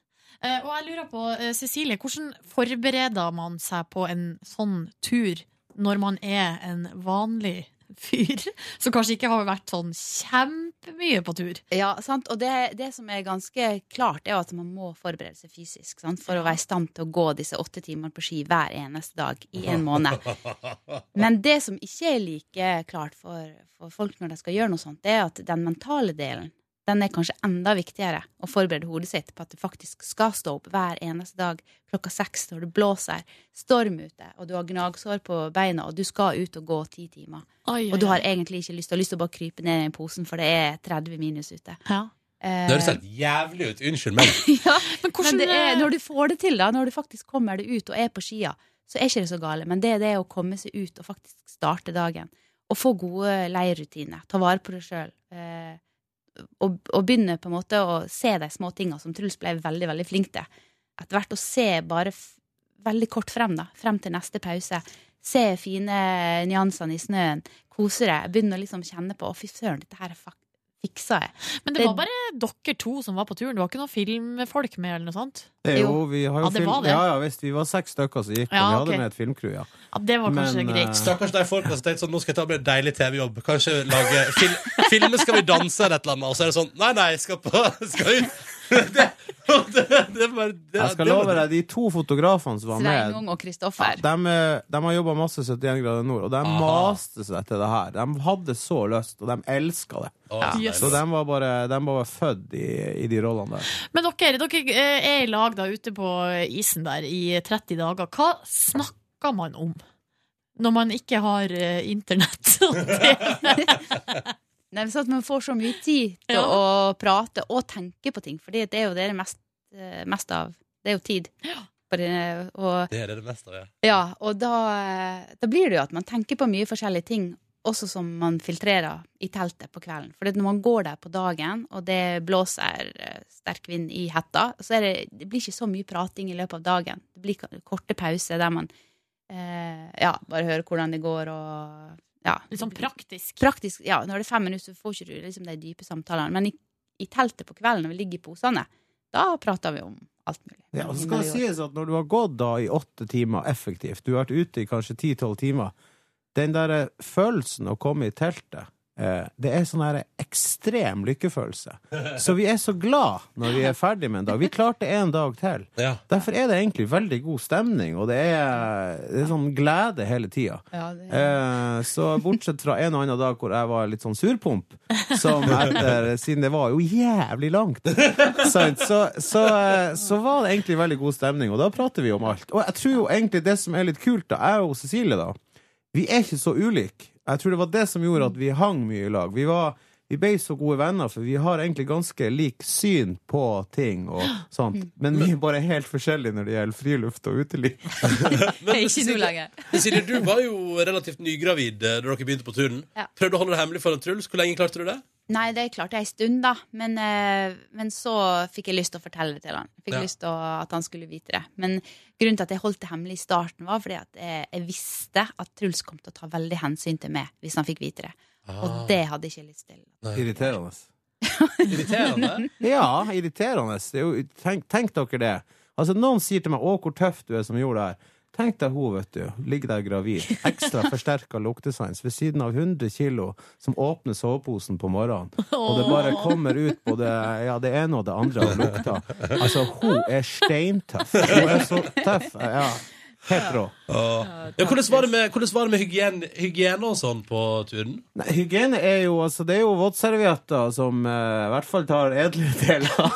[SPEAKER 3] Eh, og jeg lurer på, eh, Cecilie, hvordan forbereder man seg på en sånn tur når man er en vanlig fyr som kanskje ikke har vært sånn kjempemye på tur.
[SPEAKER 7] Ja, sant? Og det, det som er ganske klart, er jo at man må forberede seg fysisk sant? for å være i stand til å gå disse åtte timene på ski hver eneste dag i en måned. Men det som ikke er like klart for, for folk når de skal gjøre noe sånt, det er at den mentale delen den er kanskje enda viktigere å forberede hodet sitt på at du faktisk skal stå opp hver eneste dag klokka seks når det blåser, storm ute, og du har gnagsår på beina, og du skal ut og gå ti timer.
[SPEAKER 3] Oi, oi,
[SPEAKER 7] Og du har
[SPEAKER 3] oi.
[SPEAKER 7] egentlig ikke lyst Du har lyst til å bare krype ned i posen, for det er 30 minus ute.
[SPEAKER 3] ja.
[SPEAKER 7] Eh,
[SPEAKER 2] Det høres helt jævlig ut. Unnskyld meg.
[SPEAKER 7] ja,
[SPEAKER 3] Men hvordan eh,
[SPEAKER 7] men det er, når du får det til, da, når du faktisk kommer deg ut og er på skia, så er ikke det så gale. Men det er det å komme seg ut og faktisk starte dagen. Og få gode leirrutiner. Ta vare på deg sjøl. Eh, og, og begynne på en måte å se de små tinga som Truls ble veldig, veldig flink til. Etter hvert å se bare f veldig kort frem, da. Frem til neste pause. Se fine nyansene i snøen. Kose deg. Begynne å liksom kjenne på Å, fy søren, dette her fak- fiksa jeg.
[SPEAKER 3] Men det var bare dere to som var på turen. Det var ikke noen filmfolk med? eller noe sånt
[SPEAKER 9] Det er jo, vi har
[SPEAKER 3] Ja,
[SPEAKER 9] jo
[SPEAKER 3] det
[SPEAKER 9] film-
[SPEAKER 3] var det.
[SPEAKER 9] Ja, ja, visst, vi var seks stykker som gikk, og
[SPEAKER 3] Ja,
[SPEAKER 9] vi
[SPEAKER 3] ok.
[SPEAKER 9] hadde med et filmcrew, ja.
[SPEAKER 3] Ja, Det var kanskje
[SPEAKER 9] Men, eh,
[SPEAKER 3] greit.
[SPEAKER 2] Stakkars de folka som tenkte sånn Nå skal jeg ta meg en deilig TV-jobb. Kanskje lage fil filme Skal vi danse eller et eller annet. Og så er det sånn Nei, nei, jeg skal på Skal ut. Det, det, det, var- det,
[SPEAKER 9] Jeg skal
[SPEAKER 2] det var-
[SPEAKER 9] love deg, de to fotografene som var med
[SPEAKER 7] Sveinung og Kristoffer.
[SPEAKER 9] de, eh, de har jobba masse 71 grader nord, og de
[SPEAKER 2] Aha.
[SPEAKER 9] maste seg til det her. De hadde så lyst, og de elska det.
[SPEAKER 2] Å, så deilig.
[SPEAKER 3] Yes.
[SPEAKER 9] Så de var bare, de var født i, i de rollene der.
[SPEAKER 3] Men dere, dere eh, er i lag da ute på isen der i 30 dager. Hva snakker man om? Når man ikke har eh, internett og TV?
[SPEAKER 7] Nei, men sånn at man får så mye tid til
[SPEAKER 3] Ja.
[SPEAKER 7] å prate og tenke på ting, Fordi det er jo det det er mest, eh, mest av. Det er jo tid. På det- og,
[SPEAKER 2] Det er det det meste av, ja.
[SPEAKER 7] ja, og da, eh, da blir det jo at man tenker på mye forskjellige ting, også som man filtrerer i teltet på kvelden. For når man går der på dagen, og det blåser eh, sterk vind i hetta, så er det, det blir ikke så mye prating i løpet av dagen. Det blir ka- korte pauser der man eh, ja, bare hører hvordan det går, og ja.
[SPEAKER 3] Litt sånn praktisk.
[SPEAKER 7] praktisk Ja, når det er fem minutter, så får ikke du liksom de dype samtalene. Men i, i teltet på kvelden når vi ligger i posene, da prater vi om alt mulig.
[SPEAKER 9] Ja, og
[SPEAKER 7] Om
[SPEAKER 9] så
[SPEAKER 7] vi
[SPEAKER 9] skal det
[SPEAKER 7] har gjort.
[SPEAKER 9] sies at når du har gått da i åtte timer effektivt, du har vært ute i kanskje ti-tolv timer, den der eh, følelsen å komme i teltet, eh, det er sånn her ekstrem lykkefølelse. Så vi er så glad når vi er ferdig med en dag. Vi klarte en dag til.
[SPEAKER 2] ja.
[SPEAKER 9] Derfor er det egentlig veldig god stemning, og det er, det er sånn glede hele tida.
[SPEAKER 7] Ja, det,
[SPEAKER 9] Eh, så bortsett fra en og annen dag hvor jeg var litt sånn surpomp, som etter, siden det var jo jævlig langt, sant, så, så, eh, så var det egentlig veldig god stemning, og da prater vi om alt. Og jeg tror jo egentlig det som er litt kult, da, jeg og Cecilie, da, vi er ikke så ulike. Jeg tror det var det som gjorde at vi hang mye i lag. Vi var vi ble så gode venner, for vi har egentlig ganske lik syn på ting. og sånt. Men vi er bare helt forskjellige når det gjelder friluft og uteliv.
[SPEAKER 7] det er ikke nå lenger.
[SPEAKER 2] Cecilie, du var jo relativt nygravid eh, da dere begynte på turen.
[SPEAKER 7] Ja.
[SPEAKER 2] Prøvde å holde det hemmelig for en Truls. Hvor lenge klarte du det?
[SPEAKER 7] Nei, det klarte jeg en stund, da. Men, eh, men så fikk jeg lyst til å fortelle det til han. Fikk
[SPEAKER 2] Ja.
[SPEAKER 7] lyst til å, at han skulle vite det. Men grunnen til at jeg holdt det hemmelig i starten, var fordi at jeg, jeg visste at Truls kom til å ta veldig hensyn til meg hvis han fikk vite det. Og det hadde jeg ikke lyst til.
[SPEAKER 9] Irriterende.
[SPEAKER 2] Irriterende.
[SPEAKER 9] Ja, irriterende. Det er jo, tenk, tenk dere det. Altså, noen sier til meg 'Å, hvor tøff du er som gjorde det her'. Tenk deg hun, vet du. Ligger der gravid. Ekstra forsterka luktesans ved siden av 100 kilo som åpner soveposen på morgenen. Og det bare kommer ut både ja, det ene og det andre av lukta. Altså, hun er steintøff. Hun er så tøff. Ja. Helt rå.
[SPEAKER 2] Ja, hvordan var det med, hvordan var det med hygiene, hygiene og sånn på turen?
[SPEAKER 9] Nei, hygiene er jo altså Det er jo våtservietter som eh, i hvert fall tar edle deler.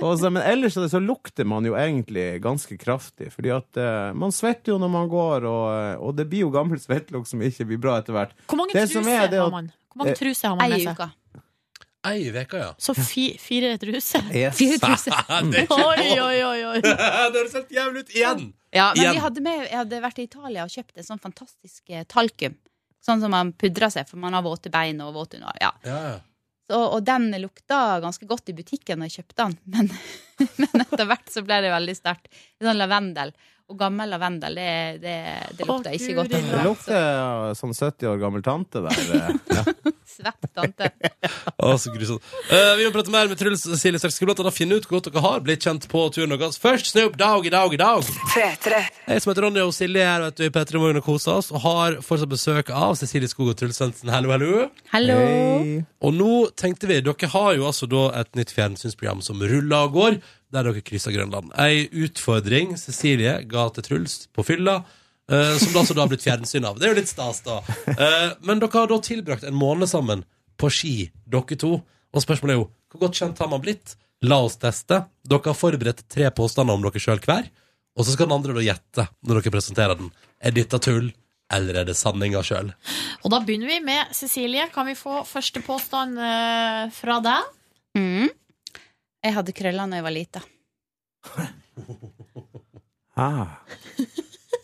[SPEAKER 9] Og så- men ellers så, så lukter man jo egentlig ganske kraftig. Fordi at eh, man svetter jo når man går, og, eh, og det blir jo gammel svettlukt som ikke blir bra etter hvert.
[SPEAKER 3] Hvor mange
[SPEAKER 9] Det som
[SPEAKER 3] truser
[SPEAKER 9] er det at-
[SPEAKER 3] har man? Hvor mange
[SPEAKER 9] Eh,
[SPEAKER 3] truser har man
[SPEAKER 7] Ei
[SPEAKER 3] med seg?
[SPEAKER 7] uke.
[SPEAKER 2] Ei uke, ja.
[SPEAKER 3] Så fi, fire truser?
[SPEAKER 7] Fire tusen.
[SPEAKER 2] det,
[SPEAKER 3] Oi, oi, oi, oi.
[SPEAKER 2] det høres helt jævlig ut igjen!
[SPEAKER 7] Ja, men
[SPEAKER 2] Igjen.
[SPEAKER 7] vi hadde med, jeg hadde vært i Italia og kjøpt en sånn fantastisk eh, talkum. Sånn som man pudrer seg, for man har våte bein og våt under. Ja.
[SPEAKER 2] Ja, ja.
[SPEAKER 7] Så, og den lukta ganske godt i butikken da jeg kjøpte den, men, men etter hvert så ble det veldig sterkt. Sånn lavendel. Og gammel lavendel, det, det, det
[SPEAKER 3] Å,
[SPEAKER 7] lukta
[SPEAKER 3] Guri
[SPEAKER 7] ikke godt.
[SPEAKER 9] Det lukter eh, sånn 70 år gammel tante der. eh. Ja.
[SPEAKER 7] Svett tante.
[SPEAKER 2] Å, så grusomt. Eh, vi må prate mer med Truls og Silje straks. Skal blant annet finne ut hvor godt dere har blitt kjent på turen deres. Først Snoop Dogg i dag i dag. Jeg som heter Ronny og Silje er her vet du, i P3 Morgen og koser oss, og har fortsatt besøk av Cecilie Skog og Truls Svendsen. Hallo, hallo.
[SPEAKER 7] Hallo.
[SPEAKER 9] Hei.
[SPEAKER 2] Og nå tenkte vi, dere har jo altså da et nytt fjernsynsprogram som ruller og går, der dere krysser Grønland. Ei utfordring Cecilie ga til Truls på fylla, eh, som det altså da har blitt fjernsyn av. Det er jo litt stas, da. Eh, men dere har da tilbrakt en måned sammen på ski, dere to. Og spørsmålet er jo hvor godt kjent har man blitt? La oss teste. Dere har forberedt tre påstander om dere sjøl hver, og så skal den andre da gjette når dere presenterer den. Er dette tull, eller er det sanninga sjøl?
[SPEAKER 3] Og da begynner vi med Cecilie. Kan vi få første påstand eh, fra deg?
[SPEAKER 7] Mm. Jeg hadde krøller da jeg var lita.
[SPEAKER 9] Ah.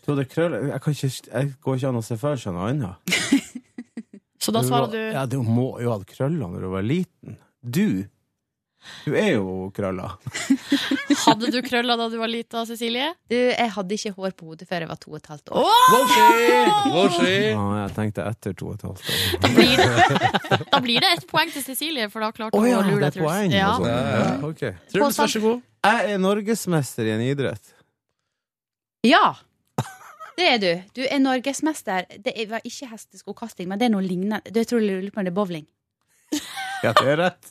[SPEAKER 9] Du hadde krøller Jeg, kan ikke, jeg går ikke an å se for seg noe annet.
[SPEAKER 3] Så da svarer du
[SPEAKER 9] Ja, du må jo ha hatt krøller når du var liten. Du! Du er jo krølla.
[SPEAKER 3] Hadde du krøller da du var lita, Cecilie?
[SPEAKER 7] Du, jeg hadde ikke hår på hodet før jeg var to og et halvt år.
[SPEAKER 3] Åh,
[SPEAKER 9] Ja, jeg tenkte etter to og et halvt år.
[SPEAKER 3] da, blir det, da blir det ett poeng til Cecilie, for da klarte
[SPEAKER 9] Å
[SPEAKER 3] hun
[SPEAKER 9] ja,
[SPEAKER 3] å lure
[SPEAKER 9] det
[SPEAKER 3] deg,
[SPEAKER 9] er poeng.
[SPEAKER 3] Truls. Ja.
[SPEAKER 9] og sånn.
[SPEAKER 2] Ja, ja.
[SPEAKER 9] Ok.
[SPEAKER 2] Truls, vær så god.
[SPEAKER 9] Jeg er norgesmester i en idrett.
[SPEAKER 7] Ja! Det er du. Du er norgesmester. Det er- var ikke hesteskokasting, men det er noe lignende. Du, jeg tror jeg lurer på om det er bowling.
[SPEAKER 9] Ja, det er rett.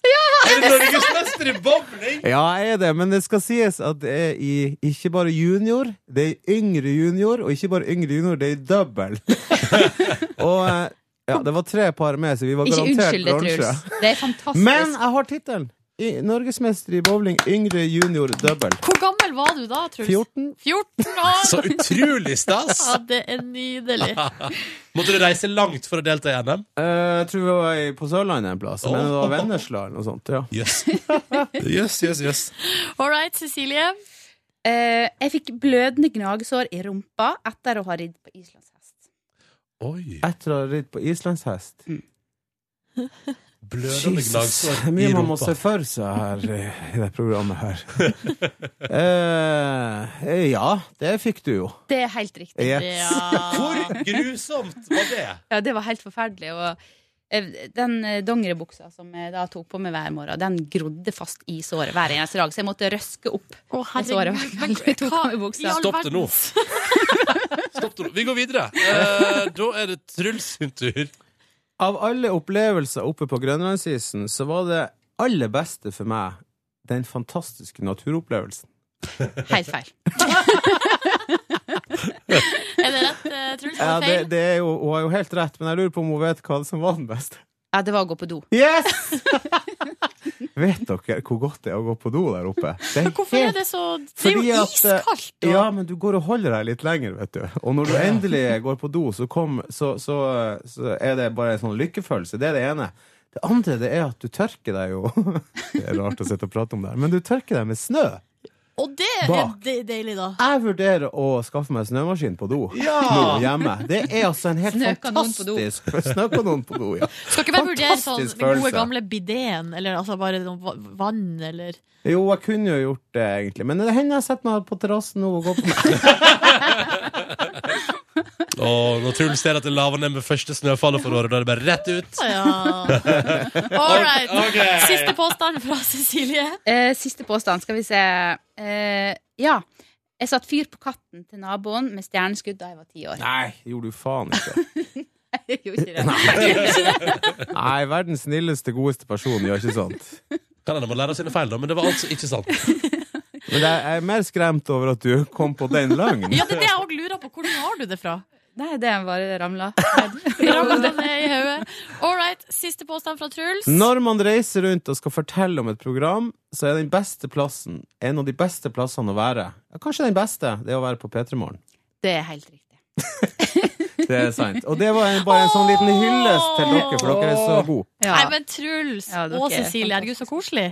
[SPEAKER 2] Er du norgesmester i bowling?
[SPEAKER 9] Ja, jeg er det, men det skal sies at det er i ikke bare junior, det er yngre junior, og ikke bare yngre junior, det er double. og eh, ja, det var tre par med, så vi var
[SPEAKER 7] Ikke
[SPEAKER 9] garantert
[SPEAKER 7] unnskyld det,
[SPEAKER 9] bronse.
[SPEAKER 7] Truls. Det er fantastisk.
[SPEAKER 9] Men jeg har tittelen! I- Norgesmester i bowling, yngre junior double.
[SPEAKER 3] Hvor gammel var du da, Truls?
[SPEAKER 9] 14.
[SPEAKER 3] 14 år!
[SPEAKER 2] Så utrolig stas!
[SPEAKER 3] Ja, det er nydelig.
[SPEAKER 2] Måtte du reise langt for å delta i NM?
[SPEAKER 9] Eh, jeg tror vi var i- på Sørlandet en plass, men det var Vennesla eller noe sånt. Ja.
[SPEAKER 2] Jøss. Jøss, jøss, jøss.
[SPEAKER 3] All right, Cecilie.
[SPEAKER 7] Eh, jeg fikk blødende gnagsår i rumpa etter å ha ridd på islandshest.
[SPEAKER 2] Oi.
[SPEAKER 9] Etter å ha ridd på islandshest.
[SPEAKER 2] Mm. Blødende
[SPEAKER 9] det er
[SPEAKER 2] gnagsår i
[SPEAKER 9] mye man må se
[SPEAKER 2] rumpa.
[SPEAKER 9] for seg her eh, i det programmet her. eh, ja, det fikk du jo.
[SPEAKER 7] Det er helt riktig.
[SPEAKER 9] Yes.
[SPEAKER 3] Ja.
[SPEAKER 2] Hvor grusomt var det?
[SPEAKER 7] Ja, det var helt forferdelig. Og eh, den eh, dongeribuksa som jeg da tok på meg hver morgen, den grodde fast i såret hver eneste dag, så jeg måtte røske opp.
[SPEAKER 3] Å,
[SPEAKER 7] Det svaret var ikke veldig tok av meg buksa.
[SPEAKER 3] i all
[SPEAKER 2] Stopp det nå.
[SPEAKER 3] verdens-
[SPEAKER 2] Stopp, Tor. vi går videre. Eh, da er det Truls sin tur.
[SPEAKER 9] Av alle opplevelser oppe på Grønlandsisen, så var det aller beste for meg den fantastiske naturopplevelsen.
[SPEAKER 7] Helt feil.
[SPEAKER 3] Er det rett, eh, Truls? Var det
[SPEAKER 9] Ja, det,
[SPEAKER 3] feil?
[SPEAKER 9] det er jo, hun har jo helt rett, men jeg lurer på om hun vet hva som var den beste.
[SPEAKER 7] Ja, det var å gå på do.
[SPEAKER 9] Yes! vet dere hvor godt det er å gå på do der oppe? Det er
[SPEAKER 3] Hvorfor er det så Det er
[SPEAKER 9] Fordi
[SPEAKER 3] jo
[SPEAKER 9] at, eh,
[SPEAKER 3] iskaldt! da.
[SPEAKER 9] Ja, men du går og holder deg litt lenger, vet du. Og når du endelig går på do, så, kom, så, så, så er det bare en sånn lykkefølelse. Det er det ene. Det andre det er at du tørker deg jo Det er rart å sitte og prate om det her, men du tørker deg med snø.
[SPEAKER 3] Og det er
[SPEAKER 9] Bak.
[SPEAKER 3] de- deilig, da.
[SPEAKER 9] Jeg vurderer å skaffe meg snømaskin på do nå hjemme. Det er altså en helt
[SPEAKER 7] Snøkanon på do.
[SPEAKER 9] fantastisk Snøkanon på do, ja.
[SPEAKER 3] Skal ikke vi vurdere sånn
[SPEAKER 9] Fantastisk
[SPEAKER 3] den gode
[SPEAKER 9] følelse.
[SPEAKER 3] gamle bideen, eller altså bare noe va- vann, eller
[SPEAKER 9] Jo, jeg kunne jo gjort det, egentlig. Men det hender jeg setter meg på terrassen nå og går på
[SPEAKER 2] Og når Truls ser at det laver ned med første snøfallet for året, da er det bare rett ut.
[SPEAKER 3] Ja. All right.
[SPEAKER 2] Ok.
[SPEAKER 3] Siste påstand fra Cecilie.
[SPEAKER 7] Eh, siste påstand, skal vi se. Eh, ja. Jeg satte fyr på katten til naboen med stjerneskudd da jeg var ti år.
[SPEAKER 9] Nei, gjorde du faen ikke.
[SPEAKER 7] Jeg gjorde ikke det.
[SPEAKER 9] Nei, verdens snilleste, godeste person gjør ikke sånt.
[SPEAKER 2] Kan hende man lærer sine feil, da, men det var altså ikke sant.
[SPEAKER 9] Men jeg jeg er mer skremt over at du kom på den løgnen.
[SPEAKER 3] Ja, det er det jeg òg lurer på. Hvordan har du det fra?
[SPEAKER 7] Nei, det er bare ramla.
[SPEAKER 3] Ramla det ned i hodet? All right. Siste påstand fra Truls.
[SPEAKER 9] Når man reiser rundt og skal fortelle om et program, så er den beste plassen en av de beste plassene å være. Ja, kanskje den beste, det er å være på P3morgen.
[SPEAKER 7] Det er helt riktig.
[SPEAKER 9] Det er sant. Og det var en, bare en sånn liten hyllest til dere, for dere er så gode.
[SPEAKER 7] Ja.
[SPEAKER 3] Nei, men Truls
[SPEAKER 7] Ja, dere
[SPEAKER 3] og
[SPEAKER 7] er
[SPEAKER 3] Cecilie, herregud, så koselig.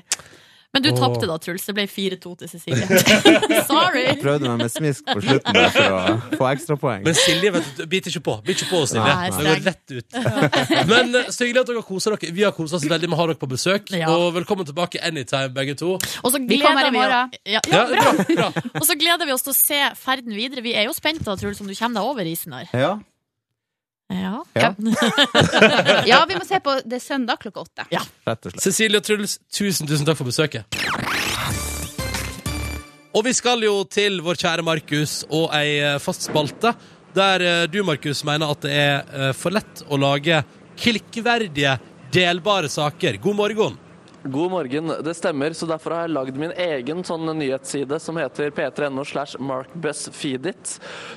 [SPEAKER 3] Men du tapte da, Truls. Det ble 4-2 til Cecilie. Sorry.
[SPEAKER 9] Prøvde meg med smisk på slutten der for å få ekstrapoeng.
[SPEAKER 2] Men Silje vet du, biter ikke på. Biter ikke på Silje.
[SPEAKER 3] Nei,
[SPEAKER 2] Det går rett ut. Men eh, så hyggelig at dere koser dere. Vi har kosa oss veldig med å ha dere på besøk.
[SPEAKER 3] Ja.
[SPEAKER 2] Og velkommen tilbake anytime, begge to.
[SPEAKER 3] Og så
[SPEAKER 7] Vi kommer i
[SPEAKER 3] gleder vi,
[SPEAKER 7] morgen.
[SPEAKER 3] oss- ja, ja,
[SPEAKER 2] Ja, bra, bra.
[SPEAKER 3] og så gleder vi oss til å se ferden videre. Vi er jo spent da, Truls, om du kommer deg over isen her.
[SPEAKER 9] Ja.
[SPEAKER 3] Ja.
[SPEAKER 9] Ja.
[SPEAKER 7] Ja, vi må se på Det er søndag klokka åtte.
[SPEAKER 9] Rett og slett.
[SPEAKER 2] Cecilie og Truls, tusen, tusen takk for besøket. Og vi skal jo til vår kjære Markus og ei eh, fast spalte der eh, du, Markus, mener at det er eh, for lett å lage klikkverdige, delbare saker. God morgen.
[SPEAKER 5] God morgen, det stemmer, så derfor har jeg lagd min egen sånn nyhetsside som heter p3.no slash markbusfeedit.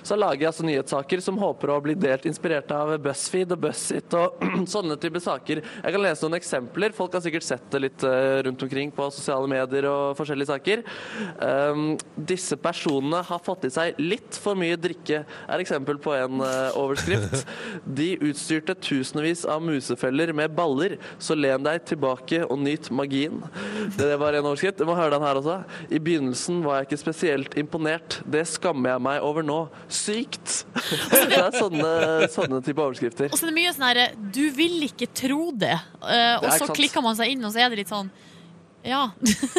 [SPEAKER 5] Så lager jeg altså nyhetssaker som håper å bli delt inspirert av BuzzFeed og BuzzIt og sånne type saker. Jeg kan lese noen eksempler, folk har sikkert sett det litt eh, rundt omkring på sosiale medier og forskjellige saker. Um, disse personene har fått i seg litt for mye drikke, er eksempel på en eh, overskrift. De utstyrte tusenvis av musefeller med baller, så len deg tilbake og nyt magien. Det var en overskrift. Du må høre den her også. I begynnelsen var jeg ikke spesielt imponert. Det skammer jeg meg over nå. Sykt! Det er sånne, sånne type overskrifter.
[SPEAKER 3] Og så er det mye sånn her Du vil ikke tro det. Eh, og
[SPEAKER 5] er
[SPEAKER 3] så
[SPEAKER 5] ikke sant.
[SPEAKER 3] klikker man seg inn, og så er det litt sånn Ja.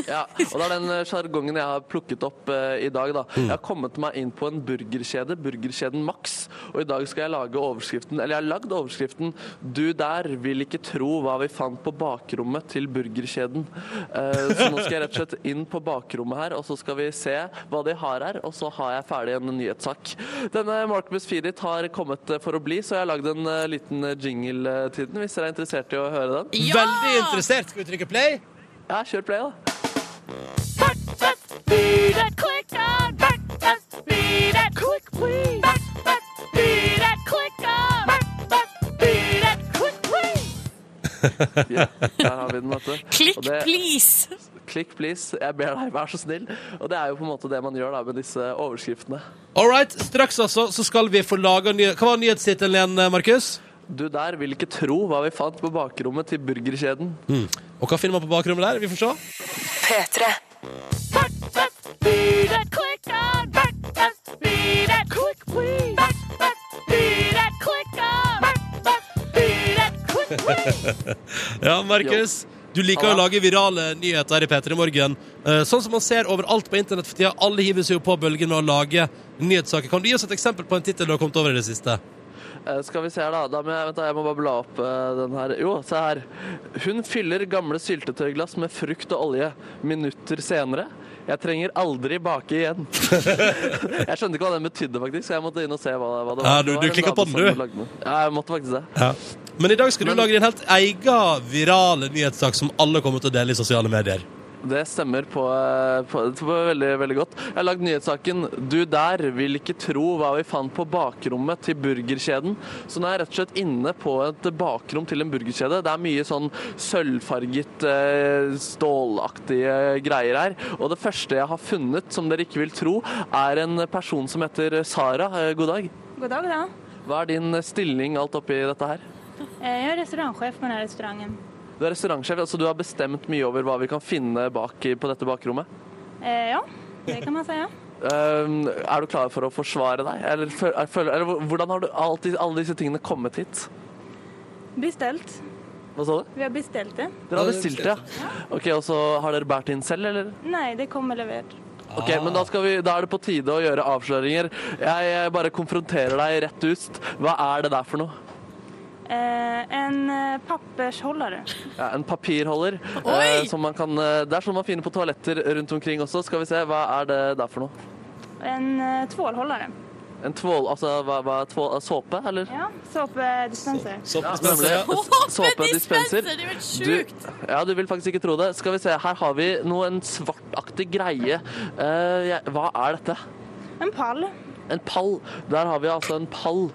[SPEAKER 5] Ja, og det er den eh, sjargongen jeg har plukket opp eh, i dag. da. Jeg har kommet meg inn på en burgerkjede, burgerkjeden Max. Og i dag skal jeg lage overskriften, eller jeg har lagd overskriften 'Du der vil ikke tro hva vi fant på bakrommet til burgerkjeden'. Eh, så nå skal jeg rett og slett inn på bakrommet her, og så skal vi se hva de har her. Og så har jeg ferdig en nyhetssak. Denne Markbus Firit har kommet eh, for å bli, så jeg har lagd en eh, liten eh, jingle eh, til den, hvis dere er interessert i å høre den.
[SPEAKER 3] ja!
[SPEAKER 2] Veldig interessert. Skal vi trykke play?
[SPEAKER 5] Ja, kjør play, da. Ja, der har vi den, vet du.
[SPEAKER 3] Klikk,
[SPEAKER 5] Og det-
[SPEAKER 3] please!
[SPEAKER 5] Klikk, please. Jeg ber deg, vær så snill. Og det er jo på en måte det man gjør da med disse overskriftene.
[SPEAKER 2] All right, straks altså så skal vi få laga ny... Hva var nyhetstittelen igjen, eh, Markus?
[SPEAKER 5] Du der vil ikke tro hva vi fant på bakrommet til burgerkjeden.
[SPEAKER 2] Mm. Og hva finner man på bakrommet der? Vi får se. Ja, Markus. Du liker jo å lage virale nyheter i P3 Morgen. Eh, Sånn som man ser overalt på internett for tida. Alle hiver seg jo på bølgen med å lage nyhetssaker. Kan du gi oss et eksempel på en tittel du har kommet over i det siste?
[SPEAKER 5] Eh, skal vi se her, da. da må jeg, vent, da, jeg må bare bla opp eh, den her. Jo, se her. Hun fyller gamle syltetøyglass med frukt og olje. Minutter senere. Jeg trenger aldri bake igjen. jeg skjønte ikke hva den betydde, faktisk. så Jeg måtte inn og se hva, hva det var.
[SPEAKER 2] Ja, du-
[SPEAKER 5] Det var
[SPEAKER 2] du
[SPEAKER 5] en
[SPEAKER 2] klikket på
[SPEAKER 5] dame
[SPEAKER 2] den,
[SPEAKER 5] som
[SPEAKER 2] du.
[SPEAKER 5] lagde den. Ja, jeg måtte faktisk det.
[SPEAKER 2] Men i dag skal du
[SPEAKER 5] Men-
[SPEAKER 2] lage din helt egen virale nyhetssak som alle kommer til å dele i sosiale medier.
[SPEAKER 5] Det stemmer på, eh, på, på veldig, veldig godt. Jeg har lagd nyhetssaken 'Du der vil ikke tro hva vi fant på bakrommet til burgerkjeden'. Så nå er jeg rett og slett inne på et bakrom til en burgerkjede. Det er mye sånn sølvfarget, eh, stålaktige greier her. Og det første jeg har funnet, som dere ikke vil tro, er en person som heter Sara. Eh, God dag.
[SPEAKER 10] God dag, da.
[SPEAKER 5] Hva er din stilling alt oppi dette her?
[SPEAKER 10] Eh, Jeg er restaurantsjef på denne restauranten.
[SPEAKER 5] Du er restaurantsjef, altså du har bestemt mye over hva vi kan finne bak i- på dette bakrommet?
[SPEAKER 10] Eh, Ja, det kan man si.
[SPEAKER 5] Ehm, er du klar for å forsvare deg? Eller, fø- er- føler- eller hvor- hvordan har du alltid, alle disse tingene kommet hit?
[SPEAKER 10] Bestilt.
[SPEAKER 5] Hva sa du?
[SPEAKER 10] Vi har bestilt det.
[SPEAKER 5] Dere har bestilt det, ja. Ok, og så har dere båret inn selv, eller?
[SPEAKER 10] Nei, det kommer levert.
[SPEAKER 5] Ok, men da, skal vi, da er det på tide å gjøre avsløringer. Jeg eh, bare konfronterer deg rett ut. Hva er det der for noe?
[SPEAKER 10] Eh, En eh, pappersholdere.
[SPEAKER 5] Ja, en papirholder. eh,
[SPEAKER 3] Oi!
[SPEAKER 5] som man kan, eh, det er sånn man finner på toaletter rundt omkring også. Skal vi se, hva er det der for noe?
[SPEAKER 10] En eh, tvålholdere.
[SPEAKER 5] En tvål, altså hva, hva, tvål, såpe, eller?
[SPEAKER 10] Ja, såpedispenser.
[SPEAKER 2] Så,
[SPEAKER 5] Ja,
[SPEAKER 2] så-
[SPEAKER 5] nemlig.
[SPEAKER 3] Såpedispenser! Det er jo
[SPEAKER 5] Du,
[SPEAKER 3] sjukt!
[SPEAKER 5] ja, du vil faktisk ikke tro det. Skal vi se, her har vi noe, en svartaktig greie. Eh, jeg, hva er dette?
[SPEAKER 10] En pall.
[SPEAKER 5] En pall. Der har vi altså en pall.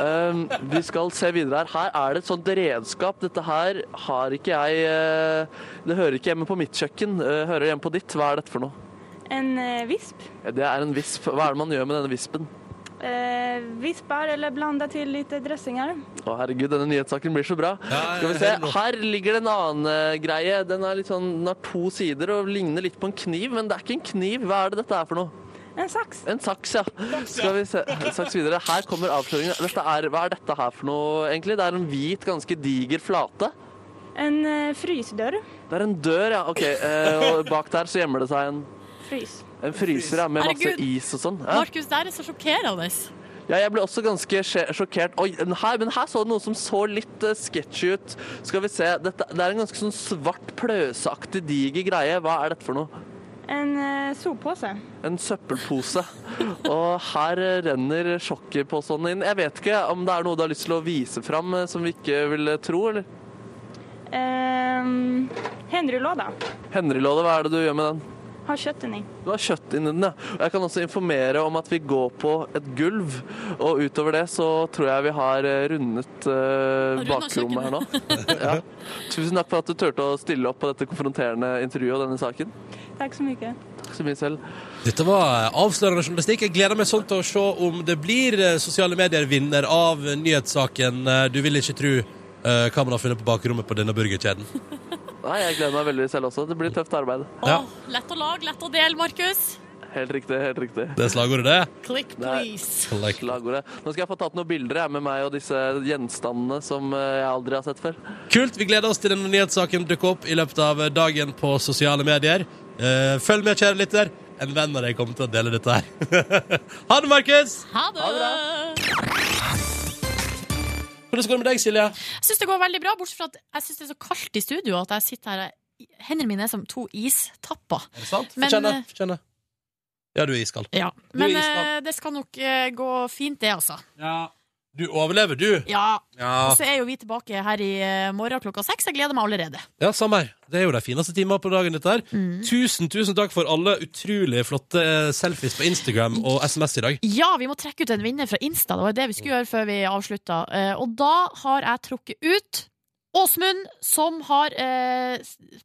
[SPEAKER 5] Um, vi skal se videre her. Her er det et sånt redskap. Dette her har ikke jeg eh, Det hører ikke hjemme på mitt kjøkken. Eh, hører hjemme på ditt. Hva er dette for noe?
[SPEAKER 10] En eh, visp.
[SPEAKER 5] Ja, Det er en visp. Hva er det man gjør med denne vispen?
[SPEAKER 10] Eh, Vispar eller blanda til litt dressinger.
[SPEAKER 5] Å herregud, denne nyhetssaken blir så bra.
[SPEAKER 2] Ja,
[SPEAKER 5] Skal vi
[SPEAKER 2] helt
[SPEAKER 5] se,
[SPEAKER 2] rått.
[SPEAKER 5] Her ligger det en annen eh, greie. Den, er litt sånn, den har to sider og ligner litt på en kniv, men det er ikke en kniv. Hva er det dette er for noe?
[SPEAKER 10] En saks.
[SPEAKER 5] En saks, ja. Skal vi se. Saks videre. Her kommer avsløringen. Dette er, hva er dette her for noe, egentlig? Det er en hvit, ganske diger flate.
[SPEAKER 10] En eh, frysedør.
[SPEAKER 5] Det er en dør, ja. Ok, eh, og bak der så gjemmer det seg en,
[SPEAKER 10] Frys.
[SPEAKER 5] en fryser ja, med masse
[SPEAKER 3] Herregud.
[SPEAKER 5] is og sånn. Ja.
[SPEAKER 3] Markus, det her er så sjokkerende.
[SPEAKER 5] Ja, jeg ble også ganske sje- sjokkert. Oi, den her, men her så det noe som så litt uh, sketchy ut. Skal vi se. Dette, det er en ganske sånn svart, pløseaktig, diger greie. Hva er dette for noe?
[SPEAKER 10] En eh, soppåse.
[SPEAKER 5] En søppelpose. Og her eh, renner sjokkpåstanden inn. Jeg vet ikke om det er noe du har lyst til å vise fram eh, som vi ikke ville tro, eller?
[SPEAKER 10] Um, Henrylåda.
[SPEAKER 5] Henry-låde, hva er det du gjør med den?
[SPEAKER 10] Har kjøtt inni.
[SPEAKER 5] Du har kjøtt inni den, ja. Og Jeg kan også informere om at vi går på et gulv, og utover det så tror jeg vi har eh, rundet eh,
[SPEAKER 11] Rundet
[SPEAKER 5] bakrommet her nå. Ja. Tusen takk for at du turte å stille opp på dette konfronterende intervjuet og denne saken.
[SPEAKER 10] Takk så mye.
[SPEAKER 5] Takk så mye selv.
[SPEAKER 2] Dette var avslørende journalistikk. Jeg gleder meg sånn til å se om det blir eh, sosiale medier-vinner av nyhetssaken eh, Du vil ikke tro eh, hva man har funnet på bakrommet på denne burgerkjeden.
[SPEAKER 5] Nei, jeg gleder meg veldig selv også. Det blir tøft arbeid.
[SPEAKER 2] Ja,
[SPEAKER 3] Lett å lage, lett å dele, Markus.
[SPEAKER 5] Helt riktig, helt riktig.
[SPEAKER 2] det er slagordet, det.
[SPEAKER 3] Click,
[SPEAKER 5] Det er
[SPEAKER 3] please.
[SPEAKER 5] Slagordet. Nå skal jeg få tatt noen bilder jeg, med meg og disse gjenstandene som eh, jeg aldri har sett før.
[SPEAKER 2] Kult. Vi gleder oss til denne nyhetssaken dukker opp i løpet av dagen på sosiale medier. Eh, Følg med, kjære lytter. En venn av deg kommer til å dele dette her. ha det, Markus!
[SPEAKER 3] Ha det.
[SPEAKER 2] Hvordan går det med deg, Silje?
[SPEAKER 3] Jeg syns det går veldig bra, bortsett fra at jeg syns det er så kaldt i studio at jeg sitter her Hendene mine er som to istapper.
[SPEAKER 2] Er det sant?
[SPEAKER 3] Men,
[SPEAKER 2] Fortjenne.
[SPEAKER 3] eh,
[SPEAKER 2] fortjenne. Ja, du er iskald.
[SPEAKER 3] Ja.
[SPEAKER 2] Du er
[SPEAKER 3] Men
[SPEAKER 2] iskald.
[SPEAKER 3] eh, det skal nok eh, gå fint, det, altså.
[SPEAKER 2] Du overlever, du.
[SPEAKER 3] Ja.
[SPEAKER 2] Ja.
[SPEAKER 3] Og så er jo vi tilbake her i eh, morgen klokka seks. Jeg gleder meg allerede.
[SPEAKER 2] Ja, samme her. Det er jo de fineste timene på dagen dette her.
[SPEAKER 3] Mm.
[SPEAKER 2] Tusen, tusen takk for alle utrolig flotte eh, selfies på Instagram og SMS i dag.
[SPEAKER 3] Ja, vi må trekke ut en vinner fra Insta. Det var jo det vi skulle gjøre før vi avslutta. Eh, Og da har jeg trukket ut Åsmund, som har eh,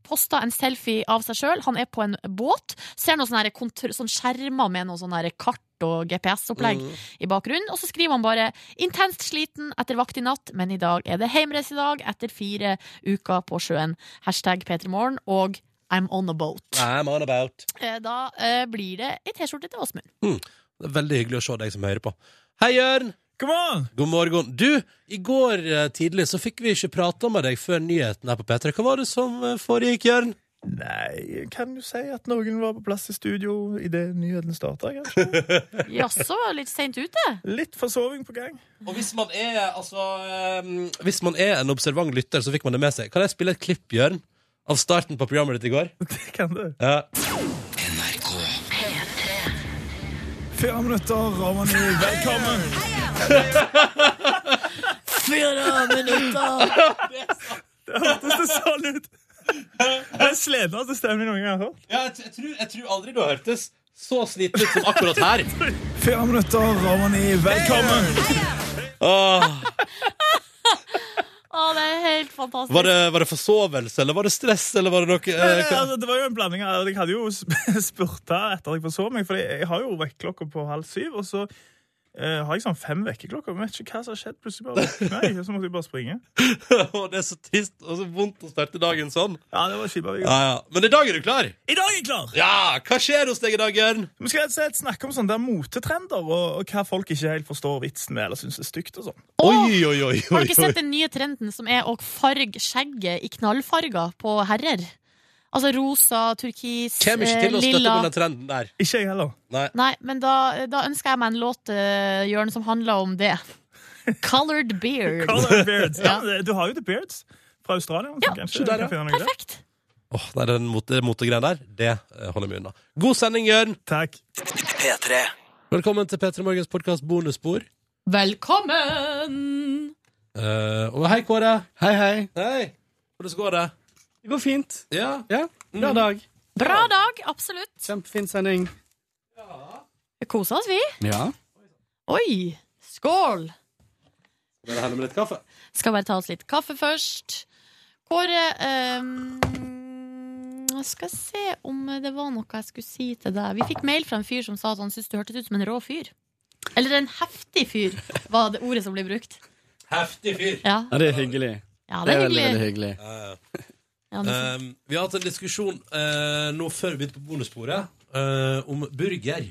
[SPEAKER 3] posta en selfie av seg sjøl. Han er på en båt. Ser noen sånne her kontr- sånn skjermer med noe sånn her kart og GPS-opplegg i bakgrunnen. Og så skriver han bare 'intenst sliten etter vakt i natt, men i dag er det heimreise i dag etter fire uker på sjøen'. Hashtag P3morgen og 'I'm on a boat'.
[SPEAKER 2] I'm on about.
[SPEAKER 3] Eh, Da eh, blir det ei T-skjorte til Åsmund.
[SPEAKER 2] Mm. Det er veldig hyggelig å se deg som hører på. Hei, Jørn! God morgen. Du, i går eh, tidlig så fikk vi ikke prata med deg før nyheten her på P3. Hva var det som eh, foregikk, Jørn?
[SPEAKER 12] Nei, kan du si at noen var på plass i studio idet nyheten starta, kanskje?
[SPEAKER 3] Jaså, litt seint ute?
[SPEAKER 12] Litt forsoving på gang.
[SPEAKER 2] Og hvis man er, altså Hvis man er en observant lytter, så fikk man det med seg. Kan jeg spille et klipp, Jørn, av starten på programmet ditt i går?
[SPEAKER 12] Det kan du.
[SPEAKER 2] Ja.
[SPEAKER 12] Fire minutter, Ronny. Velkommen.
[SPEAKER 11] Fire minutter!
[SPEAKER 12] Det hørtes det sånn ut. Den sletneste stemmen jeg noen gang har hørt.
[SPEAKER 2] Ja, jeg, t- jeg, tror, jeg tror aldri du har hørtes så sliten ut som akkurat her.
[SPEAKER 12] Fire minutter, Ronny. Velkommen.
[SPEAKER 2] Åh,
[SPEAKER 3] Å, det er helt fantastisk.
[SPEAKER 2] var, det, var det forsovelse, eller var det stress, eller var det noe eh,
[SPEAKER 12] Eh,
[SPEAKER 2] hva-
[SPEAKER 12] altså, det var jo en blanding av Jeg hadde jo sp- spurta etter at jeg forsov meg, for jeg har jo vekkerklokka på halv syv, og så eh, har jeg sånn fem vekkerklokker. men Vet ikke hva som har skjedd. Plutselig bare våkna jeg, og så måtte jeg bare springe.
[SPEAKER 2] Åh, Det er så trist og så vondt å starte dagen sånn.
[SPEAKER 12] Ja, det var kjipa.
[SPEAKER 2] Ja, ja. Men i dag er du klar?
[SPEAKER 12] I dag er jeg klar!
[SPEAKER 2] Ja! Hva skjer hos deg i dag, Jørn?
[SPEAKER 12] Vi skal rett og slett snakke om sånne der motetrender og, og hva folk ikke helt forstår vitsen med eller syns er stygt. og sånn.
[SPEAKER 2] Oi, oi, oi,
[SPEAKER 3] Har
[SPEAKER 2] oi,
[SPEAKER 3] du ikke
[SPEAKER 2] oi.
[SPEAKER 3] sett den nye trenden som er å farge skjegget i knallfarger på herrer? Altså rosa, turkis,
[SPEAKER 2] Kjem ikke til
[SPEAKER 3] eh,
[SPEAKER 2] å støtte
[SPEAKER 3] lilla
[SPEAKER 2] på den trenden der.
[SPEAKER 12] Ikke jeg heller.
[SPEAKER 2] Nei.
[SPEAKER 3] Nei, men da, da ønsker jeg meg en låt, eh, Jørn, som handler om det. Colored beard.
[SPEAKER 12] Color beards. Ja, men det- du har jo The Beards fra Australia. så
[SPEAKER 3] Ja,
[SPEAKER 12] kanskje
[SPEAKER 2] se der,
[SPEAKER 12] du kan
[SPEAKER 2] ja.
[SPEAKER 12] finne noe der.
[SPEAKER 3] Perfekt.
[SPEAKER 2] Åh, nei, den mote- motegreia der, det eh, holder vi unna. God sending, Jørn!
[SPEAKER 12] Takk.
[SPEAKER 1] P3.
[SPEAKER 2] Velkommen til P3 Morgens podkast Bonusspor.
[SPEAKER 3] Velkommen!
[SPEAKER 2] Eh, og hei, Kåre.
[SPEAKER 13] Hei, hei.
[SPEAKER 2] Hei. Hvordan går det?
[SPEAKER 13] Det går fint.
[SPEAKER 2] Ja. Mm.
[SPEAKER 13] Ja, Bra dag.
[SPEAKER 3] Bra dag, absolutt.
[SPEAKER 13] Kjempefin sending.
[SPEAKER 3] Vi koser oss, vi.
[SPEAKER 13] Ja.
[SPEAKER 3] Oi! Skål!
[SPEAKER 2] Skal dere helle med litt kaffe?
[SPEAKER 3] Skal bare ta oss litt kaffe først. Kåre ehm, jeg Skal se om det var noe jeg skulle si til deg. Vi fikk mail fra en fyr som sa at han syntes du hørtes ut som en rå fyr. Eller en heftig fyr, var det ordet som ble brukt.
[SPEAKER 2] Heftig fyr.
[SPEAKER 3] Ja,
[SPEAKER 13] Ja, det er hyggelig.
[SPEAKER 3] ja det er
[SPEAKER 13] veldig, veldig
[SPEAKER 3] hyggelig.
[SPEAKER 13] hyggelig.
[SPEAKER 3] Ja, det er fint.
[SPEAKER 2] Um, vi har hatt en diskusjon eh, nå før vi begynte på bonussporet, eh, om burger.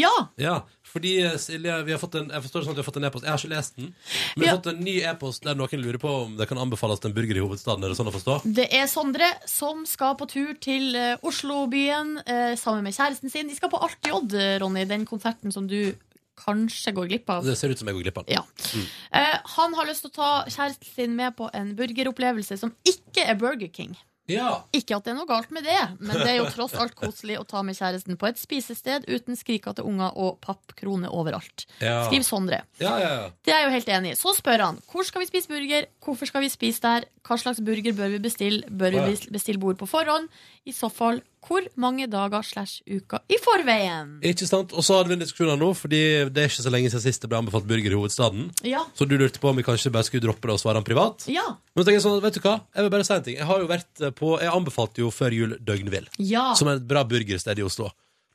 [SPEAKER 3] ja,
[SPEAKER 2] Ja, fordi eh, Silje, vi har fått en, jeg forstår det sånn at vi har fått en e-post. Jeg har ikke lest den. Men vi
[SPEAKER 3] Ja.
[SPEAKER 2] har fått en ny e-post der noen lurer på om det kan anbefales til en burger i hovedstaden. Er det sånn å forstå?
[SPEAKER 3] det er Sondre som skal på tur til eh, Oslobyen eh, sammen med kjæresten sin. De skal på Alt J, Ronny, den konserten som du kanskje går glipp av.
[SPEAKER 2] Det ser ut som jeg går glipp av.
[SPEAKER 3] Ja.
[SPEAKER 2] Mm.
[SPEAKER 3] Eh, han har lyst til å ta kjæresten sin med på en burgeropplevelse som ikke er Burger King.
[SPEAKER 2] Ja.
[SPEAKER 3] Ikke at det er noe galt med det, men det er jo tross alt koselig å ta med kjæresten på et spisested uten skrikete unger og pappkroner overalt.
[SPEAKER 2] Ja.
[SPEAKER 3] Skriv Sondre.
[SPEAKER 2] Ja, ja, ja.
[SPEAKER 3] Det er jeg jo helt enig i. Så spør han hvor skal vi spise burger, hvorfor skal vi spise der, hva slags burger bør vi bestille,
[SPEAKER 2] Å,
[SPEAKER 3] bør
[SPEAKER 2] ja.
[SPEAKER 3] vi bes- bestille bord på forhånd, i så fall hvor mange dager slash uker i forveien?
[SPEAKER 2] Ikke sant? Og så hadde vi en diskusjon her nå, fordi det er ikke så lenge siden sist det ble anbefalt burger i hovedstaden.
[SPEAKER 3] Ja.
[SPEAKER 2] Så du lurte på om vi kanskje bare skulle droppe det og svare han privat?
[SPEAKER 3] Ja.
[SPEAKER 2] Men så tenker jeg sånn, vet du hva? Jeg vil bare si en ting. Jeg har jo vært eh, på, jeg anbefalte jo før jul Døgnvill,
[SPEAKER 3] Ja.
[SPEAKER 2] som er et bra burgersted i Oslo.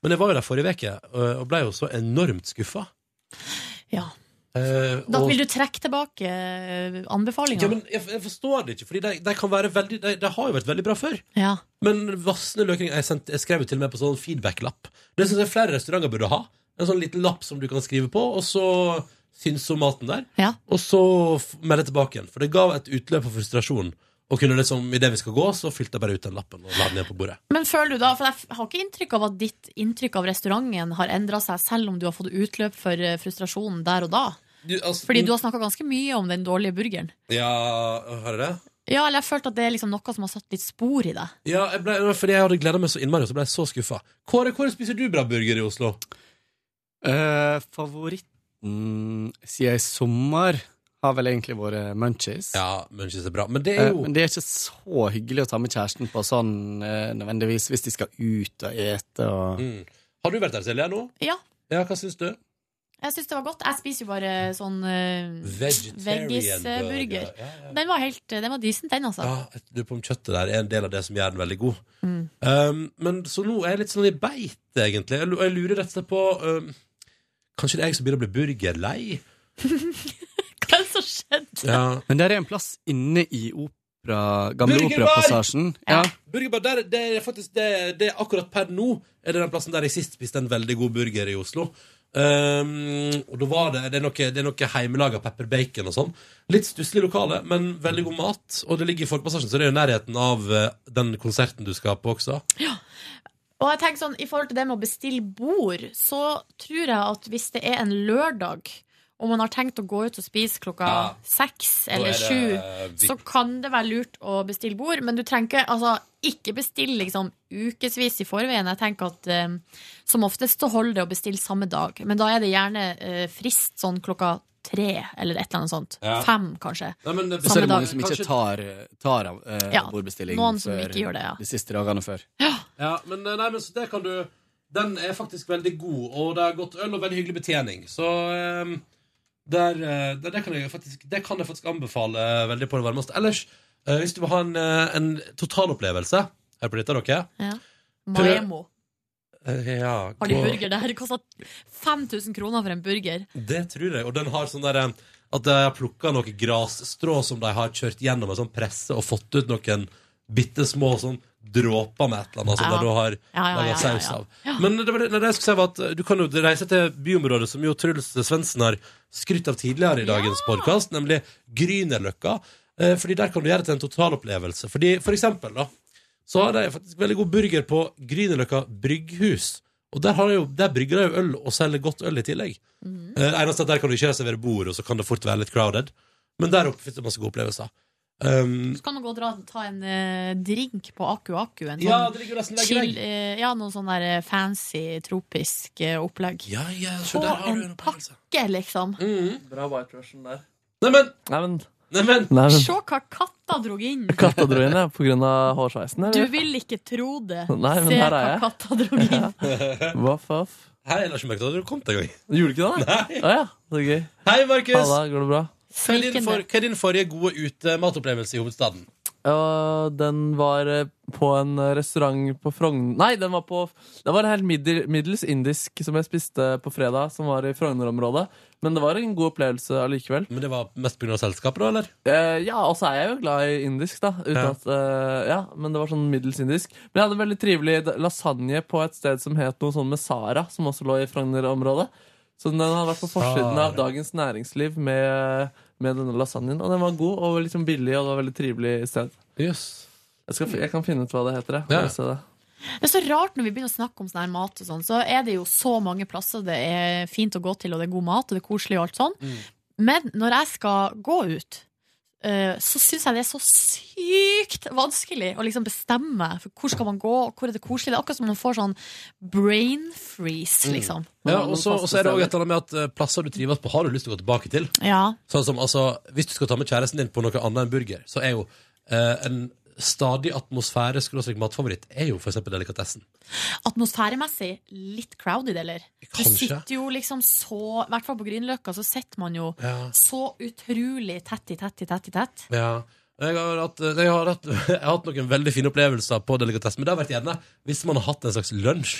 [SPEAKER 2] Men jeg var jo der forrige veke, øh, og ble jo så enormt skuffa.
[SPEAKER 3] Ja.
[SPEAKER 2] Eh,
[SPEAKER 3] Da
[SPEAKER 2] og-
[SPEAKER 3] vil du trekke tilbake eh, anbefalinga?
[SPEAKER 2] Ja, men jeg, jeg forstår det ikke, fordi de, de kan være veldig, de, de har jo vært veldig bra før.
[SPEAKER 3] Ja.
[SPEAKER 2] Men vassende løkringer jeg, sendte- jeg skrev jo til og med på sånn feedback-lapp. Det syns jeg flere restauranter burde ha. En sånn liten lapp som du kan skrive på, og så syns om maten der.
[SPEAKER 3] Ja.
[SPEAKER 2] Og så f- melde tilbake igjen. For det ga et utløp for frustrasjon. Og kunne liksom, idet vi skal gå, så fylte jeg bare ut den lappen og la den igjen på bordet.
[SPEAKER 3] Men føler du da, for jeg har ikke inntrykk av at ditt inntrykk av restauranten har endra seg, selv om du har fått utløp for eh, frustrasjonen der og da.
[SPEAKER 2] Du, altså,
[SPEAKER 3] Fordi du har snakka ganske mye om den dårlige burgeren.
[SPEAKER 2] Ja, har jeg det?
[SPEAKER 3] Ja, eller jeg følte at det er liksom noe som har satt litt spor i deg.
[SPEAKER 2] Ja, jeg ble, fordi jeg hadde gleda meg så innmari, og så ble jeg så skuffa. Kåre, hvor spiser du bra burger i Oslo?
[SPEAKER 13] Eh, favoritten sier jeg sommer, har vel egentlig vært munchies. Eh,
[SPEAKER 2] Ja, munchies er bra, men det er jo-
[SPEAKER 13] Men det er ikke så hyggelig å ta med kjæresten på sånn eh, nødvendigvis hvis de skal ut og ete og
[SPEAKER 2] Mm. Har du vært der, Selja, nå?
[SPEAKER 3] Ja,
[SPEAKER 2] Ja, hva syns du?
[SPEAKER 3] jeg syns det var godt. Jeg spiser jo bare sånn uh,
[SPEAKER 2] Vegetarian burger,
[SPEAKER 3] veggisburger.
[SPEAKER 2] ja,
[SPEAKER 3] Den var helt Den var decent, den, altså.
[SPEAKER 2] Ja, jeg lurer på om kjøttet der er en del av det som gjør den veldig god.
[SPEAKER 3] Mm.
[SPEAKER 2] Um, men så nå er jeg litt sånn i beit, egentlig. Jeg lu- jeg lurer rett og slett på um, Kanskje det er jeg som begynner å bli burgerlei?
[SPEAKER 3] Hva er det som skjedde?
[SPEAKER 13] Men der er en plass inne i opera, gamle
[SPEAKER 2] Burgerbar!
[SPEAKER 13] operapassasjen. Ja.
[SPEAKER 2] Burgerbar, der, det er faktisk det, det er akkurat per nå er det den plassen der jeg sist spiste en veldig god burger i Oslo. Um, og da var det Det er noe, det er noe hjemmelaga pepper bacon og sånn. Litt stusslig lokale, men veldig god mat. Og det ligger i Folkepassasjen, så det er jo i nærheten av eh, den konserten du skal på også.
[SPEAKER 3] Og jeg tenker sånn, I forhold til det med å bestille bord, så tror jeg at hvis det er en lørdag, og man har tenkt å gå ut og spise klokka
[SPEAKER 14] Ja.
[SPEAKER 3] seks
[SPEAKER 14] Da
[SPEAKER 3] eller
[SPEAKER 14] er det
[SPEAKER 3] sju,
[SPEAKER 14] vi-
[SPEAKER 3] så kan det være lurt å bestille bord. Men du trenger ikke- altså, ikke bestille liksom, ukevis i forveien. Jeg tenker at eh, Som oftest så holder det å bestille samme dag, men da er det gjerne eh, frist sånn klokka tre eller et eller annet sånt.
[SPEAKER 13] Ja.
[SPEAKER 3] Fem, kanskje.
[SPEAKER 2] Nei, men det-
[SPEAKER 13] Så er det
[SPEAKER 3] Samme
[SPEAKER 13] mange som
[SPEAKER 3] dag.
[SPEAKER 13] ikke tar, tar av eh,
[SPEAKER 3] Ja,
[SPEAKER 13] bordbestilling
[SPEAKER 3] noen som
[SPEAKER 13] før
[SPEAKER 3] ikke gjør det, ja.
[SPEAKER 13] de siste dagene før.
[SPEAKER 2] Ja, men, eh, nei, men så det kan du Den er faktisk veldig god, og det er godt øl og veldig hyggelig betjening. Så eh, der, eh, der, det, kan jeg faktisk, det kan jeg faktisk anbefale eh, veldig på det varmeste. Ellers, eh, hvis du vil ha en, eh, en totalopplevelse Hør på dette, dere.
[SPEAKER 3] Ja. Maemo.
[SPEAKER 2] Eh, ja,
[SPEAKER 3] Har de
[SPEAKER 2] gå-
[SPEAKER 3] burger der? Det koster 5000 kroner for en burger.
[SPEAKER 2] Det tror jeg. Og den har sånn der eh, at de har plukka noe grasstrå som de har kjørt gjennom en sånn presse og fått ut noen bitte små sånn dråper med et eller annet som
[SPEAKER 15] Ja.
[SPEAKER 2] de da har
[SPEAKER 15] Ja, ja,
[SPEAKER 2] laget
[SPEAKER 15] ja, ja, ja.
[SPEAKER 2] saus av. Men det, var det, nei, det jeg skulle si var at eh, du kan jo reise til byområdet som jo Truls Svendsen har skrytt av tidligere i dagens podcast, podkast, nemlig Grünerløkka. Eh, Fordi der kan du gjøre det til en totalopplevelse. Fordi for eksempel, da, så har de faktisk veldig god burger på Grünerløkka brygghus. Og der, har de jo, der brygger de jo øl og selger godt øl i tillegg.
[SPEAKER 3] Mm.
[SPEAKER 2] Eh, Det eneste er at der kan du ikke reservere bord, og så kan det fort være litt crowded. Men der oppe finnes det masse gode opplevelser. Um,
[SPEAKER 3] Så kan man gå og dra, ta en eh, drink på Aku Aku. En sånn
[SPEAKER 2] Ja, det ligger jo nesten vegg i vegg.
[SPEAKER 3] chill, eh, ja, noe sånn der eh, fancy, tropisk eh, opplegg.
[SPEAKER 2] Ja, ja, så
[SPEAKER 3] Få
[SPEAKER 2] der har du Mm.
[SPEAKER 3] en pakke, liksom.
[SPEAKER 5] Bra white russian der.
[SPEAKER 2] Neimen!
[SPEAKER 5] Neimen.
[SPEAKER 2] Neimen.
[SPEAKER 3] Se hva katta dro inn!
[SPEAKER 5] Katta dro inn, ja, på grunn av hårsveisen,
[SPEAKER 3] Du
[SPEAKER 5] eller?
[SPEAKER 3] vil ikke tro det.
[SPEAKER 5] Nei, men
[SPEAKER 3] Se
[SPEAKER 5] her
[SPEAKER 3] hva
[SPEAKER 5] er jeg.
[SPEAKER 3] katta dro inn.
[SPEAKER 5] Voff, voff.
[SPEAKER 2] Hei, jeg la ikke merke til at du kom til en gang.
[SPEAKER 5] Gjorde du ikke det? Nei. Å ja, så gøy.
[SPEAKER 2] Hei, Markus.
[SPEAKER 5] Halla, går det bra?
[SPEAKER 2] Hva er din, for, hva er din forrige gode ute-matopplevelse i hovedstaden?
[SPEAKER 5] Ja, den var eh, på en restaurant på Frogn... Nei, den var på Det var en helt middel, middels indisk som jeg spiste på fredag, som var i Frogner-området. Men det var en god opplevelse allikevel. Eh,
[SPEAKER 2] Men det var mest pga. selskapet, da, eller?
[SPEAKER 5] ja, og så er jeg jo glad i indisk, da. Uten
[SPEAKER 2] Ja.
[SPEAKER 5] At, eh, ja, men det var sånn middels indisk. Men jeg hadde en veldig trivelig lasagne på et sted som het noe sånn med Sara, som også lå i Frogner-området. Så den hadde vært på forsiden
[SPEAKER 2] Ah.
[SPEAKER 5] av Dagens Næringsliv med, med denne lasagnen. Og den var god og liksom billig, og det var veldig trivelig sted.
[SPEAKER 2] Yes.
[SPEAKER 5] Jeg, skal, fi- jeg kan finne ut hva det heter. Jeg.
[SPEAKER 2] Ja.
[SPEAKER 5] Skal vi se det.
[SPEAKER 3] Det er så rart når vi begynner å snakke om sånn her mat og sånn, så er det jo så mange plasser det er fint å gå til, og det er god mat, og det er koselig og alt sånn. Men når jeg skal gå ut, eh, så syns jeg det er så sykt vanskelig å liksom bestemme meg for hvor skal man gå, og hvor er det koselig. Det er akkurat som man får sånn brain freeze, liksom.
[SPEAKER 2] Mm. Ja, og så og så er det òg et eller annet med at eh, plasser du trives på, har du lyst til å gå tilbake til.
[SPEAKER 3] Ja.
[SPEAKER 2] Sånn som, altså, Hvis du skal ta med kjæresten din på noe annet enn burger, så er jo eh, en stadig atmosfære skråstrek matfavoritt er jo f.eks. delikatessen.
[SPEAKER 3] Atmosfæremessig litt crowded, eller?
[SPEAKER 2] Kanskje.
[SPEAKER 3] Du sitter jo liksom så I hvert fall på Grünerløkka så sitter man jo
[SPEAKER 2] Ja.
[SPEAKER 3] så utrolig tett i tett i tett i tett.
[SPEAKER 2] Ja. Jeg har, hatt, eh, jeg, har hatt, jeg har hatt noen veldig fine opplevelser på delikatessen, men det har vært gjerne hvis man har hatt en slags lunsj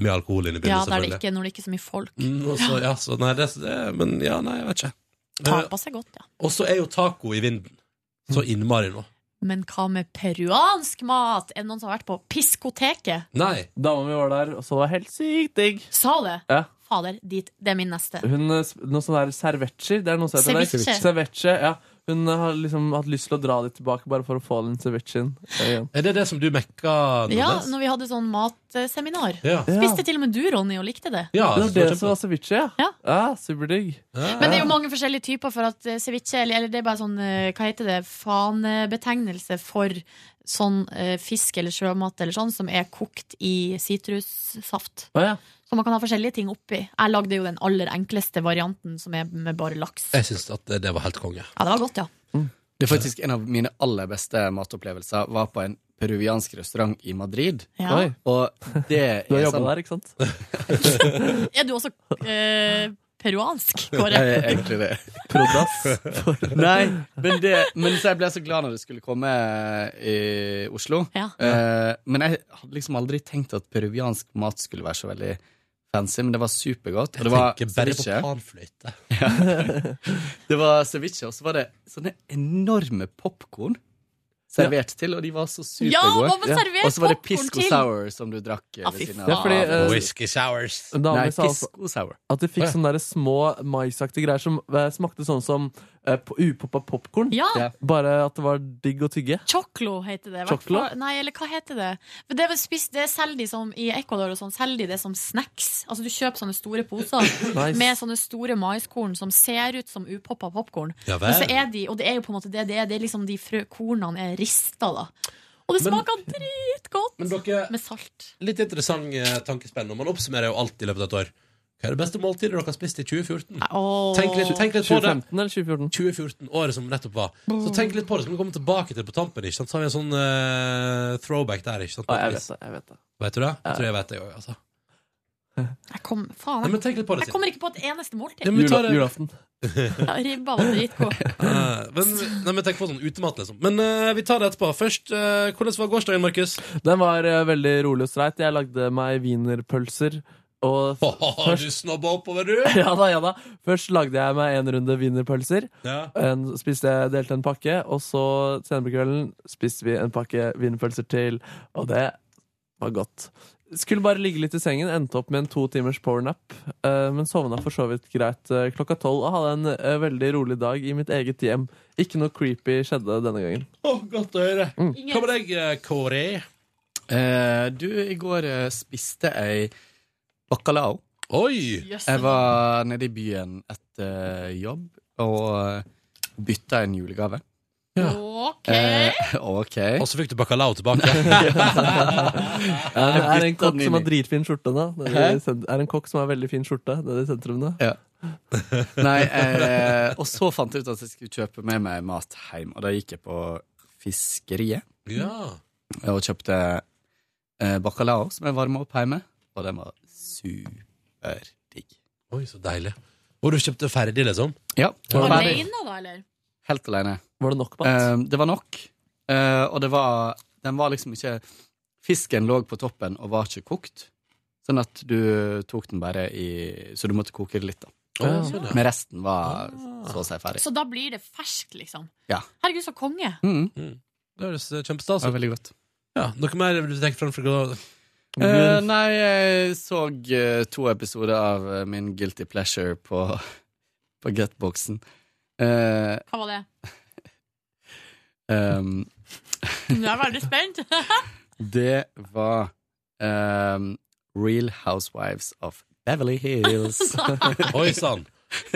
[SPEAKER 2] med alkohol inne i
[SPEAKER 3] Ja,
[SPEAKER 2] bildet,
[SPEAKER 3] der det ikke, når det ikke er så mye folk.
[SPEAKER 2] Mm, og så, ja, så, nei, det, det, men ja, nei, jeg vet ikke. Eh,
[SPEAKER 3] Taper seg godt, ja.
[SPEAKER 2] Og så er jo taco i vinden. Så innmari nå.
[SPEAKER 3] Men hva med peruansk mat? Er det noen som har vært på Piskoteket?
[SPEAKER 2] Nei.
[SPEAKER 5] Dama mi var der, og så var det helt sykt digg.
[SPEAKER 3] Sa det?
[SPEAKER 5] Ja.
[SPEAKER 3] Fader, dit. Det er min neste.
[SPEAKER 5] Hun, eh, sp- noen sånne der servetcher. Det er noe som heter det.
[SPEAKER 3] Ceviche.
[SPEAKER 5] Ceviche, ja. Hun eh, har liksom hatt lyst til å dra dit tilbake bare for å få den cevichen eh, igjen.
[SPEAKER 2] Er det det som du mekka?
[SPEAKER 3] Ja, når vi hadde sånn matseminar.
[SPEAKER 5] Ja.
[SPEAKER 3] Spiste til og med du, Ronny, og likte det.
[SPEAKER 5] det var det som var ceviche, ja. ja. Superdigg.
[SPEAKER 3] Men det er jo mange forskjellige typer for at eh, ceviche Eller, eller det er bare sånn, eh, hva heter det, fanebetegnelse for sånn eh, fisk eller sjømat eller sånn som er kokt i sitrussaft. Så man kan ha forskjellige ting oppi. Jeg lagde jo den aller enkleste varianten som er med bare laks.
[SPEAKER 2] Jeg syns at det, det var helt konge.
[SPEAKER 3] Ja, det var godt, ja.
[SPEAKER 13] Det er faktisk en av mine aller beste matopplevelser var på en peruviansk restaurant i Madrid.
[SPEAKER 3] Ja. Oi.
[SPEAKER 13] Og det er
[SPEAKER 5] Du har jobbet
[SPEAKER 13] sånn-
[SPEAKER 5] der, ikke sant?
[SPEAKER 3] Er du også eh, peruansk,
[SPEAKER 13] Jeg
[SPEAKER 3] Kåre?
[SPEAKER 13] er egentlig det. Nei, men, det, men så jeg ble så glad når det skulle komme eh, i Oslo. Eh, men jeg hadde liksom aldri tenkt at peruviansk mat skulle være så veldig fancy, men det var supergodt. Og det var
[SPEAKER 2] Jeg tenker bare på
[SPEAKER 13] ceviche.
[SPEAKER 2] panfløyte.
[SPEAKER 13] Ja. Det var ceviche, og så var det sånne enorme popkorn servert til, og de var så
[SPEAKER 3] Ja,
[SPEAKER 13] supergode.
[SPEAKER 3] hva var servert
[SPEAKER 13] og så var det
[SPEAKER 3] popcorn
[SPEAKER 13] pisco
[SPEAKER 3] til?
[SPEAKER 13] sour som du drakk
[SPEAKER 3] Ja,
[SPEAKER 13] ved
[SPEAKER 3] fy faen.
[SPEAKER 13] siden av.
[SPEAKER 5] Ja, fordi, eh,
[SPEAKER 2] Whisky sours.
[SPEAKER 5] Damer
[SPEAKER 13] Nei,
[SPEAKER 5] sa også
[SPEAKER 13] pisco sour.
[SPEAKER 5] At de fikk
[SPEAKER 13] Å, ja.
[SPEAKER 5] sånne der små maisaktige greier som eh, smakte sånn som uh, upoppa popkorn.
[SPEAKER 3] Ja. Ja.
[SPEAKER 5] Bare at det var digg å tygge.
[SPEAKER 3] Choclo heter det.
[SPEAKER 5] Choclo?
[SPEAKER 3] Hvertfall- Nei, eller hva heter det? For det, er vel spist, det selger de som i Ecuador og sånn, selger de det som snacks. Altså du kjøper sånne store poser
[SPEAKER 11] Nice.
[SPEAKER 3] med sånne store maiskorn som ser ut som upoppa popkorn.
[SPEAKER 11] Ja vel.
[SPEAKER 3] Men så er de, og det er jo på en måte det det er, det er liksom de frø, kornene er rista da. Og det
[SPEAKER 2] Men-
[SPEAKER 3] smaker dritgodt med salt.
[SPEAKER 2] Litt interessant eh, tankespenn. Og man oppsummerer jo alt i løpet av et år. Hva er det beste måltidet dere har spist i 2014? Tenk litt, tenk litt på det.
[SPEAKER 5] 2015 eller 2014?
[SPEAKER 2] 2014, året som nettopp var. Så tenk litt på det, så kan vi komme tilbake til det på tampen. Ikke sant? Så har vi en sånn eh, throwback der. Ikke sant?
[SPEAKER 5] Ja, jeg vet det, jeg vet det.
[SPEAKER 2] Vet du det? Jeg tror jeg vet det òg, altså.
[SPEAKER 3] Jeg kom, faen,
[SPEAKER 2] Nei, men tenk litt på det,
[SPEAKER 3] jeg kommer ikke på et eneste måltid.
[SPEAKER 2] Ja, men vi tar det.
[SPEAKER 3] Ja, Ribba var dritgod.
[SPEAKER 2] Eh, men, nei, men tenk på sånn utemat, liksom. Men eh, vi tar det etterpå. Først, eh, hvordan var gårsdagen, Markus?
[SPEAKER 5] Den var eh, veldig rolig og streit. Jeg lagde meg wienerpølser. Og f-
[SPEAKER 2] Har du
[SPEAKER 5] først,
[SPEAKER 2] snobba oppover, du?
[SPEAKER 5] ja da, ja da. først lagde jeg meg en runde wienerpølser.
[SPEAKER 2] Ja.
[SPEAKER 5] En, spiste jeg, delte en pakke, og så senere på kvelden spiste vi en pakke wienerpølser til. Og det var godt. Skulle bare ligge litt i sengen, endte opp med en to timers powernap. eh, Men sovna for så vidt greit eh, klokka tolv og hadde en eh, veldig rolig dag i mitt eget hjem. Ikke noe creepy skjedde denne gangen. Mm.
[SPEAKER 2] Å, godt å høre.
[SPEAKER 3] Mm.
[SPEAKER 2] Hva med deg, eh, Kåre?
[SPEAKER 13] Eh, du, i går eh, spiste jeg bacalao.
[SPEAKER 2] Oi!
[SPEAKER 13] Yes. Jeg var nede i byen etter jobb og eh, bytta en julegave.
[SPEAKER 3] Ok.
[SPEAKER 13] Eh, ok.
[SPEAKER 2] Og så fikk du bacalao tilbake.
[SPEAKER 5] Ja, men er det en kokk som har
[SPEAKER 13] Nylig.
[SPEAKER 5] dritfin skjorte da? Det Er,
[SPEAKER 13] Hæ?
[SPEAKER 5] det sent- er det en kokk som har veldig fin skjorte nede i sentrum da?
[SPEAKER 13] Ja. Nei, eh, og så fant jeg ut at jeg skulle kjøpe med meg mat hjem, og da gikk jeg på fiskeriet.
[SPEAKER 2] Ja.
[SPEAKER 13] Og kjøpte eh, bacalao, som jeg varma opp hjemme, og den var superdigg.
[SPEAKER 2] Oi, så deilig. Og du kjøpte ferdig, liksom?
[SPEAKER 13] Ja. ferdig.
[SPEAKER 3] Alene da, eller?
[SPEAKER 13] Helt alene.
[SPEAKER 5] Var det nok
[SPEAKER 13] mat? det var nok. Eh, og det var Den var liksom ikke Fisken lå på toppen og var ikke kokt, sånn at du tok den bare i Så du måtte koke det litt, da.
[SPEAKER 3] Ja, sånn, ja.
[SPEAKER 13] Men resten var så å si ferdig.
[SPEAKER 3] Så da blir det ferskt, liksom.
[SPEAKER 13] Ja.
[SPEAKER 3] Herregud, så konge.
[SPEAKER 13] Mm.
[SPEAKER 2] Det høres eh, kjempestas ut.
[SPEAKER 13] Det var veldig godt.
[SPEAKER 2] Ja, Noe mer vil du trekke fram? fra-
[SPEAKER 13] Eh, nei, jeg så eh, to episoder av eh, min Guilty Pleasure på, på Getboxen. Eh,
[SPEAKER 3] Hva var det?
[SPEAKER 13] ehm,
[SPEAKER 3] Nå er jeg veldig spent.
[SPEAKER 13] det var ehm, Real Housewives of Beverly Hills.
[SPEAKER 2] Oi sann!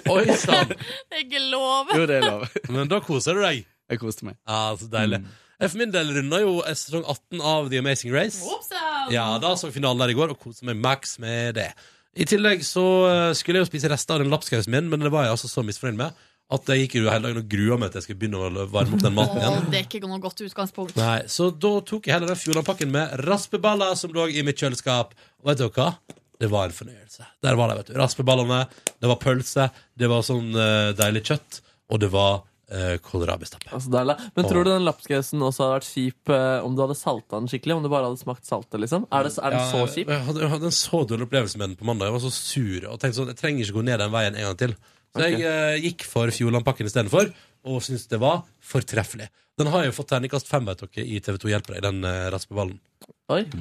[SPEAKER 2] Oi sann!
[SPEAKER 3] Det er ikke lov.
[SPEAKER 13] Jo, det er lov.
[SPEAKER 2] Men da koser du deg?
[SPEAKER 13] Jeg koste meg. Mm.
[SPEAKER 2] Ja, så deilig. Jeg for min del runda jo eh, sesong 18 av The Amazing Race.
[SPEAKER 3] Whoopsa!
[SPEAKER 2] Ja, da så vi finalen der i går og koste meg max med det. I tillegg så eh, skulle jeg jo spise rester av den lapskausen min, men det var jeg altså så misfornøyd med at jeg gikk jo hele dagen og grua meg til jeg skulle begynne å varme opp den maten igjen.
[SPEAKER 3] Å, det er ikke noe godt utgangspunkt.
[SPEAKER 2] Nei, så da tok jeg heller den Fjordlandpakken med raspeballer som lå i mitt kjøleskap. Og vet dere hva? Det var en fornøyelse. Der var det, vet du. Raspeballene, det var pølse, det var sånn eh, deilig kjøtt, og det var uh, kålrabistappe.
[SPEAKER 5] Altså, deilig. Men tror du den lapskausen også hadde vært kjip eh, om du hadde salta den skikkelig? Om du bare hadde smakt saltet, liksom? Er, det, er den
[SPEAKER 2] Ja,
[SPEAKER 5] så
[SPEAKER 2] jeg-
[SPEAKER 5] kjip?
[SPEAKER 2] Jeg hadde, jeg hadde en så dårlig opplevelse med den på mandag. Jeg var så sur og tenkte sånn, jeg trenger ikke gå ned den veien en gang til. Så
[SPEAKER 5] Ok.
[SPEAKER 2] jeg eh, gikk for Fjordlandpakken istedenfor, og syntes det var fortreffelig. Den har jo fått terningkast fem, vet dere, i TV2 Hjelper deg, den eh, raspeballen.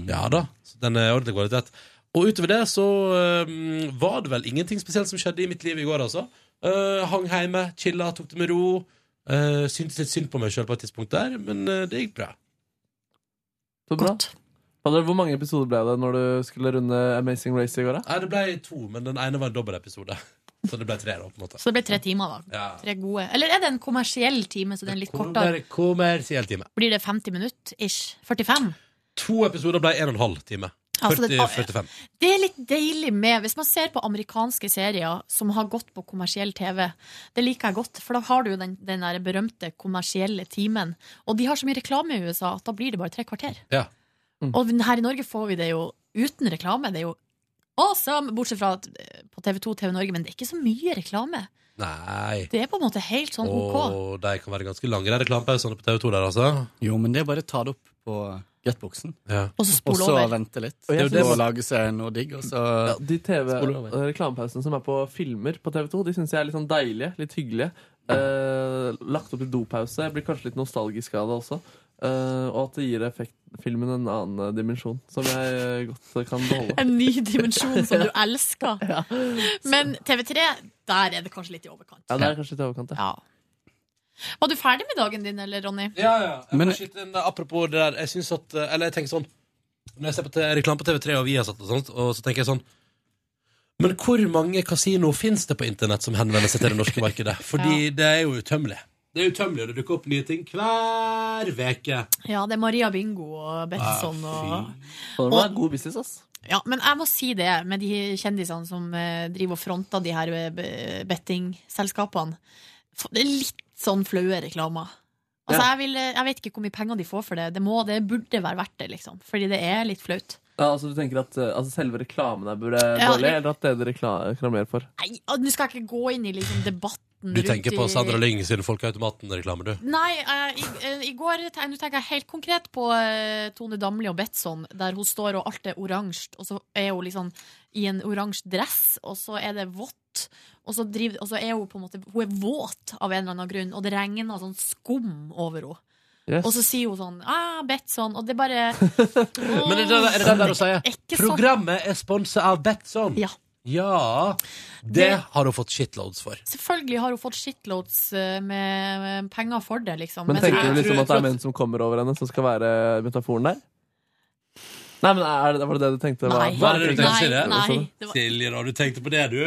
[SPEAKER 2] Ja da, så den er ordentlig kvalitet. Og utover det så eh, var det vel ingenting spesielt som skjedde i mitt liv i går, altså. Eh, hang hjemme, chilla, tok det med ro. Uh, syntes litt synd på meg sjøl på et tidspunkt der, men eh, det gikk bra.
[SPEAKER 5] Så bra. Fader, Hvor mange episoder ble det når du skulle runde Amazing Race i går? da?
[SPEAKER 2] Nei, det ble to, men den ene var en dobbeltepisode. Så det ble tre, da, på en måte.
[SPEAKER 3] Så det ble tre timer, da.
[SPEAKER 2] Ja.
[SPEAKER 3] Tre gode. Eller er det en kommersiell time, så det er en litt kortere?
[SPEAKER 2] Kommer, kommer sier hele time.
[SPEAKER 3] Blir det 50 minutter ish? 45?
[SPEAKER 2] To episoder ble en og en halv time.
[SPEAKER 3] Altså, det-
[SPEAKER 2] 40-45.
[SPEAKER 3] Det er litt deilig med Hvis man ser på amerikanske serier som har gått på kommersiell TV, det liker jeg godt, for da har du jo den, den der berømte kommersielle timen. Og de har så mye reklame i USA at da blir det bare tre kvarter.
[SPEAKER 2] Ja.
[SPEAKER 13] Mm.
[SPEAKER 3] Og her i Norge får vi det jo uten reklame. Det er jo awesome, bortsett fra at, eh, på TV2 TV Norge, men det er ikke så mye reklame.
[SPEAKER 2] Nei.
[SPEAKER 3] Det er på en måte helt sånn OK.
[SPEAKER 2] Og de kan være ganske lange, de reklamepausene på TV2 der, altså.
[SPEAKER 13] Jo, men det er bare å ta det opp på Gutboxen.
[SPEAKER 2] Ja.
[SPEAKER 3] Og så
[SPEAKER 5] spole
[SPEAKER 13] Og
[SPEAKER 5] over.
[SPEAKER 13] så vente litt.
[SPEAKER 5] Og
[SPEAKER 13] Det
[SPEAKER 5] jeg
[SPEAKER 13] er jo det
[SPEAKER 5] synes-
[SPEAKER 13] å lage seg noe digg, og så
[SPEAKER 5] Ja, de
[SPEAKER 13] spole over.
[SPEAKER 5] TV-reklamepausene som er på filmer på TV2, de syns jeg er litt sånn deilige, litt hyggelige. Eh, lagt opp til dopause. Jeg blir kanskje litt nostalgisk av det også. Eh, og at det gir effekt, filmen en annen eh, dimensjon, som jeg eh, godt kan beholde.
[SPEAKER 3] En ny dimensjon som du elsker. Men TV3, der er det kanskje litt i overkant.
[SPEAKER 5] Ja, det er kanskje litt i overkant,
[SPEAKER 3] ja. Var du ferdig med dagen din, eller, Ronny?
[SPEAKER 2] Ja, ja. Jeg må skyte inn, apropos det der, jeg syns at Eller jeg tenker sånn Når jeg ser på te- reklame på TV3 og Viasat og sånt, og så tenker jeg sånn Men hvor mange kasino fins det på internett som henvender seg til det norske markedet? Fordi det er jo utømmelig. Det er utømmelig, og det dukker opp nye ting hver veke.
[SPEAKER 3] Ja, det er Maria Bingo og Betsson og
[SPEAKER 5] Og det var god business, ass.
[SPEAKER 3] ja, men jeg må si det med de kjendisene som eh, driver og fronter de her eh, be- bettingselskapene. F- Det er litt sånn flaue reklamer. Altså, jeg, vil, jeg vet ikke hvor mye penger de får for det. Det, må, det burde være verdt det, liksom. Fordi det er litt flaut.
[SPEAKER 5] Ja, altså Du tenker at eh, altså, selve reklamen er burde
[SPEAKER 3] Ja,
[SPEAKER 5] dårlig,
[SPEAKER 3] det-
[SPEAKER 5] eller at det dere rekla- reklamerer for?
[SPEAKER 3] Nei, og nå skal jeg ikke gå inn i liksom, debatten
[SPEAKER 2] Du tenker
[SPEAKER 3] rundt
[SPEAKER 2] på
[SPEAKER 3] i-
[SPEAKER 2] Sandra Lyng sin Folkeautomaten-reklame, du?
[SPEAKER 3] Nei, eh, i, eh, i går te- Nå tenker jeg helt konkret på eh, Tone Damli og Betsson, der hun står og alt er oransje, og så er hun liksom i en oransje dress, og så er det vått, og så, driver, og så er hun på en måte Hun er våt av en eller annen grunn, og det regner sånn skum over henne.
[SPEAKER 2] Yes.
[SPEAKER 3] Og så sier hun sånn ah, 'Betsson', og det er bare
[SPEAKER 2] Men er det der- er det den der å si?
[SPEAKER 3] Ikke sånn.
[SPEAKER 2] Programmet er sponsa av Betson.
[SPEAKER 3] Ja.
[SPEAKER 2] Det,
[SPEAKER 3] Det-
[SPEAKER 2] har hun fått shitloads for.
[SPEAKER 3] Selvfølgelig har hun fått shitloads eh, med med penger for det, liksom.
[SPEAKER 5] Men
[SPEAKER 3] Men
[SPEAKER 5] tenker
[SPEAKER 3] jeg
[SPEAKER 5] du liksom
[SPEAKER 3] tror-
[SPEAKER 5] at det er menn som kommer over henne, som skal være metaforen der? Nei, men er det, Var det det du tenkte?
[SPEAKER 3] Nei.
[SPEAKER 2] Hva er det du tenker, Silje?
[SPEAKER 3] Nei, nei, det var-
[SPEAKER 2] Silje, da, du tenkte på det, du?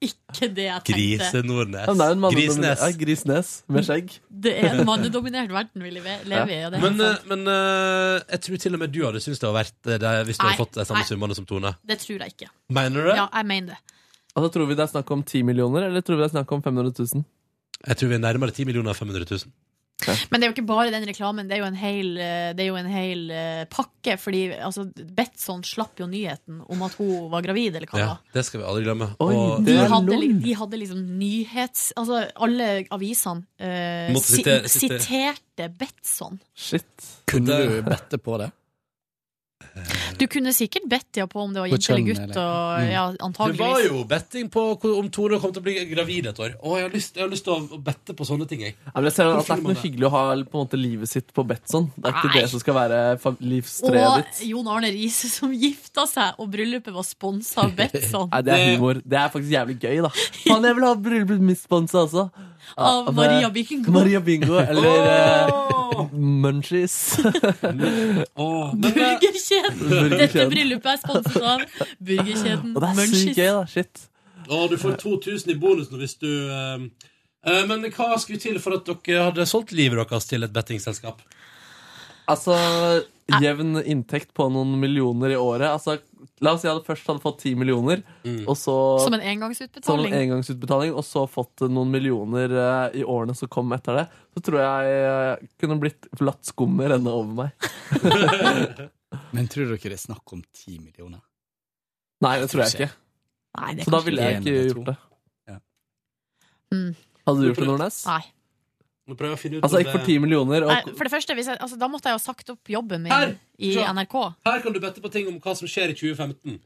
[SPEAKER 3] ikke det jeg tenkte.
[SPEAKER 2] Grise Nordnes.
[SPEAKER 5] Ja, men det er jo en mannedomin-
[SPEAKER 2] Grisnes.
[SPEAKER 5] Ja, grisnes med skjegg.
[SPEAKER 3] Det er en mannedominert verden vi leve- lever i. og det er
[SPEAKER 2] Men,
[SPEAKER 3] helt
[SPEAKER 2] eh, men eh, jeg tror til og med du hadde syntes det var verdt eh, det hvis du
[SPEAKER 3] Nei,
[SPEAKER 2] hadde fått de samme
[SPEAKER 3] nei.
[SPEAKER 2] summene som Tone.
[SPEAKER 3] sant. det tror jeg ikke.
[SPEAKER 2] Mener du det?
[SPEAKER 3] Ja, jeg mener det.
[SPEAKER 5] Altså, Tror vi det er snakk om 10 millioner, eller tror vi det er snakk om 500 000?
[SPEAKER 2] Jeg tror vi er nærmere 10 millioner og 500 000.
[SPEAKER 3] Men det er jo ikke bare den reklamen, det er jo en hel, eh, det er jo en hel eh, pakke. Fordi altså, Betson slapp jo nyheten om at hun var gravid, eller hva det
[SPEAKER 2] Ja,
[SPEAKER 3] var.
[SPEAKER 2] det skal vi aldri glemme.
[SPEAKER 5] Oi,
[SPEAKER 2] Og
[SPEAKER 3] De
[SPEAKER 2] det
[SPEAKER 3] hadde, li- de hadde liksom nyhets... Altså, alle avisene eh,
[SPEAKER 2] Måtte
[SPEAKER 3] si,
[SPEAKER 2] sitere- sitere.
[SPEAKER 3] siterte Betson.
[SPEAKER 5] Shit.
[SPEAKER 13] Kunne du bette på det?
[SPEAKER 3] Du kunne sikkert bedt ja på om det var
[SPEAKER 13] På
[SPEAKER 3] jente eller
[SPEAKER 13] kjønn,
[SPEAKER 3] gutt,
[SPEAKER 13] eller-
[SPEAKER 3] og
[SPEAKER 13] Mm.
[SPEAKER 3] ja,
[SPEAKER 2] det var
[SPEAKER 3] antageligvis.
[SPEAKER 2] jo betting på hvor- om Tone kom til å bli gravid et år. Å, jeg har lyst, jeg har lyst til å å bette på sånne ting, jeg.
[SPEAKER 5] Ja, men jeg ser at Det er
[SPEAKER 2] Hvorfor
[SPEAKER 5] ikke noe
[SPEAKER 2] gjør
[SPEAKER 5] hyggelig å ha på en måte, livet sitt på Betson. Det er ikke
[SPEAKER 3] Nei.
[SPEAKER 5] det som skal være fa- livstreet
[SPEAKER 3] Og
[SPEAKER 5] ditt.
[SPEAKER 3] Jon Arne Riise som gifta seg, og bryllupet var sponsa av Betson.
[SPEAKER 5] Nei, det er humor. Det er faktisk jævlig gøy, da. Faen, jeg vil ha bryllupet mitt sponsa også.
[SPEAKER 3] Av Maria Bingo.
[SPEAKER 5] Maria Bingo, eller eh, munchies.
[SPEAKER 3] Burgerkjeden!
[SPEAKER 5] Burgerkjeden.
[SPEAKER 3] Dette bryllupet er sponset av burgerkjeden
[SPEAKER 5] Og det er sykt
[SPEAKER 3] Munchies.
[SPEAKER 5] gøy, da. Shit.
[SPEAKER 2] Ja, du får 2000 i bonus nå hvis du eh, eh, Men hva skulle til for at dere hadde solgt livet deres til et bettingselskap?
[SPEAKER 5] Altså, jevn inntekt på noen millioner i året. Altså, la oss si jeg hadde først hadde fått ti millioner,
[SPEAKER 2] Mm.
[SPEAKER 5] og så
[SPEAKER 3] Som en
[SPEAKER 5] som en
[SPEAKER 3] engangsutbetaling.
[SPEAKER 5] Sånn engangsutbetaling, og så fått eh, noen millioner eh, i årene som kom etter det, så tror jeg jeg kunne blitt latt skummet renne over meg.
[SPEAKER 13] Men tror dere det er snakk om ti millioner?
[SPEAKER 5] Nei, det tror jeg ikke.
[SPEAKER 3] Nei, det er
[SPEAKER 5] så da
[SPEAKER 3] kanskje
[SPEAKER 5] ville
[SPEAKER 13] ikke
[SPEAKER 5] jeg ikke
[SPEAKER 13] det,
[SPEAKER 5] gjort det.
[SPEAKER 3] Mm.
[SPEAKER 5] Hadde du gjort det, Nordnes?
[SPEAKER 3] Nei.
[SPEAKER 2] Nå prøver jeg å finne ut
[SPEAKER 5] Altså,
[SPEAKER 2] om
[SPEAKER 5] ikke for ti millioner.
[SPEAKER 3] Nei,
[SPEAKER 5] Og, Sånn.
[SPEAKER 3] for det første, hvis jeg, altså, Da måtte jeg jo ha sagt opp jobben min
[SPEAKER 2] Her!
[SPEAKER 3] i
[SPEAKER 2] Se.
[SPEAKER 3] NRK.
[SPEAKER 2] Her kan du bette på ting om hva som skjer i 2015.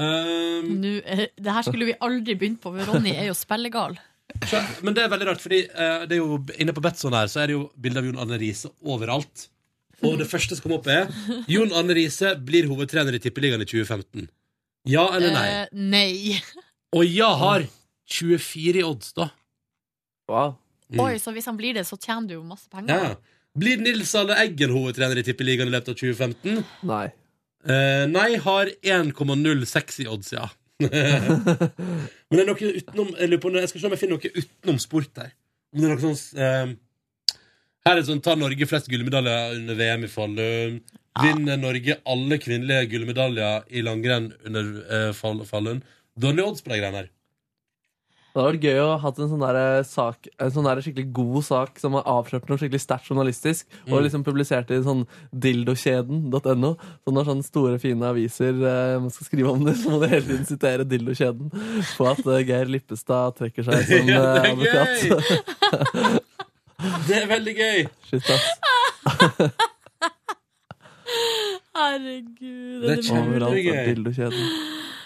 [SPEAKER 2] Ehm,
[SPEAKER 3] Nå, eh, det her skulle vi aldri begynt på, men Ronny er jo spillegal.
[SPEAKER 2] men det er veldig rart, Fordi eh, det er jo, inne på Betson her Så er det jo bilder av Jon Arne Riise overalt. Og det første som kom opp, er Jon Arne Riise blir hovedtrener i Tippeligaen i 2015. Ja
[SPEAKER 5] Ah,
[SPEAKER 2] eller nei?
[SPEAKER 3] Eh, nei.
[SPEAKER 2] Og jeg har 24 i odds, da. Mm.
[SPEAKER 5] Wow.
[SPEAKER 3] Oi, så hvis han blir det, så tjener du jo masse penger.
[SPEAKER 2] Ja. Blir Nils Arne Eggen hovedtrener i Tippeligaen i løpet av 2015?
[SPEAKER 5] Nei.
[SPEAKER 2] nei har 1,06 i odds, ja. Men det er noe utenom Jeg, lurer på, om det- jeg skal se om jeg finner noe utenom sport her. Om det er noe sånn eh, Her er det sånn Ta Norge flest gullmedaljer under VM i Falun. Vinner Norge alle kvinnelige gullmedaljer i langrenn under eh, fall, Falun? Dårlige odds på de greiene her.
[SPEAKER 5] Det hadde vært gøy å ha hatt en sånn der sak En sånn der skikkelig god sak som har avslørt noe skikkelig sterkt journalistisk,
[SPEAKER 2] Mm.
[SPEAKER 5] og liksom publisert i sånn dildokjeden.no. Så Sånn når sånne store, fine aviser eh, man skal skrive om det, så må du hele tiden sitere Dildokjeden på at eh, Geir Lippestad trekker seg som eh,
[SPEAKER 2] Ja, det er
[SPEAKER 5] advokat.
[SPEAKER 2] Det er veldig gøy!
[SPEAKER 5] Shit, ass.
[SPEAKER 3] Herregud,
[SPEAKER 5] Det er Overalt er dildokjeden.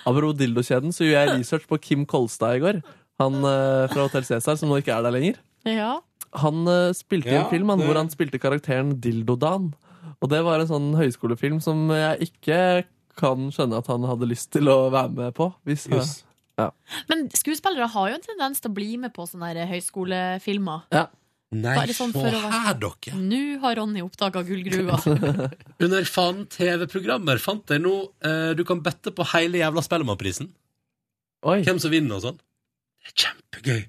[SPEAKER 5] Apropos dildokjeden, så gjorde jeg research på Kim Kolstad i går. Han eh, fra Hotell Cæsar, som nå ikke er der lenger.
[SPEAKER 3] Ja.
[SPEAKER 5] Han eh, spilte i
[SPEAKER 3] Ja,
[SPEAKER 5] en film han,
[SPEAKER 3] det-
[SPEAKER 5] hvor han spilte karakteren Dildodan. Og det var en sånn høyskolefilm som jeg ikke kan skjønne at han hadde lyst til å være med på. Hvis, eh,
[SPEAKER 2] Yes.
[SPEAKER 5] ja.
[SPEAKER 3] Men skuespillere har jo en tendens til å bli med på sånne her høyskolefilmer.
[SPEAKER 5] Ja.
[SPEAKER 2] Nei,
[SPEAKER 3] Bare sånn
[SPEAKER 2] se
[SPEAKER 3] for å være-
[SPEAKER 2] her, dere!
[SPEAKER 3] Nå har Ronny oppdaga gullgruva.
[SPEAKER 2] Under faen TV-programmer fant jeg nå eh, Du kan bette på hele jævla Spellemannprisen. Hvem som vinner og sånn. Det er kjempegøy.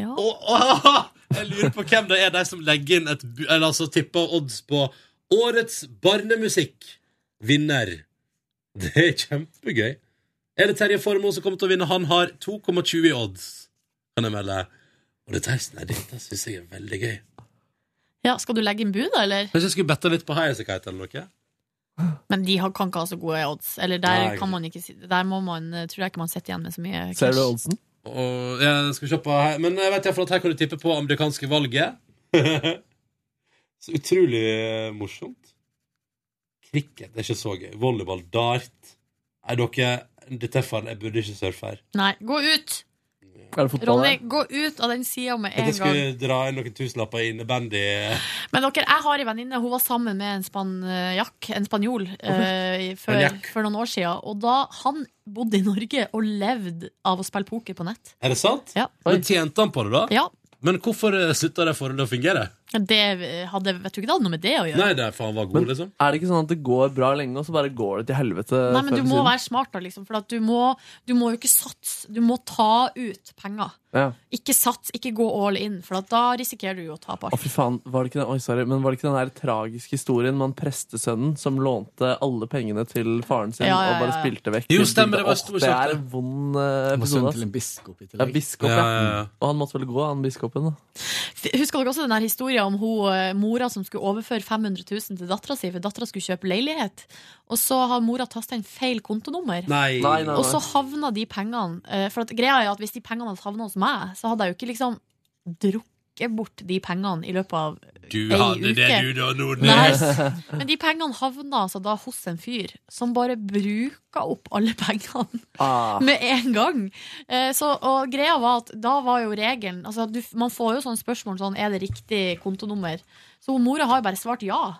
[SPEAKER 3] Ja.
[SPEAKER 2] jeg lurer på hvem det er de som legger inn et bu- Eller altså tipper odds på Årets barnemusikk vinner. Det er kjempegøy. Er det Terje Formoe som kommer til å vinne? Han har 2,20 i odds, kan jeg melde. Og dette, her- nei, dette syns jeg er veldig gøy.
[SPEAKER 3] Ja, skal du legge inn bud, da, eller?
[SPEAKER 2] Hvis jeg skulle betta litt på Highasakite eller noe?
[SPEAKER 3] Men de har- kan ikke ha så gode odds.
[SPEAKER 2] Nei,
[SPEAKER 3] Eller der
[SPEAKER 2] ikke
[SPEAKER 3] kan man ikke si Der må man, eh, tror jeg ikke man sitter igjen med så mye cash.
[SPEAKER 5] oddsen?
[SPEAKER 2] Og, jeg skal se på her. Men jeg vet iallfall at her kan du tippe på amerikanske valget. så utrolig eh, morsomt. Cricket det er ikke så gøy. Volleyball, dart Nei, dere, dette er farlig. Jeg burde ikke surfe her.
[SPEAKER 3] Nei, gå ut!
[SPEAKER 5] Er det
[SPEAKER 3] Ronny, gå ut av den sida med en
[SPEAKER 2] At jeg
[SPEAKER 3] gang.
[SPEAKER 2] skulle dra inn noen tusenlapper i innebandy
[SPEAKER 3] Men dere, jeg har en venninne, hun var sammen med en spanjakk, en spanjol, eh, i- før,
[SPEAKER 2] Spanjakk.
[SPEAKER 3] for noen år siden. Og da han bodde i Norge og levde av å spille poker på nett.
[SPEAKER 2] Er det sant?
[SPEAKER 3] Ja.
[SPEAKER 2] Men tjente han på det, da?
[SPEAKER 3] Ja.
[SPEAKER 2] Men hvorfor eh, slutta det forholdet å fungere?
[SPEAKER 3] Det hadde, jeg tror ikke det hadde noe med det å gjøre.
[SPEAKER 2] Nei, det er for han var god, liksom.
[SPEAKER 5] Er det ikke sånn at det går bra lenge, og så bare går det til helvete?
[SPEAKER 3] Nei, men
[SPEAKER 5] før
[SPEAKER 3] du
[SPEAKER 5] eller
[SPEAKER 3] må
[SPEAKER 5] siden?
[SPEAKER 3] være smart, da, liksom. For at du, må, du må jo ikke satse. Du må ta ut penger.
[SPEAKER 5] ja.
[SPEAKER 3] Ikke sats, ikke gå all in, for at da risikerer du jo å tape
[SPEAKER 5] Å,
[SPEAKER 3] alt.
[SPEAKER 5] fy faen, var det ikke den, oi, sorry, men var det ikke den her tragiske historien med han prestesønnen som lånte alle pengene til faren sin
[SPEAKER 3] Ja, ja,
[SPEAKER 5] og bare
[SPEAKER 3] ja, ja.
[SPEAKER 5] spilte vekk?
[SPEAKER 2] Jo, stemmer,
[SPEAKER 5] Åh,
[SPEAKER 2] det var stor
[SPEAKER 5] Det
[SPEAKER 2] sak,
[SPEAKER 5] er
[SPEAKER 2] det.
[SPEAKER 5] en vond eh, episode. ass. Ja, biskop, ja.
[SPEAKER 2] Ja, ja, ja.
[SPEAKER 5] Og han måtte vel gå, han biskopen, da.
[SPEAKER 3] Husker dere også den her historien om hun, eh, mora som skulle overføre 500 000 til dattera si, for dattera skulle kjøpe leilighet. Og så har mora tasta inn feil kontonummer.
[SPEAKER 2] Nei. Nei, nei, nei.
[SPEAKER 3] Og så havna de pengene eh, For at greia er at hvis de pengene hadde havna hos meg, så hadde jeg jo ikke liksom drukket bort de pengene i løpet av
[SPEAKER 2] Du
[SPEAKER 3] ei
[SPEAKER 2] hadde det,
[SPEAKER 3] uke.
[SPEAKER 2] du da, Nordnes.
[SPEAKER 3] Nei, Men de pengene havna altså da hos en fyr som bare bruka opp alle pengene.
[SPEAKER 5] Ah.
[SPEAKER 3] Med en gang. Eh, Så, og greia var at da var jo regelen altså at du, Man får jo sånne spørsmål sånn Er det riktig kontonummer. Så hun mora har jo bare svart ja.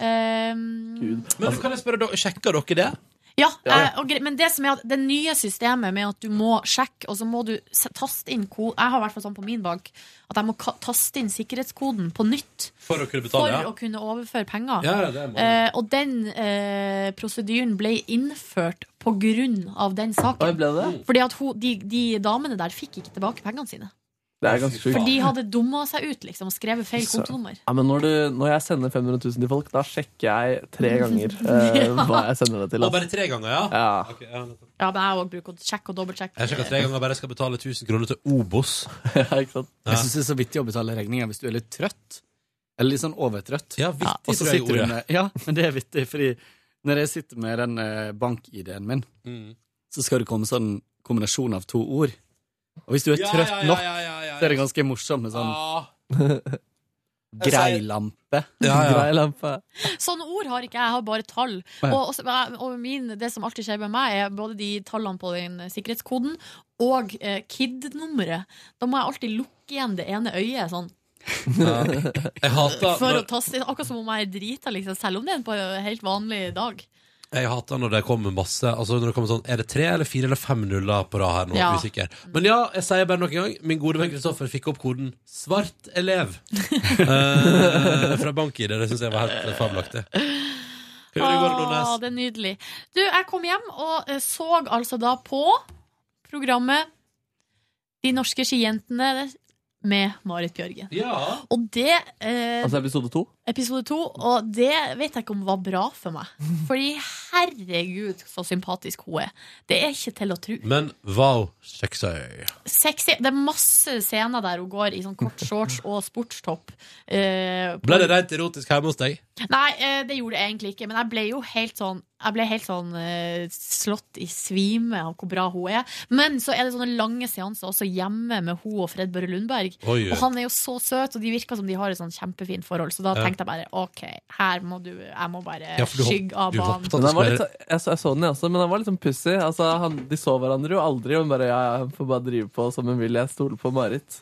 [SPEAKER 3] Um,
[SPEAKER 2] Men kan jeg spørre, dere, Sjekker dere det?
[SPEAKER 3] Ja,
[SPEAKER 14] Ja, ja.
[SPEAKER 3] eh, og gre- men det som er at det nye systemet med at du må sjekke, og så må du se- taste inn ko- Jeg har i hvert fall sånn på min bank at jeg må ka- taste inn sikkerhetskoden på nytt
[SPEAKER 2] For å kunne
[SPEAKER 3] for
[SPEAKER 2] betale, ja.
[SPEAKER 3] å kunne overføre penger.
[SPEAKER 2] Ja, ja, det er mange.
[SPEAKER 3] eh, og den eh, prosedyren ble innført på grunn av den saken.
[SPEAKER 14] Oi, ble det?
[SPEAKER 3] Fordi at hun, de, de damene der fikk ikke tilbake pengene sine.
[SPEAKER 14] Det er ganske sjukt.
[SPEAKER 3] For de hadde dumma seg ut liksom, og skrevet feil kontonummer.
[SPEAKER 14] Ja, men når, du, når jeg sender 500 000 til folk, da sjekker jeg tre ganger eh,
[SPEAKER 3] Ja.
[SPEAKER 14] hva jeg sender det til. altså.
[SPEAKER 2] Og bare tre ganger, ja?
[SPEAKER 14] ja.
[SPEAKER 2] Ok, ja.
[SPEAKER 3] Ja, men jeg òg bruker å sjekke og dobbeltsjekke.
[SPEAKER 2] Jeg sjekker tre ganger bare jeg skal betale 1000 kroner til Obos.
[SPEAKER 13] Jeg syns det er så vittig å betale regninger hvis du er litt trøtt. Eller litt sånn overtrøtt.
[SPEAKER 2] Ja, vittig,
[SPEAKER 13] og så
[SPEAKER 2] tror jeg
[SPEAKER 13] sitter
[SPEAKER 2] ordet.
[SPEAKER 13] du med, ja, men det er vittig, fordi når jeg sitter med den eh, bank-ID-en min,
[SPEAKER 2] Mm.
[SPEAKER 13] så skal det komme sånn kombinasjon av to ord. Og hvis du er
[SPEAKER 2] Ja,
[SPEAKER 13] trøtt
[SPEAKER 2] ja, ja,
[SPEAKER 13] nok,
[SPEAKER 2] ja, ja, ja, Ah,
[SPEAKER 13] så er det ganske morsomt med sånn
[SPEAKER 2] Jeg sier-
[SPEAKER 13] greilampe.
[SPEAKER 2] Ja, ja.
[SPEAKER 14] Greilampe.
[SPEAKER 3] Sånne ord har ikke jeg, jeg har bare tall.
[SPEAKER 13] Ja.
[SPEAKER 3] Og, og, så- og min, det som alltid skjer med meg, er både de tallene på den sikkerhetskoden og eh, KID-nummeret. Da må jeg alltid lukke igjen det ene øyet, sånn.
[SPEAKER 2] Jeg hater
[SPEAKER 3] For å
[SPEAKER 2] når,
[SPEAKER 3] taste inn, akkurat som om jeg er drita, liksom, selv om det er en på en helt vanlig dag.
[SPEAKER 2] jeg hater når det kommer masse Altså når det kommer sånn Er det tre eller fire eller fem nuller på rad her nå?
[SPEAKER 3] Ja.
[SPEAKER 2] Usikker. Men ja, jeg sier bare nok en gang. Min gode venn Kristoffer fikk opp koden 'svart elev' eh, fra BankID. Det syns jeg var helt eh, fabelaktig. Hva gjorde du i går, Nordnes?
[SPEAKER 3] Åh, det er nydelig. Du, jeg kom hjem og eh, så altså da på programmet De norske skijentene med Marit Bjørgen.
[SPEAKER 2] Ja.
[SPEAKER 3] Og det eh,
[SPEAKER 14] Altså episode to?
[SPEAKER 3] episode to, og det vet jeg ikke om var bra for meg. Fordi herregud, så sympatisk hun er. Det er ikke til å tro.
[SPEAKER 2] Men wow, sexy.
[SPEAKER 3] Sexy. Det er masse scener der hun går i sånn kort shorts og sportstopp. Eh,
[SPEAKER 2] Ble det rent erotisk hjemme hos deg?
[SPEAKER 3] Nei, eh, det gjorde det egentlig ikke, men jeg ble jo helt sånn jeg ble helt sånn eh, slått i svime av hvor bra hun er. Men så er det sånne lange seanser også hjemme med hun og Fred Børre Lundberg.
[SPEAKER 11] Oi, oi.
[SPEAKER 3] Og han er jo så søt, og de virker som de har et sånn kjempefint forhold. Så da
[SPEAKER 14] Ja.
[SPEAKER 3] tenkte jeg bare OK, her må du Jeg må bare
[SPEAKER 14] Ja, for du hopp-
[SPEAKER 3] skygge av
[SPEAKER 14] du
[SPEAKER 3] banen.
[SPEAKER 14] Men han var litt, så- jeg, så, jeg så den, jeg også, men han var litt sånn pussig. Altså, han- de så hverandre jo aldri. Og hun bare ja, ja, hun får bare drive på som hun vil. Jeg stoler på Marit.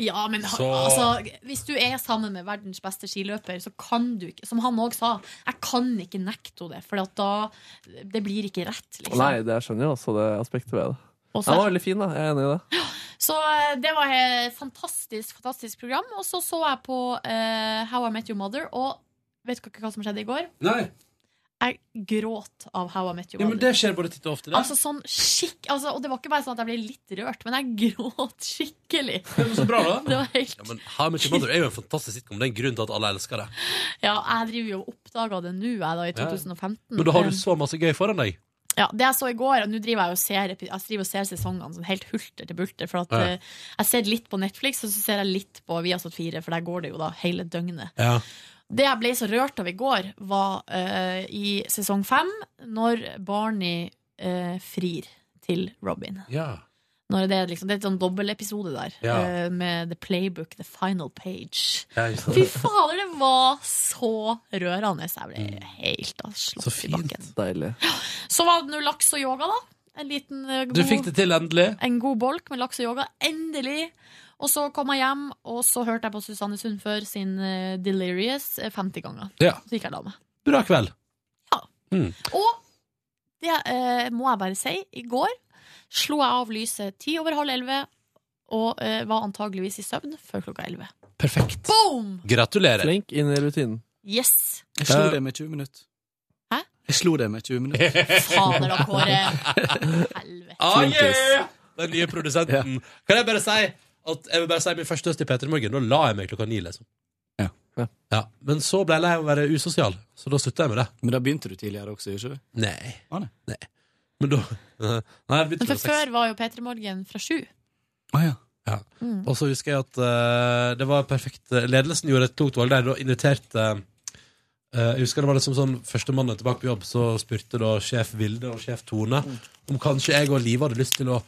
[SPEAKER 3] Ja, men han-
[SPEAKER 14] Så-
[SPEAKER 3] altså, hvis du er sammen med verdens beste skiløper, så kan du ikke Som han òg sa, jeg kan ikke nekte henne det, for at da Det blir ikke rett, liksom.
[SPEAKER 14] Nei, det, jeg skjønner jo også det aspektet ved det.
[SPEAKER 3] Også-
[SPEAKER 14] Han var veldig fin, da. Jeg er enig i det.
[SPEAKER 3] Så eh, det var et fantastisk, fantastisk program. Og så så jeg på eh, How I Met Your Mother, og vet dere hva som skjedde i går?
[SPEAKER 2] Nei.
[SPEAKER 3] Jeg gråt av How I Met Your
[SPEAKER 2] Ja, men
[SPEAKER 3] Mother.
[SPEAKER 2] det skjer bare titt og ofte. Det.
[SPEAKER 3] Altså sånn skikk altså, Og det var ikke bare sånn at jeg ble litt rørt, men jeg gråt skikkelig. Det
[SPEAKER 2] var så bra, da.
[SPEAKER 3] Det var helt,
[SPEAKER 2] Ja, men How I Met Your Mother er jo en fantastisk sitcom. Det er en grunn til at alle elsker det.
[SPEAKER 3] ja, jeg driver jo og oppdaga det nå, jeg, da, i 2015.
[SPEAKER 2] Men da har
[SPEAKER 3] Eh,
[SPEAKER 2] du så masse gøy foran deg.
[SPEAKER 3] Ja, det jeg så i går, og nå driver jeg og ser, epi- jeg driver og ser sesongene sånn helt hulter til bulter. For at
[SPEAKER 2] Ja.
[SPEAKER 3] eh, jeg ser litt på Netflix, og så ser jeg litt på Viasat4, for der går det jo da hele døgnet.
[SPEAKER 2] Ja.
[SPEAKER 3] Det jeg ble så rørt av i går, var eh, i sesong fem, når Barney eh, frir til Robin. Når det, er liksom, det er et sånn dobbeltepisode der,
[SPEAKER 11] Ja.
[SPEAKER 3] eh, med The Playbook, The Final Page.
[SPEAKER 2] Ja, ikke sant.
[SPEAKER 3] Fy fader, det var så rørende! Jeg
[SPEAKER 2] Mm.
[SPEAKER 3] ble helt altså. av slått i bakken.
[SPEAKER 14] Deilig.
[SPEAKER 3] Så var det nå laks og yoga, da. En liten eh, god
[SPEAKER 2] Du fikk det til endelig.
[SPEAKER 3] en god bolk med laks og yoga. Endelig! Og så kom jeg hjem, og så hørte jeg på Susanne Sundfør sin eh, Delirious eh, 50 ganger.
[SPEAKER 2] Ja.
[SPEAKER 3] Så gikk jeg og la meg.
[SPEAKER 2] Bra kveld. Mm.
[SPEAKER 3] Og det eh, må jeg bare si, i går slo jeg av lyset ti over halv elleve, og eh, var antageligvis i søvn før klokka elleve.
[SPEAKER 2] Perfekt. Mm.
[SPEAKER 3] Boom!
[SPEAKER 2] Gratulerer.
[SPEAKER 14] Flink inn i rutinen.
[SPEAKER 3] Yes!
[SPEAKER 13] Jeg slo det med 20 minutter.
[SPEAKER 3] Hæ?
[SPEAKER 13] Jeg slo det med 20 minutter.
[SPEAKER 3] Fader da, Kåre. Helvete.
[SPEAKER 2] Ah, yeah! Den nye produsenten. Kan jeg bare si at jeg vil bare si min første høst i P3 Morgen. Da la jeg meg klokka ni, liksom.
[SPEAKER 13] Ja.
[SPEAKER 2] Ja, Men så ble jeg lei av å være usosial, så da slutta jeg med det.
[SPEAKER 13] Men da begynte du tidligere også, gjorde du ikke?
[SPEAKER 2] Nei.
[SPEAKER 13] Ah, nei.
[SPEAKER 2] Men da Nei, jeg begynte
[SPEAKER 3] Men for
[SPEAKER 2] klokka seks.
[SPEAKER 3] før var jo P3 Morgen fra sju.
[SPEAKER 13] Ah,
[SPEAKER 2] Ja.
[SPEAKER 3] Mm.
[SPEAKER 2] Og så husker jeg at eh, det var perfekt Ledelsen gjorde et klokt valg der. Da inviterte eh, Jeg husker det var liksom sånn første mannen tilbake på jobb, så spurte da sjef Vilde og sjef Tone om kanskje jeg og Live hadde lyst til å,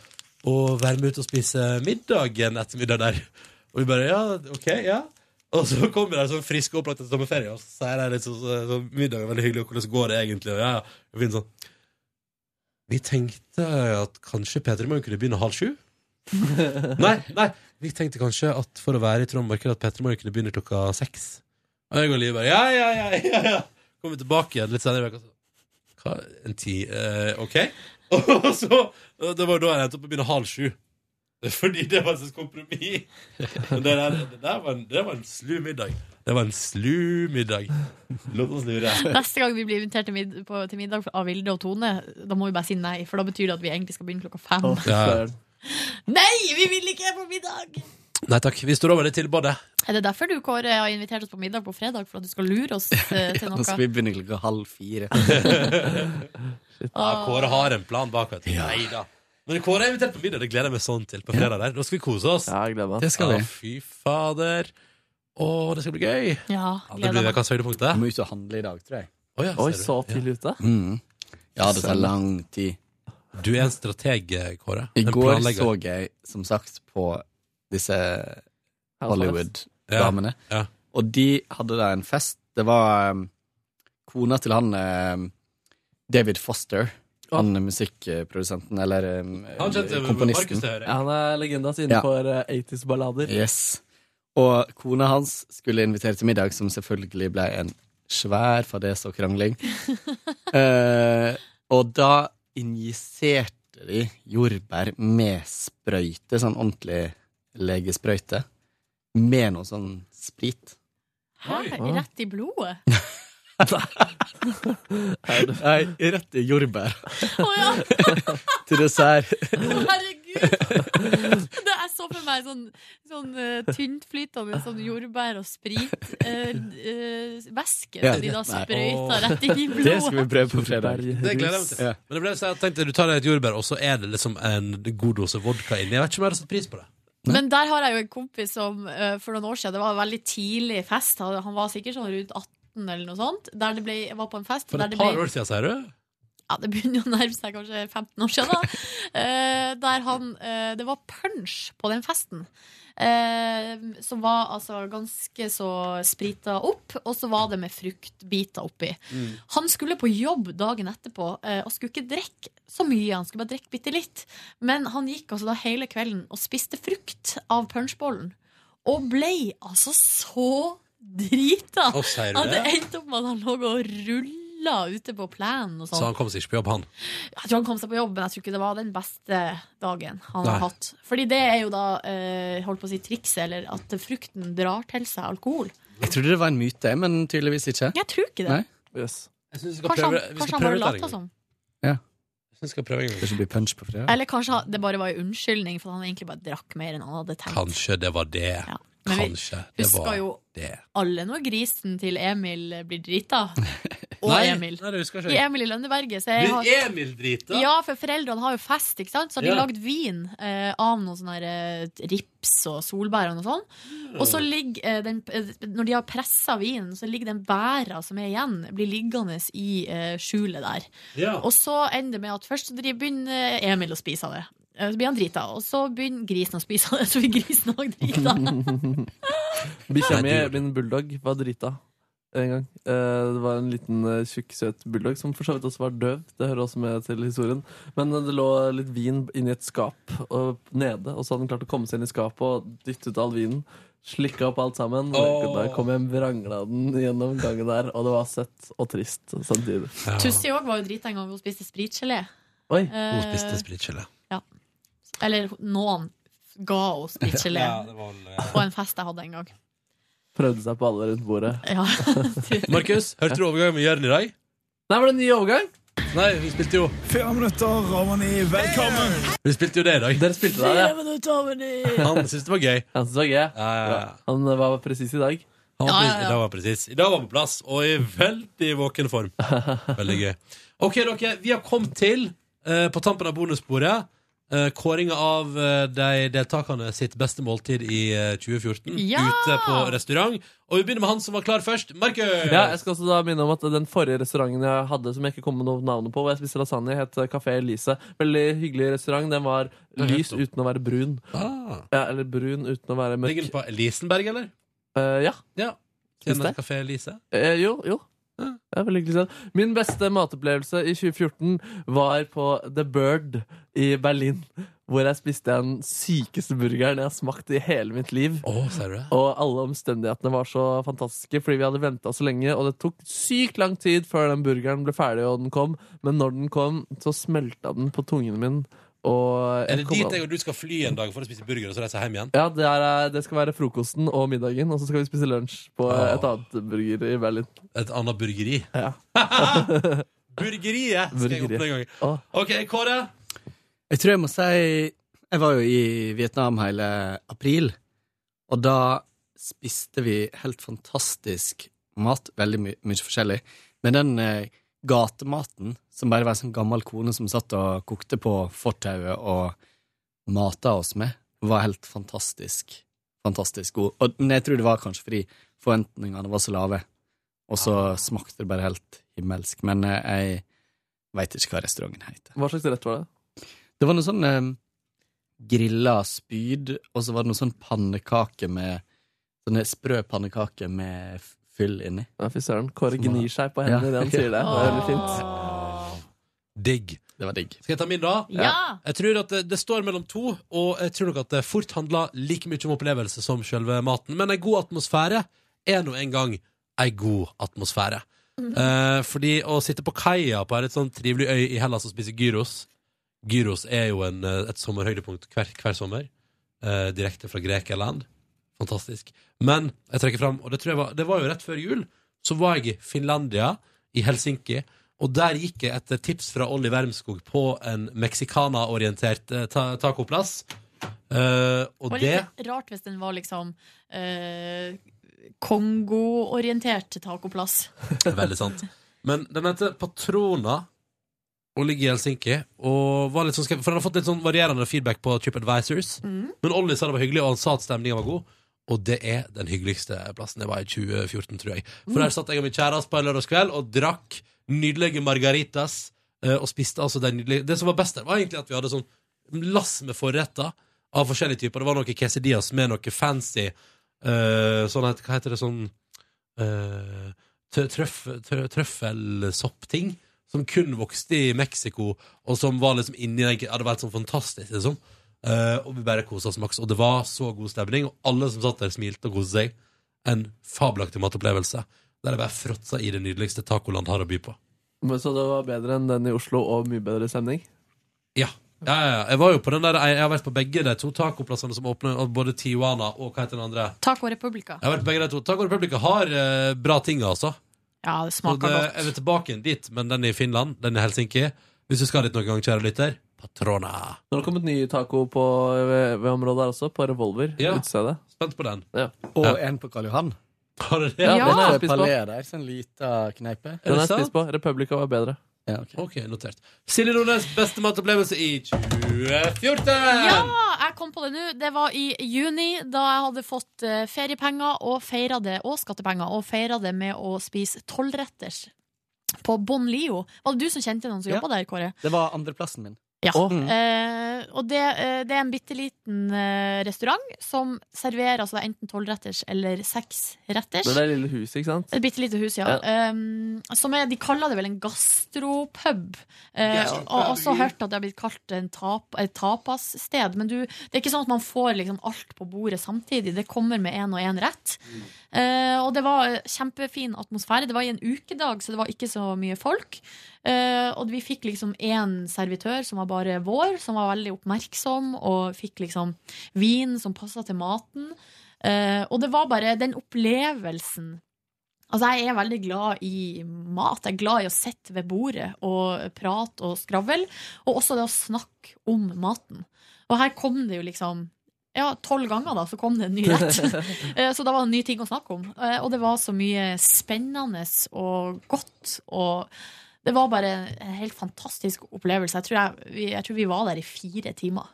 [SPEAKER 2] å være med ut og spise middag en ettermiddag der. Og vi bare ja, OK, ja. Og så kommer de sånn friske og opplagt etter sommerferie, og så sier de liksom så, så, middag er veldig hyggelig, og hvordan går det egentlig? Og ja, ja. Og Finn sånn Vi tenkte at kanskje P3 Morgen kunne begynne halv sju? Nei, nei. Vi tenkte kanskje at for å være i Trond Marked at Petter Morgen kunne begynne klokka seks. Og jeg og Liv bare ja, ja, ja, ja, ja. Kommer tilbake igjen litt senere i uka. så, hva, en ti eh, OK? Og så Det var jo da jeg endte opp med å begynne halv sju. Fordi det var et slags kompromiss. Men det der, det der var en, det var en slu middag. Det var en slu middag. Lov oss lure.
[SPEAKER 3] Neste gang vi blir invitert til, mid på, til middag av Vilde og Tone, da må vi bare si nei, for da betyr det at vi egentlig skal begynne klokka fem.
[SPEAKER 2] Ja.
[SPEAKER 3] Nei, vi vil ikke på middag!
[SPEAKER 2] Nei takk. Vi står over det tilbudet.
[SPEAKER 3] Er det derfor du, Kåre, har invitert oss på middag på fredag? For at du skal lure oss eh, til
[SPEAKER 13] Nå
[SPEAKER 2] altså,
[SPEAKER 13] skal vi
[SPEAKER 3] noe?
[SPEAKER 13] begynne klokka halv fire.
[SPEAKER 2] Ja, Kåre har en plan bak. vet du. Nei da. Men Kåre er invitert på middag. Det gleder jeg meg sånn til på fredag. der Da skal vi kose oss. Ja, jeg gleder
[SPEAKER 13] meg. Det skal vi.
[SPEAKER 2] Fy fader. Å, det skal bli gøy.
[SPEAKER 3] Ja,
[SPEAKER 2] det blir ukas høydepunkt, det.
[SPEAKER 13] Må ut og handle i dag, tror jeg.
[SPEAKER 2] Å ja,
[SPEAKER 13] Oi,
[SPEAKER 2] ser du.
[SPEAKER 13] så tidlig ute? Mm. Ja, det tar lang tid.
[SPEAKER 2] Du er en strateg, Kåre.
[SPEAKER 13] I
[SPEAKER 2] En
[SPEAKER 13] går
[SPEAKER 2] planlegger.
[SPEAKER 13] så jeg, som sagt, på disse Hollywood-damene.
[SPEAKER 2] Ja, ja.
[SPEAKER 13] Og de hadde da en fest. Det var um, kona til han um, David Foster. Han musikkprodusenten, eller um,
[SPEAKER 14] Han kjente Markus
[SPEAKER 13] komponisten.
[SPEAKER 14] til å høre. Han er legenda siden for,
[SPEAKER 2] eh,
[SPEAKER 14] 80s-ballader.
[SPEAKER 13] Yes. Og kona hans skulle invitere til middag, som selvfølgelig ble en svær fadese og krangling. Eh, og da injiserte de jordbær med sprøyte, sånn ordentlig legesprøyte, med noe sånn sprit.
[SPEAKER 3] Hæ? Rett i blodet?
[SPEAKER 13] Nei, rett i jordbær. til dessert.
[SPEAKER 3] Herregud! Det er så for meg sånn, sånn eh, tyntflytende sånn jordbær og sprit eh, eh, væske
[SPEAKER 2] Ja.
[SPEAKER 3] som de da
[SPEAKER 2] Nei.
[SPEAKER 3] sprøyter rett inn i blodet.
[SPEAKER 13] Det skal vi prøve på fredag.
[SPEAKER 2] Det gleder jeg meg til. Men det ble, så jeg tenkte du tar deg et jordbær, og så er det liksom en god dose vodka inni. Jeg vet ikke om jeg hadde satt pris på det.
[SPEAKER 3] Men der har jeg jo en kompis som eh, for noen år siden, det var en veldig tidlig fest, han han var sikkert sånn rundt 18 eller noe sånt, der det ble, var på en fest
[SPEAKER 2] For
[SPEAKER 3] der
[SPEAKER 2] et
[SPEAKER 3] det
[SPEAKER 2] par
[SPEAKER 3] ble-
[SPEAKER 2] år siden, sier du?
[SPEAKER 3] ja, det begynner jo å nærme seg kanskje 15 år siden, da. Eh, der han eh, Det var punch på den festen. Eh, som var altså ganske så sprita opp, og så var det med fruktbiter oppi.
[SPEAKER 11] Mm.
[SPEAKER 3] Han skulle på jobb dagen etterpå eh, og skulle ikke drikke så mye. Han skulle bare drikke bitte litt. Men han gikk altså da hele kvelden og spiste frukt av punchbollen. Og blei altså så drita
[SPEAKER 2] Å, sier du
[SPEAKER 3] at det
[SPEAKER 2] det?
[SPEAKER 3] endte opp med at han lå og rulla ute på plenen og
[SPEAKER 2] Så
[SPEAKER 3] sånn.
[SPEAKER 2] han kom seg ikke på jobb, han.
[SPEAKER 3] Jeg tror han kom seg på jobb, men jeg tror ikke det var den beste dagen han har
[SPEAKER 2] Nei.
[SPEAKER 3] hatt. Fordi det er jo da eh, holdt på å si trikset, eller at frukten drar til seg alkohol.
[SPEAKER 13] Jeg trodde det var en myte, men tydeligvis ikke.
[SPEAKER 3] Jeg tror ikke det.
[SPEAKER 2] skal
[SPEAKER 13] Nei?
[SPEAKER 2] prøve- vi
[SPEAKER 3] Kanskje han,
[SPEAKER 2] skal
[SPEAKER 3] kanskje han
[SPEAKER 2] prøve
[SPEAKER 3] bare
[SPEAKER 2] dette en gang.
[SPEAKER 3] lata som.
[SPEAKER 2] Jeg skal prøve en gang.
[SPEAKER 13] Kanskje det blir punch på fredag?
[SPEAKER 3] Eller kanskje han- det bare var en unnskyldning, for han egentlig bare drakk mer enn han hadde tenkt.
[SPEAKER 2] Kanskje det var det.
[SPEAKER 3] Men vi
[SPEAKER 2] Kanskje det
[SPEAKER 3] husker
[SPEAKER 2] var
[SPEAKER 3] jo
[SPEAKER 2] det.
[SPEAKER 3] alle når grisen til Emil blir drita. Og
[SPEAKER 2] Nei,
[SPEAKER 3] Emil.
[SPEAKER 2] nei, det husker jeg
[SPEAKER 3] I
[SPEAKER 2] ikke.
[SPEAKER 3] Emil i Lønneberget. Så jeg
[SPEAKER 2] Blir
[SPEAKER 3] har...
[SPEAKER 2] Emil drita?
[SPEAKER 3] Ja, for foreldrene har jo fest, ikke sant? Så har de
[SPEAKER 2] Ja.
[SPEAKER 3] lagd vin eh, av noe sånn her eh, rips og solbær og noe sånn. Og så ligger eh, den eh, Når de har pressa vinen, så ligger den bæra som er igjen, blir liggende i eh, skjulet der.
[SPEAKER 11] Ja.
[SPEAKER 3] Og så ender det med at først så driver- begynner Emil å spise av det. Eh, Så blir han drita, og så begynner grisen å spise av det, så blir grisen òg drita.
[SPEAKER 14] Bikkja mi, min bulldog, var drita en gang. Eh, Det var en liten eh, tjukk, søt bulldog som for så vidt også var døv. Det hører også med til historien. Men eh, det lå litt vin inni et skap og nede, og så hadde den klart å komme seg inn i skapet og dytte ut all vinen. Slikka opp alt sammen.
[SPEAKER 13] Åh.
[SPEAKER 14] Og Da kom jeg vrangla den gjennom gangen der, og det var søtt og trist samtidig.
[SPEAKER 3] Tussi òg var jo drita en gang hun spiste spritgelé.
[SPEAKER 14] Oi.
[SPEAKER 3] Hun spiste
[SPEAKER 2] spritgelé.
[SPEAKER 3] Eh, Ja. Eller noen ga henne spritgelé
[SPEAKER 14] Ja, det var eh,
[SPEAKER 3] på en fest jeg hadde en gang.
[SPEAKER 14] Prøvde seg på alle rundt bordet.
[SPEAKER 3] Ja.
[SPEAKER 2] Markus, hørte du overgangen med Jørn i dag?
[SPEAKER 14] Nei, var det en ny overgang?
[SPEAKER 2] Nei, vi spilte jo
[SPEAKER 12] Fire minutter over ni, velkommen!
[SPEAKER 2] Vi spilte jo det i dag.
[SPEAKER 14] Dere spilte det, ja.
[SPEAKER 2] Han syntes det var gøy.
[SPEAKER 14] Han syntes det var gøy. Han var presis i dag.
[SPEAKER 2] Han var presis- I dag var presis. I dag var han på plass, og i veldig våken form. Veldig gøy. Ok, dere, vi har kommet til, eh, på tampen av bonusbordet, eh, kåringa av eh, de deltakerne sitt beste måltid i eh, 2014
[SPEAKER 14] Ja!
[SPEAKER 2] ute på restaurant. Og vi begynner med han som var klar først. Markus!
[SPEAKER 14] Ja, jeg skal også da minne om at Den forrige restauranten jeg hadde som jeg ikke kom med noe navn på, hvor jeg spiste lasagne, het Café Elise. Veldig hyggelig restaurant. Den var
[SPEAKER 2] Den
[SPEAKER 14] lys
[SPEAKER 2] het opp.
[SPEAKER 14] uten å være brun.
[SPEAKER 2] Ah.
[SPEAKER 14] Ja, eller brun uten å være mørk.
[SPEAKER 2] Ligger den på Elisenberg, eller?
[SPEAKER 14] Eh, ja.
[SPEAKER 2] ja.
[SPEAKER 14] Syns det?
[SPEAKER 2] Kafé Elise?
[SPEAKER 14] Eh, jo. jo. Ja. Det er veldig hyggelig sagt. Min beste matopplevelse i 2014 var på The Bird i Berlin. Hvor jeg spiste den sykeste burgeren jeg har smakt i hele mitt liv. og alle omstendighetene var så fantastiske, fordi vi hadde venta så lenge. Og det tok sykt lang tid før den burgeren ble ferdig, og den kom. Men når den kom, så smelta den på tungen min. Og jeg
[SPEAKER 2] Er det
[SPEAKER 14] kom
[SPEAKER 2] dit
[SPEAKER 14] al-
[SPEAKER 2] jeg og du skal fly en dag for å spise burger og så reise hjem igjen?
[SPEAKER 14] ja, det, er, eh, det skal være frokosten og middagen, og så skal vi spise lunsj på et annet burger i Berlin.
[SPEAKER 2] Et annet burgeri?
[SPEAKER 14] Ja.
[SPEAKER 2] Burgeriet skal jeg åpne en gang. OK, Kåre.
[SPEAKER 13] Jeg tror jeg må si Jeg var jo i Vietnam hele april, og da spiste vi helt fantastisk mat. Veldig my mye forskjellig. Men den eh, gatematen som bare var en sånn gammel kone som satt og kokte på fortauet og mata oss med, var helt fantastisk. Fantastisk god. Og, men jeg tror det var kanskje fordi forventningene var så lave, og så smakte det bare helt himmelsk. Men eh, jeg veit ikke hva restauranten heter.
[SPEAKER 14] Hva slags rett var det?
[SPEAKER 13] Det var noe sånn eh, grilla spyd, og så var det noe sånn pannekake med Sånne sprø pannekaker med f- fyll inni.
[SPEAKER 14] Ja, fy søren. Kåre gnir seg på hendene idet han sier det. Det er veldig fint.
[SPEAKER 2] Ah. Digg.
[SPEAKER 13] Det var digg.
[SPEAKER 2] Skal jeg ta min, da?
[SPEAKER 13] Ja.
[SPEAKER 2] Jeg tror at det, det står mellom to, og jeg tror nok at det fort handler like mye om opplevelse som selve maten. Men ei god atmosfære er nå en gang ei god atmosfære.
[SPEAKER 15] Mhm.
[SPEAKER 2] Eh, fordi å sitte på kaia på en sånn trivelig øy i Hellas og spise gyros Gyros er jo en, eh, et sommerhøydepunkt hver, hver sommer. Eh, direkte fra Grekeland. Fantastisk. Men jeg trekker fram, og det, tror jeg var, det var jo rett før jul, så var jeg i Finlandia, i Helsinki, og der gikk jeg etter tips fra Olli Wermskog på en mexicana-orientert eh, ta tacoplass. Eh, og
[SPEAKER 3] Og
[SPEAKER 2] det
[SPEAKER 3] litt rart hvis den var liksom eh, Kongo-orientert tacoplass.
[SPEAKER 2] Veldig sant. Men den heter Patrona og ligger i Helsinki. Og var litt sånn, skeptisk, for den har fått litt sånn varierende feedback på TripAdvisors.
[SPEAKER 5] Mm.
[SPEAKER 14] Mm.
[SPEAKER 15] Mhm.
[SPEAKER 2] Men Olli sa det var hyggelig, og han sa at stemninga var god. Og det er den hyggeligste plassen jeg var i 2014, tror jeg. For der satt jeg og min kjæreste på en lørdagskveld og drakk nydelige margaritas. eh, Og spiste altså den nydelige Det som var best der, var egentlig at vi hadde sånn lass med forretter av forskjellige typer. Det var noe quesadillas med noe fancy eh, sånn het- Hva heter det sånn eh, tø- trøff, trø, trøffelsoppting som kun vokste i Mexico, og som var liksom inni den Ja, det var helt sånn fantastisk, liksom. Eh, og vi bare kosa oss maks. Og det var så god stemning, og alle som satt der, smilte og koste seg. En fabelaktig matopplevelse. Der jeg bare fråtsa i det nydeligste tacoland har å by på.
[SPEAKER 14] Men Så det var bedre enn den i Oslo, og mye bedre stemning?
[SPEAKER 2] Ja. Ja, ja, ja. Jeg var jo på den der Jeg har vært på begge de to tacoplassene som åpner, og både Tijuana og hva heter den andre?
[SPEAKER 3] Taco Republica.
[SPEAKER 2] Jeg har vært på begge de to. Taco Republica har eh, bra ting, altså.
[SPEAKER 3] Ja, det
[SPEAKER 2] Så
[SPEAKER 3] smaker
[SPEAKER 2] det,
[SPEAKER 3] godt.
[SPEAKER 2] jeg vil tilbake igjen dit, men den er i Finland, den er i Helsinki. Hvis du skal dit noen gang, kjære lytter, Patrona.
[SPEAKER 14] Nå har det kommet ny taco på, ved, ved området her også, på Revolver.
[SPEAKER 2] Ja.
[SPEAKER 14] Utestedet.
[SPEAKER 2] Spent på den.
[SPEAKER 14] Ja.
[SPEAKER 13] Og en på Karl Johan.
[SPEAKER 2] Har du det?
[SPEAKER 14] Ja, den har jeg spist på.
[SPEAKER 13] Palais der, sånn lita kneipe.
[SPEAKER 14] Den har jeg spist på. Republica var bedre.
[SPEAKER 2] Ok, notert. Silje Nordnes, beste matopplevelse i 2014!
[SPEAKER 3] Ja, jeg kom på det nå. Det var i juni, da jeg hadde fått eh, feriepenger og feira det, og skattepenger, og feira det med å spise tolvretters på Bon Lio. Var det du som kjente noen som
[SPEAKER 13] Ja.
[SPEAKER 3] jobba der, Kåre?
[SPEAKER 13] Det var andreplassen min.
[SPEAKER 3] Ja.
[SPEAKER 13] Mm.
[SPEAKER 3] Eh, og det, eh, det er en bitte liten eh, restaurant som serverer altså, det er enten tolvretters eller seksretters.
[SPEAKER 14] Det er det lille huset, ikke sant?
[SPEAKER 3] Et bitte lite hus, ja. Um, som er, de kaller det vel en gastropub. Uh,
[SPEAKER 14] Gastropub.
[SPEAKER 3] og også hørt at det har blitt kalt en tap, et tapassted. Men du, det er ikke sånn at man får liksom alt på bordet samtidig. Det kommer med én og én rett. Eh, og det var kjempefin atmosfære. Det var i en ukedag, så det var ikke så mye folk. Eh, og vi fikk liksom én servitør som var bare vår, som var veldig oppmerksom, og fikk liksom vin som passa til maten. Eh, og det var bare den opplevelsen. Altså, jeg er veldig glad i mat. Jeg er glad i å sitte ved bordet og prate og skravle. Og også det å snakke om maten. Og her kom det jo liksom Ja, tolv ganger, da, så kom det en ny rett. Eh, så da var det en ny ting å snakke om. Eh, Og det var så mye spennende og godt og Det var bare en helt fantastisk opplevelse. Jeg tror, jeg, vi- jeg tror vi var der i fire timer.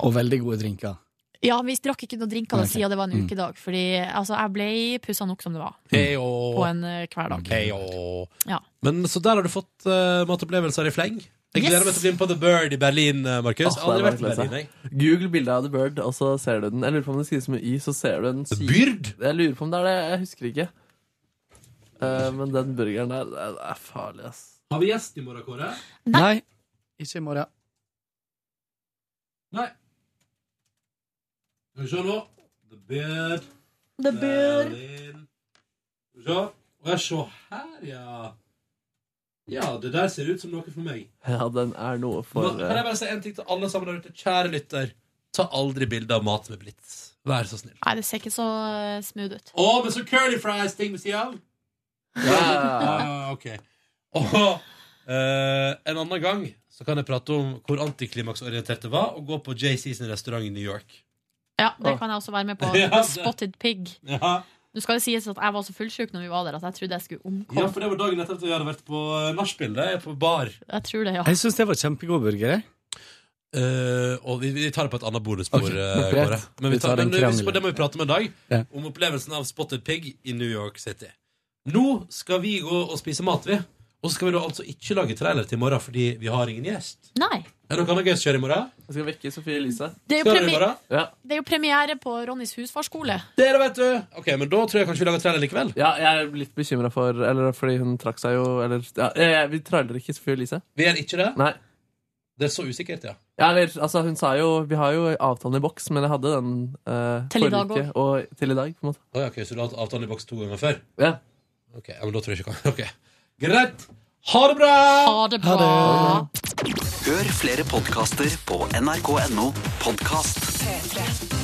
[SPEAKER 13] Og veldig gode drinker.
[SPEAKER 3] Ja, vi drakk ikke noe drinker da
[SPEAKER 13] Ok.
[SPEAKER 3] siden det var en
[SPEAKER 13] Mm.
[SPEAKER 3] ukedag, fordi altså, jeg ble pussa nok som det var.
[SPEAKER 2] Heyo.
[SPEAKER 3] På en eh, hverdag.
[SPEAKER 2] Heyo.
[SPEAKER 3] Ja.
[SPEAKER 2] Men så der har du fått eh, matopplevelser i fleng. Jeg
[SPEAKER 3] Yes.
[SPEAKER 2] gleder meg til å bli med på The Bird i Berlin, eh, Markus.
[SPEAKER 14] Ah,
[SPEAKER 2] Aldri
[SPEAKER 14] der var
[SPEAKER 2] vært i
[SPEAKER 14] det klasse.
[SPEAKER 2] Berlin, jeg.
[SPEAKER 14] Google bildet av The Bird, og så ser du den. Jeg lurer på om det skrives med Y, så ser du den.
[SPEAKER 2] Byrd?
[SPEAKER 14] Jeg lurer på om det er det. Jeg husker ikke.
[SPEAKER 5] Eh, men den burgeren der, det er- det er farlig, ass.
[SPEAKER 2] Har vi gjest i morgen, Kåre?
[SPEAKER 13] Nei. Ikke i morgen.
[SPEAKER 2] Nei. Skal vi se nå. The Beard.
[SPEAKER 16] The Beard.
[SPEAKER 2] Berlin. Skal vi se. Å, ja, se her, ja. Ja, det der ser ut som noe for meg.
[SPEAKER 5] Ja, den er noe for
[SPEAKER 2] Nå, kan jeg
[SPEAKER 5] eh,
[SPEAKER 2] bare si en ting til alle sammen der ute? Kjære lytter, ta aldri bilde av mat med blits. Vær så snill.
[SPEAKER 3] Nei, det ser ikke så eh, smooth ut.
[SPEAKER 2] Å, men så curly fries-ting ved sida av! Ah, ok. Og eh, en annen gang så kan jeg prate om hvor antiklimaksorientert det var å gå på JC sin restaurant i New York.
[SPEAKER 3] Ja, det kan jeg også være med på.
[SPEAKER 2] Ja, det-
[SPEAKER 3] Spotted pig.
[SPEAKER 2] Ja,
[SPEAKER 3] Nå skal det sies at jeg var så fullsjuk når vi var der at jeg trodde jeg skulle omkomme.
[SPEAKER 2] ja for det var dagen etter at vi hadde vært på eh, nachspiel. Det er på bar.
[SPEAKER 3] Jeg tror det, ja.
[SPEAKER 13] Jeg syns det var kjempegod burger. jeg.
[SPEAKER 2] Eh, og vi, vi tar det på et annet bonusspor.
[SPEAKER 13] Ok,
[SPEAKER 2] eh,
[SPEAKER 13] greit.
[SPEAKER 2] Kåre. Men vi
[SPEAKER 13] Vi
[SPEAKER 2] tar,
[SPEAKER 13] tar en
[SPEAKER 2] men vi-
[SPEAKER 13] krangel.
[SPEAKER 2] det må vi prate om en dag.
[SPEAKER 13] Ja.
[SPEAKER 2] Om opplevelsen av Spotted Pig i New York City. Nå skal vi gå og spise mat, vi. Og så skal vi da altså ikke lage trailer til i morgen fordi vi har ingen gjest.
[SPEAKER 3] Nei.
[SPEAKER 2] Er det noe annet gøy som skjer i morgen?
[SPEAKER 5] Jeg skal vekke Sofie Elise.
[SPEAKER 3] Det er jo
[SPEAKER 2] Skal dere i
[SPEAKER 3] premi-
[SPEAKER 2] morgen?
[SPEAKER 3] Det er jo premiere på Ronnys husfarskole.
[SPEAKER 2] Dere vet du! Ok, men da tror jeg kanskje vi lager trailer likevel.
[SPEAKER 5] Ja, jeg er litt bekymra for Eller fordi hun trakk seg jo eller, ja, jeg, jeg, Vi trailer ikke Sofie Elise.
[SPEAKER 2] Vi gjør ikke det?
[SPEAKER 5] Nei.
[SPEAKER 2] Det er så usikkert, ja.
[SPEAKER 5] Ja, eller, altså, hun sa jo Vi har jo avtalen i boks, men jeg hadde den eh,
[SPEAKER 2] Til i dag
[SPEAKER 5] forrige uke og til i dag. på en måte
[SPEAKER 2] Å ja, ok, Så du har hatt avtalen i boks to ganger før?
[SPEAKER 5] Ja.
[SPEAKER 2] Ok, ja, men da tror jeg ikke jeg kan Ok. Greit. Ha det bra!
[SPEAKER 3] Ha det bra!
[SPEAKER 17] Hør flere podkaster på nrk.no podkast.
[SPEAKER 16] P3.